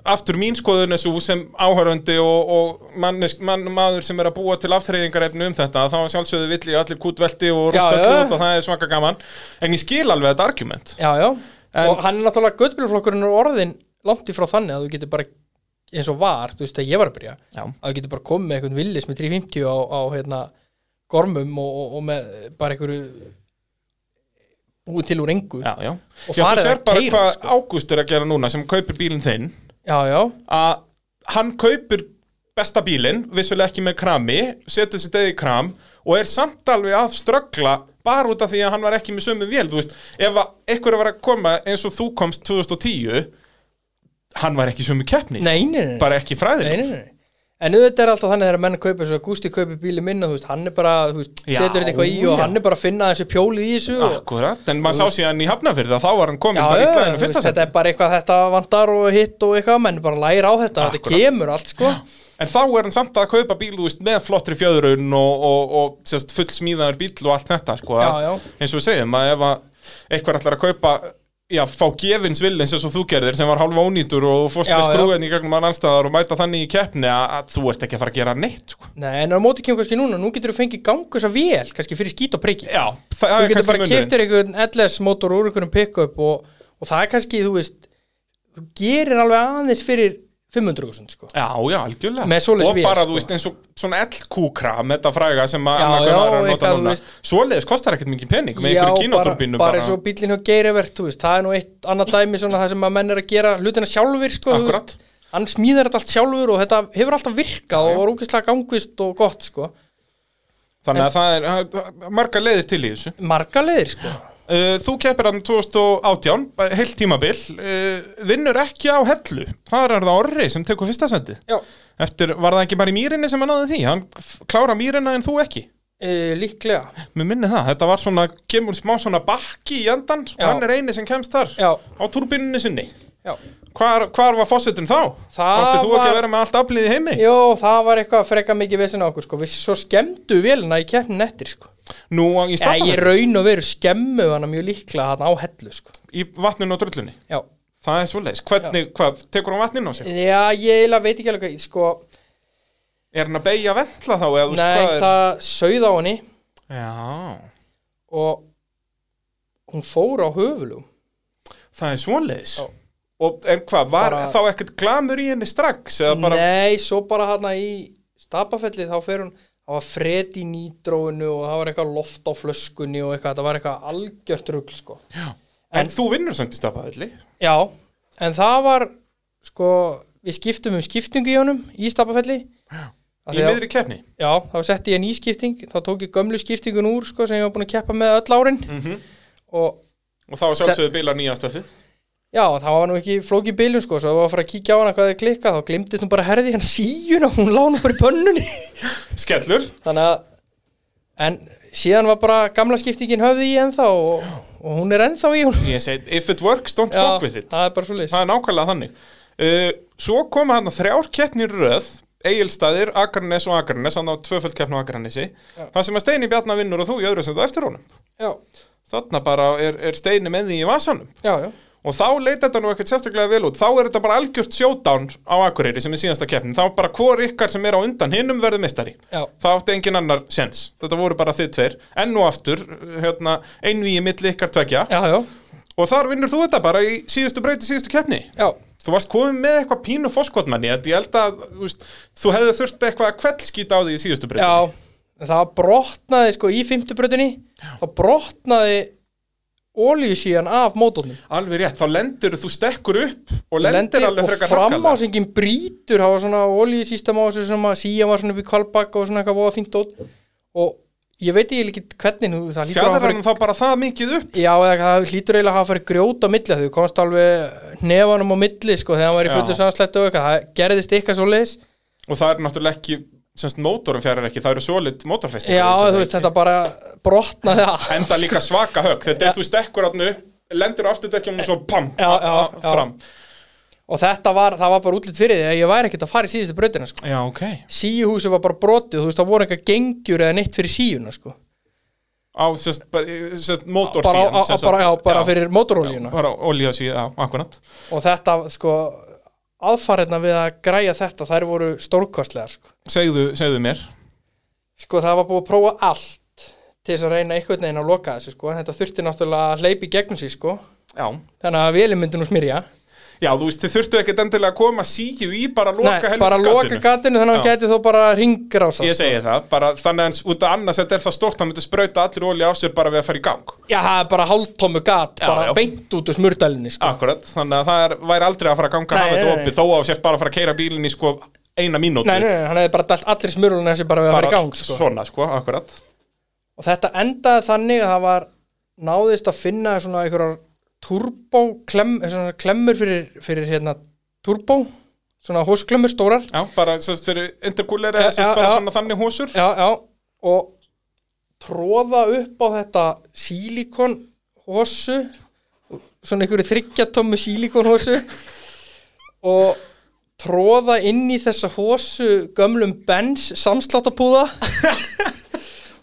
Speaker 1: aftur mín skoðun er svo sem áhörandi og, og mannesk, mann, maður sem er að búa til aftreyðingarefni um þetta þá er sjálfsögðu villi allir kútvelti og
Speaker 2: Já,
Speaker 1: rústöldu
Speaker 2: já.
Speaker 1: út og það er svaka gaman en ég skil alveg þetta argument
Speaker 2: Já, já,
Speaker 1: En-
Speaker 2: og hann er náttúrulega göttbílflokkurinn er orðin langt í frá þannig að þú getur bara eins og var, þú veist þegar ég var að byrja
Speaker 1: Já.
Speaker 2: að þú getur bara komið með einhvern villis með 350 á, á hérna, gormum og, og, og með bara einhverju búið til úr engu
Speaker 1: Já, já.
Speaker 2: Og
Speaker 1: já,
Speaker 2: farið
Speaker 1: þú
Speaker 2: að
Speaker 1: sér bara
Speaker 2: keyra,
Speaker 1: hvað
Speaker 2: sko.
Speaker 1: Ágúst er að gera núna sem kaupir bílinn þinn
Speaker 2: já, já,
Speaker 1: að hann kaupir besta bílinn, vissulega ekki með krami setur sér degi kram og er samt alveg að ströggla bara út af því að hann var ekki með sömu vél þú veist, ef að einhver var að koma eins og þú komst 2010 hann var ekki í sömu keppni
Speaker 2: nei, nei, nei,
Speaker 1: bara ekki fræðin
Speaker 2: nei, nei, nei. En auðvitað er alltaf þannig þegar menn kaupa svo að Gústi kaupi bíli minna, þú veist, hann er bara, þú veist,
Speaker 1: Já,
Speaker 2: setur þetta eitthvað í og
Speaker 1: já.
Speaker 2: hann er bara að finna þessu pjólið í þessu og,
Speaker 1: Akkurat, en maður sá síðan í Hafnafyrði að þá var hann komin
Speaker 2: Já,
Speaker 1: bara í
Speaker 2: já,
Speaker 1: slæðinu
Speaker 2: þú
Speaker 1: fyrsta
Speaker 2: veist, þetta
Speaker 1: seti
Speaker 2: er bara eitthvað þetta vandar og hitt og eitthvað menn bara læra á þetta, þetta
Speaker 1: Akkurat.
Speaker 2: kemur allt sko
Speaker 1: En þá er hann samt að kaupa bíl þú veist, með flottri fjöðurun og, og, og sérst, full smíðaður bíl og allt þetta sko,
Speaker 2: Já,
Speaker 1: að-
Speaker 2: já.
Speaker 1: eins og við segjum að ef að eitthvað ætlar að kaupa já, fá gefins villins eins og þú gerðir sem var hálfa ónýtur og þú fórst
Speaker 2: Já,
Speaker 1: með
Speaker 2: já.
Speaker 1: skrúðin í gegnum að allstaðar og mæta þannig í keppni að, að þú ert ekki að fara að gera neitt sko.
Speaker 2: Nei, en á móti kemur kannski núna, nú getur þú fengið gangu þessa vel, kannski fyrir skít og priki
Speaker 1: Já, það
Speaker 2: Þú
Speaker 1: er
Speaker 2: getur
Speaker 1: kannski
Speaker 2: bara
Speaker 1: munurinn
Speaker 2: keftir einhvern LS mótor úr einhverjum pick-up og, og það er kannski, þú veist þú gerir alveg aðeins fyrir 500.000 sko
Speaker 1: Já, já, algjörlega
Speaker 2: Með svoleiðis
Speaker 1: Og
Speaker 2: vél,
Speaker 1: bara,
Speaker 2: sko.
Speaker 1: þú veist, eins og svona LQ-kra með þetta fræga sem að
Speaker 2: Já,
Speaker 1: Anna
Speaker 2: já,
Speaker 1: Gunnar er að nota
Speaker 2: eitthvað, þú
Speaker 1: núna
Speaker 2: veist.
Speaker 1: Svoleiðis kostar ekkert mikið pening með
Speaker 2: Já,
Speaker 1: einhverju
Speaker 2: bara,
Speaker 1: kínoturbínu
Speaker 2: bara eins og bílinn hjá geirivert, þú veist, það er nú eitt annað dæmi svona það sem að menn er að gera hlutina sjálfur sko, þú
Speaker 1: Akkurat.
Speaker 2: veist, hann smíðar þetta allt sjálfur og þetta hefur alltaf virkað og var úkislega gangvist og gott sko
Speaker 1: Þannig að það er að- margar leiðir til í þessu
Speaker 2: marga leiðir sko
Speaker 1: Uh, Þú keppir hann 2018, bara heilt tímabil, uh, vinnur ekki á hellu. Þar er það Orri sem tekur fyrsta sendið.
Speaker 2: já.
Speaker 1: Eftir, var það ekki bara í mýrinni sem hann náði því? Hann f- klára mýrina en þú ekki.
Speaker 2: Eh, líklega
Speaker 1: Mér minni það, þetta var svona, kemur smá svona bakki í endan og
Speaker 2: Já.
Speaker 1: hann er eini sem kemst þar
Speaker 2: já,
Speaker 1: á turbinunni sinni.
Speaker 2: já.
Speaker 1: Hvar, hvar var fósitin þá?
Speaker 2: Það
Speaker 1: Átti þú ekki
Speaker 2: var-
Speaker 1: að vera með allt aflið í heimi?
Speaker 2: Jó, það var eitthvað freka mikið vesen á okkur sko. við svo skemmdu velina í keppnin eftir sko.
Speaker 1: Nú í
Speaker 2: ja, ég
Speaker 1: staðan,
Speaker 2: raun og veru skemmu hana mjög líklega hann á hellu sko.
Speaker 1: í vatninu og drullunni.
Speaker 2: já.
Speaker 1: Það er svoleiðis. Hvernig, hvað, tekur hann vatninu á sig?
Speaker 2: já, ég eiginlega veit ekki alveg hvað- sko,
Speaker 1: Er hann að beigja vendla þá? Eða, þú veist,
Speaker 2: nei,
Speaker 1: hvað er...
Speaker 2: það sauð á henni
Speaker 1: Já,
Speaker 2: og hún fór á höfulum
Speaker 1: Það er svoleiðis
Speaker 2: Já.
Speaker 1: Og en hvað, var
Speaker 2: Bara-
Speaker 1: þá ekkert glamur í henni strax eða bara,
Speaker 2: Nei, svo bara hana í stapafelli þá fer hún það var fred í nýdróinu og það var eitthvað loft á flöskunni og eitthvað, það var eitthvað algjört rugl sko.
Speaker 1: en, þú vinnur samt í stapaðalli
Speaker 2: Já, en það var sko, við skiptum um skiptingu í honum í stapafelli
Speaker 1: í
Speaker 2: Af því að-
Speaker 1: miðri keppni
Speaker 2: Já, þá setti ég ný skipting þá tók ég gömlu skiptingun úr sko, sem ég var búin að keppa með öll árin
Speaker 1: Mhm.
Speaker 2: og
Speaker 1: og þá var sjálfsögðu bíla nýja stöfið
Speaker 2: Já, það var nú ekki flóki bílum sko, svo það var að fara að kíkja á hana hvað þið klikka, þá glimtist hún bara herði hann síjuna, hún lá nú bara í pönnunni.
Speaker 1: Skellur,
Speaker 2: þannig að en síðan var bara gamla skiptingin höfði í ennþá og, og hún er ennþá í hún
Speaker 1: ég segi, if it works, don't fuck with it
Speaker 2: það er bara svo
Speaker 1: Það er nákvæmlega þannig uh, Svo koma hann þrjár keppnir í röð Egilstaðir, Akranes og Akranes hann á tvöföld keppn á Akranesi Það sem að Steini Bjarnar vinnur og þú í öðru sem þú eftir honum
Speaker 2: já,
Speaker 1: Þarna bara er, er Steini með því í vasanum
Speaker 2: já, já,
Speaker 1: Og þá leit þetta nú ekkert sérstaklega vel út. Þá er þetta bara algjört sjódán á Akureyri sem er síðasta keppnin. Þá bara hvor ykkar sem er á undan hinnum verður mistari.
Speaker 2: Já.
Speaker 1: Það átti engin annar sens. Þetta voru bara þið tveir. Enn og aftur, hérna, einvíi milli ykkar tvekja.
Speaker 2: já, já,
Speaker 1: Og þar vinnur þú þetta bara í síðustu breyti síðustu keppni.
Speaker 2: já.
Speaker 1: Þú varst komin með eitthvað pínu fóskotmanni. Ég held að þú, veist, þú hefði þurft eitthvað að kveldskýta á því í síðustu breyti.
Speaker 2: já. það brotnaði sko í fymtubröðinni þá brotnaði olíu síðan af mótornum
Speaker 1: Alveg rétt. Þá lendir þú stekkur upp og lendir, alveg
Speaker 2: og
Speaker 1: frekar harkalega.
Speaker 2: framásingin brýtur það var svona olíu sístam á þessu sem að síðan var svona upp í kvalbakk og svona eitthvað voða fínt dót og ég veit ég ekki hvernig þú- það hlýtur að hafa
Speaker 1: Fjaðrar
Speaker 2: farið-
Speaker 1: hann þá bara það mikið upp?
Speaker 2: Já, eða það hlýtur eiginlega að hafa farið grjót á milli þau komst alveg nefanum á milli sko, þegar hann var í
Speaker 1: Já.
Speaker 2: fullu sannslættu og eitthvað það gerðist eitthvað svo leiðis
Speaker 1: og það er náttúrulega ekki semst mótorum fjarar ekki, það eru solid mótorfestingar
Speaker 2: Já,
Speaker 1: í þessu
Speaker 2: þú veist, þetta bara brotnaði af.
Speaker 1: enda líka svaka högg, þetta er þú stekkur átnu upp lendir á afturdekkjum og svo pam
Speaker 2: Já, já,
Speaker 1: a- a-
Speaker 2: já.
Speaker 1: fram
Speaker 2: og þetta var, það var bara útlýtt fyrir því að ég væri ekkert að fara í síðustu brautina sko.
Speaker 1: já, ok
Speaker 2: síuhúsi var bara brotið, þú veist, það voru eitthvað gengjur eða neitt fyrir síuna sko.
Speaker 1: á semst, bara- semst mótor
Speaker 2: bara, á, á, bara, já, bara fyrir mótorólíuna
Speaker 1: bara olíu síðan, já, akkurat
Speaker 2: og þetta, sko aðfarirna við að græja þetta, þær voru stórkostlegar sko.
Speaker 1: segðu, segðu mér
Speaker 2: sko það var búið að prófa allt til þess að reyna einhvern veginn að loka þessu sko en þetta þurfti náttúrulega að hleypi gegnum sig sko
Speaker 1: Já,
Speaker 2: þannig að vélum myndi nú smyrja
Speaker 1: já þú veist, þið þurftu ekkert endilega að koma síju í bara að loka
Speaker 2: bara loka
Speaker 1: helvitisgatinu
Speaker 2: gatinu þannig að hann
Speaker 1: Já.
Speaker 2: gæti þó bara ringrása
Speaker 1: Ég segi það, bara þannig að eins- út af annars þetta er það stort, hann myndi sprauta allir óli af sér bara við að fara í gang
Speaker 2: já það er bara hálftómu gat
Speaker 1: Já,
Speaker 2: bara
Speaker 1: já.
Speaker 2: beint út úr smurdalinni sko.
Speaker 1: Akkurat, þannig að það er, væri aldrei að fara að ganga að
Speaker 2: Nei,
Speaker 1: hafa
Speaker 2: nei,
Speaker 1: þetta
Speaker 2: nei.
Speaker 1: opið þó að sér bara að fara að keira bílinn í sko eina mínúti
Speaker 2: nei, nei, nei, hann hefði bara dælt allir smurlunni þessi bara við að
Speaker 1: bara
Speaker 2: fara í gang sko.
Speaker 1: svona sko, akkurat
Speaker 2: og þetta endaði þannig að það var náðist að finna svona einhverjar turbo klemm, svona klemmur fyrir, fyrir hérna turbo svona hósklemmur stórar
Speaker 1: Já, bara sérst fyrir intercooler
Speaker 2: Já,
Speaker 1: eða sérst
Speaker 2: já,
Speaker 1: bara
Speaker 2: já.
Speaker 1: svona þannig hósur
Speaker 2: já, já, og tróða upp á þetta sílikon hósu svona einhverju þryggjatómu sílikon hósu og tróða inn í þessa hósu gömlum bens samsláttapúða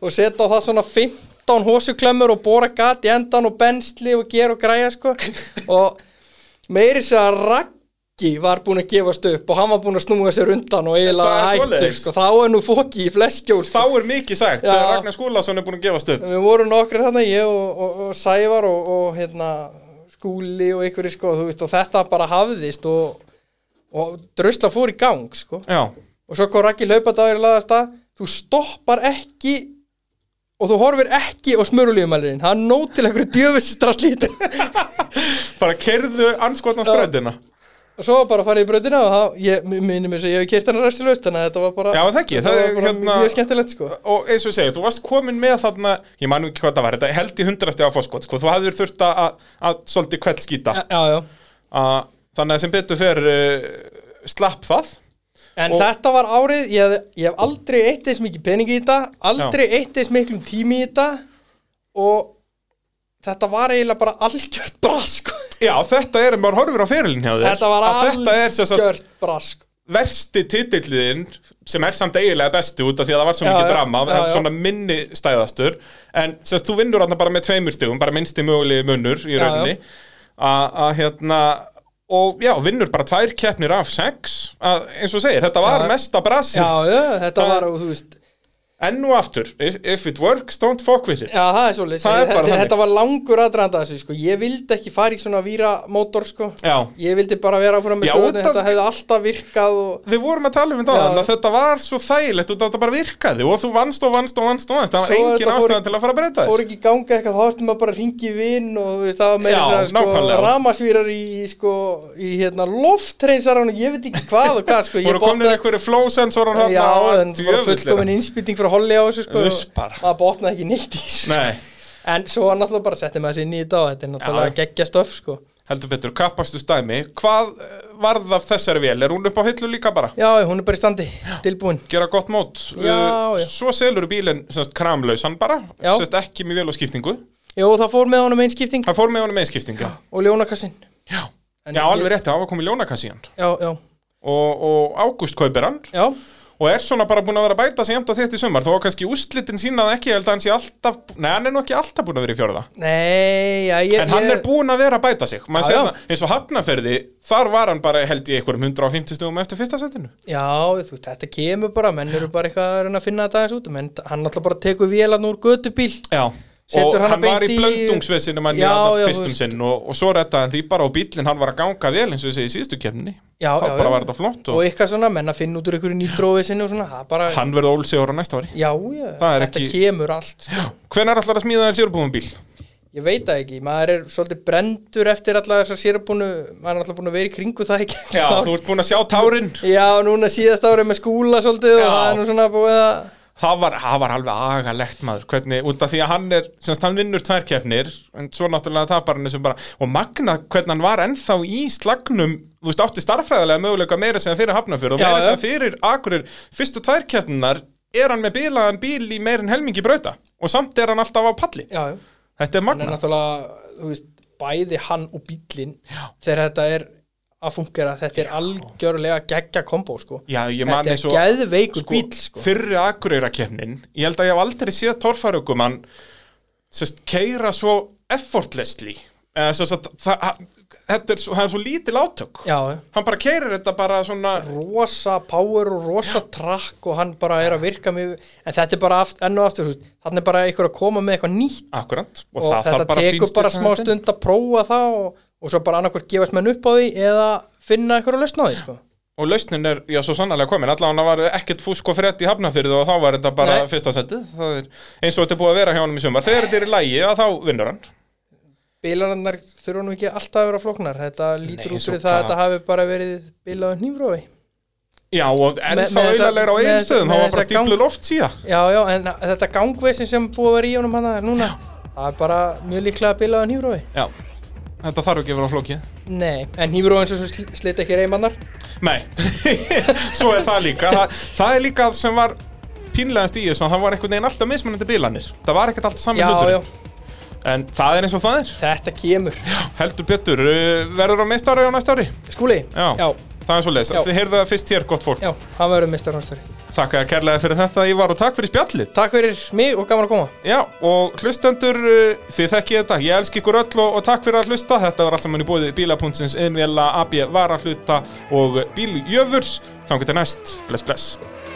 Speaker 2: og setja á það svona 15 hósuklemmur og bóra gat í endan og bensli og gera og græja sko og meiri sér að Raggi var búin að gefast upp og hann var búin að snúa sér undan og
Speaker 1: Það
Speaker 2: eiginlega
Speaker 1: er
Speaker 2: hættur
Speaker 1: svoleiðis.
Speaker 2: sko þá er nú fóki í fleskjól
Speaker 1: Þá
Speaker 2: sko.
Speaker 1: er mikið sagt,
Speaker 2: Já.
Speaker 1: þegar Ragnar Skúlason er búin að gefast upp
Speaker 2: við vorum nokkri hérna ég og, og, og Sævar og, og hérna skúli og ykkur sko, þú veist, og þetta bara hafðist og, og drusla fór í gang sko.
Speaker 1: Já,
Speaker 2: og svo kom Raggi hlaupadagir laðast að þú stoppar ekki og þú horfir ekki á smörulífumælirinn það er nóg til einhverju djöfistraslít
Speaker 1: bara kerðu anskotna sprautina
Speaker 2: og svo var bara að fara í bröðina og það, ég minni mér sem ég hef kert hennar ræstilöst þannig að þetta var bara,
Speaker 1: Já, það ekki, það
Speaker 2: þetta
Speaker 1: er
Speaker 2: var bara
Speaker 1: hérna-
Speaker 2: mjög skemmtilegt sko.
Speaker 1: og eins og ég segi, þú varst komin með þarna ég man nú ekki hvað það var, þetta held í hundrasti á fórskot sko, þú hafðir þurft að, að, að svolítið kveld skýta
Speaker 2: já, já.
Speaker 1: þannig að sem betur fer uh, slapp það
Speaker 2: En
Speaker 1: Og-
Speaker 2: þetta var árið, ég, hef- ég hef aldrei eitt eins mikið pening í þetta, aldrei eitt eins miklum tími í þetta og þetta var eiginlega bara algjört brask.
Speaker 1: Já, þetta er, maður horfir á ferilin hjá þér
Speaker 2: Þetta var
Speaker 1: að þetta er sem sagt
Speaker 2: algjört brask.
Speaker 1: versti titilliðin sem er samt eiginlega besti út af því að það var svo
Speaker 2: Já,
Speaker 1: mikið
Speaker 2: já,
Speaker 1: drama
Speaker 2: já,
Speaker 1: en
Speaker 2: já.
Speaker 1: svona minni stæðastur en sem sagt, þú vinnur hann bara með tveimur stigum bara minnsti mögulegi munnur í
Speaker 2: Já, já.
Speaker 1: rauninni að að, hérna og já, vinnur bara tvær keppnir af sex að, eins og þú segir, þetta var
Speaker 2: Já.
Speaker 1: mesta
Speaker 2: Já,
Speaker 1: brasið
Speaker 2: já, þetta
Speaker 1: Það-
Speaker 2: var, þú veist,
Speaker 1: enn og aftur, if, if it works, don't fuck with it
Speaker 2: já, það er svolítið.
Speaker 1: Það er bara
Speaker 2: þetta,
Speaker 1: þannig.
Speaker 2: þetta var langur aðdraðanda þessu, sko. Ég vildi ekki fara í svona víramótor, sko.
Speaker 1: Já.
Speaker 2: Ég vildi bara vera áfram með
Speaker 1: Já,
Speaker 2: skoðunni,
Speaker 1: út af-
Speaker 2: þetta hefði alltaf virkað og...
Speaker 1: Við vorum að tala um þetta
Speaker 2: Já.
Speaker 1: áðan að þetta var svo þægilegt og þetta bara virkaði og þú vannst og vannst og vannst og vannst það var
Speaker 2: Svo
Speaker 1: engin
Speaker 2: þetta fór
Speaker 1: ástæðan til
Speaker 2: í-
Speaker 1: að fara að breyta
Speaker 2: fór
Speaker 1: þess
Speaker 2: ekki í ganga eitthvað, þá ertum maður bara að ringi vinn og þú veist, það var meira
Speaker 1: Já,
Speaker 2: að segja,
Speaker 1: nákvæmlega.
Speaker 2: sko, ramasvírar í, í, sko, í hérna, loftreynsar og ég veit ekki hvað og hvað sko, ég
Speaker 1: voru komnir einhverju flow-sensorar hann
Speaker 2: já, en það var fullkomin
Speaker 1: djöfullir
Speaker 2: innspýting frá holli á þessu sko,
Speaker 1: Uspar.
Speaker 2: maður botnaði ekki neitt í þessu sko.
Speaker 1: Nei,
Speaker 2: en svo var náttúrulega bara að setja maður sér inn í þetta og þetta er náttúrulega
Speaker 1: Já.
Speaker 2: geggja stöf sko.
Speaker 1: heldur betur, kappastu stæmi Hvað eh, varð af þessari vél? Er hún upp á hillu líka bara?
Speaker 2: já, hún er bara í standi, tilbúin
Speaker 1: Gera gott mót
Speaker 2: Já,
Speaker 1: Eh,
Speaker 2: já.
Speaker 1: Svo selur bílinn semst, kramlausan bara
Speaker 2: Já.
Speaker 1: semst, ekki með vél og skiptingu
Speaker 2: Jó, það fór með honum einskipting
Speaker 1: Það fór með honum einskiptinga
Speaker 2: og ljónakassinn
Speaker 1: Já,
Speaker 2: En
Speaker 1: já
Speaker 2: ég-
Speaker 1: alveg rétti, það var komið ljónakassían
Speaker 2: já, já,
Speaker 1: og, og Ágúst kaupir hann
Speaker 2: já,
Speaker 1: og er svona bara búin að vera að bæta sig jæmt á þétt í sumar þó að kannski úslitin sínað ekki ég held að hann sé alltaf, nei hann er nú ekki alltaf búin að vera í fjörða
Speaker 2: nei já, ég,
Speaker 1: en hann
Speaker 2: ég-
Speaker 1: er búin að vera að bæta sig maður
Speaker 2: Já,
Speaker 1: sér
Speaker 2: já.
Speaker 1: það, eins og hafnaferði þar var hann bara held í einhverjum 150 stugum eftir fyrsta setinu
Speaker 2: Já, þú, veist, þetta kemur bara, menn eru bara eitthvað að reyna að finna þetta aðeins út menn, hann alltaf bara tekur vélan úr gödubíl
Speaker 1: já
Speaker 2: Setur
Speaker 1: og
Speaker 2: hana
Speaker 1: hann var í
Speaker 2: beint í-
Speaker 1: blöndungsvesinu mann í
Speaker 2: Já,
Speaker 1: hann
Speaker 2: já, þú
Speaker 1: fyrstum
Speaker 2: veist.
Speaker 1: sinn og, og svo rettaði hann því bara og bílinn hann var að ganga vel eins og ég segi í síðustu kefni
Speaker 2: Já,
Speaker 1: þá
Speaker 2: já,
Speaker 1: bara
Speaker 2: já.
Speaker 1: var þetta flott
Speaker 2: og
Speaker 1: og,
Speaker 2: eitthvað svona, menn að finna út úr einhverju nýtrófið sinni og svona, það bara,
Speaker 1: hann verði ólsegur á næsta ári
Speaker 2: já, já
Speaker 1: Það er
Speaker 2: þetta
Speaker 1: ekki-
Speaker 2: kemur allt, sko.
Speaker 1: hvenær ætlar að smíða þér sérbúin bíl?
Speaker 2: ég veit það ekki maður er svolítið brendur eftir alla þessar sérabúnu, maður er alltaf búin að vera í kringu það ekki
Speaker 1: já, þú ert búin að sjá tárin
Speaker 2: já, núna síðast árið með skúla svolítið
Speaker 1: Já.
Speaker 2: og það er nú svona búið að
Speaker 1: það var, það var alveg agalegt maður hvernig, út af því að hann er semst hann vinnur tværkeppnir en svo náttúrulega tapar hann þessu bara og magna hvernig hann var ennþá í slagnum þú veist átti starffræðilega möguleika meira sem fyrir hafnafjörð og
Speaker 2: Já,
Speaker 1: meira
Speaker 2: já.
Speaker 1: sem fyrir akurir fyrstu tværkeppnar er hann með bílaðan bíl í meira en helmingi brauta og samt er hann alltaf á palli
Speaker 2: já, já
Speaker 1: þetta er
Speaker 2: hann er
Speaker 1: magna
Speaker 2: náttúrulega, þú veist, bæði hann og bílinn þegar þetta er að fungera, þetta er algjörlega geggja kombo, sko
Speaker 1: Já, ég man
Speaker 2: þetta er
Speaker 1: eins og-
Speaker 2: geðveikur bíl, sko
Speaker 1: fyrri akureyrakeppnin ég held að ég hef aldrei séð Eh, torfærugumann sérst, keira svo effortlessly eða, sérst, það, þetta er svo, það er svo lítil átök
Speaker 2: já, já.
Speaker 1: hann bara keirir þetta bara svona
Speaker 2: rosa power og rosa trakk og hann bara er að virka mjög en þetta er bara aft, enn og aftur þannig er bara einhver að koma með eitthvað nýtt
Speaker 1: akkurat og,
Speaker 2: og,
Speaker 1: það
Speaker 2: þetta
Speaker 1: þarf bara
Speaker 2: tekur bara smá
Speaker 1: fínstilla þetta.
Speaker 2: stund að prófa það og, og svo bara annarkvort gefast menn upp á því eða finna eitthvað að lausna á því sko.
Speaker 1: og lausnin er, já, svo sannlega komin allan var ekkert fúsk og frett í hafnafyrðu og þá var þetta bara
Speaker 2: Nei.
Speaker 1: fyrsta setið það er eins og þetta er búið að vera hjá honum í sumar þegar þetta er í lægi, að þá vinnur hann
Speaker 2: bílarinnar þurfa nú ekki alltaf að vera flóknar þetta lítur
Speaker 1: Nei,
Speaker 2: út
Speaker 1: svo
Speaker 2: fyrir það að
Speaker 1: hvað-
Speaker 2: þetta hafi bara verið bílaður nýfrói
Speaker 1: já, og en
Speaker 2: Með-
Speaker 1: þá
Speaker 2: með þessa-
Speaker 1: auðalegra á
Speaker 2: með
Speaker 1: einn
Speaker 2: þessa-
Speaker 1: stöðum hann
Speaker 2: með
Speaker 1: var bara
Speaker 2: þessa gang-
Speaker 1: stíplu loft síða
Speaker 2: já já en þetta gangveisin sem búið að vera í honum hana núna það er bara mjög líklega bílaður nýfrói
Speaker 1: já, þetta þarf ekki að vera flókið
Speaker 2: nei en nýfróin sem slita ekki reymannar
Speaker 1: Nei, svo er það líka það, það er líka sem var pínlegast í þessu að það var einhvern veginn alltaf mismunandi bílanir það var ekkert alltaf sami
Speaker 2: já já
Speaker 1: hlutur en það er eins og það er
Speaker 2: þetta kemur
Speaker 1: heldur betur, uh, verður á meist ári á næsta ári
Speaker 2: skúli
Speaker 1: Já,
Speaker 2: já,
Speaker 1: það er svo leys
Speaker 2: Já.
Speaker 1: Þið heyrðu það fyrst hér, gott fólk
Speaker 2: já hann verður mistar hans
Speaker 1: Þakka þér kærlega fyrir þetta, Ívar og takk fyrir spjallið
Speaker 2: takk fyrir mig og gaman að koma
Speaker 1: Já, og hlustendur, uh, þið þekkið þetta, ég elski ykkur öll og, og takk fyrir að hlusta. Þetta var allt saman í bóði bíla.sins, innvela, AB, varafluta og bíljöfurs. Þannig til næst, bless bless.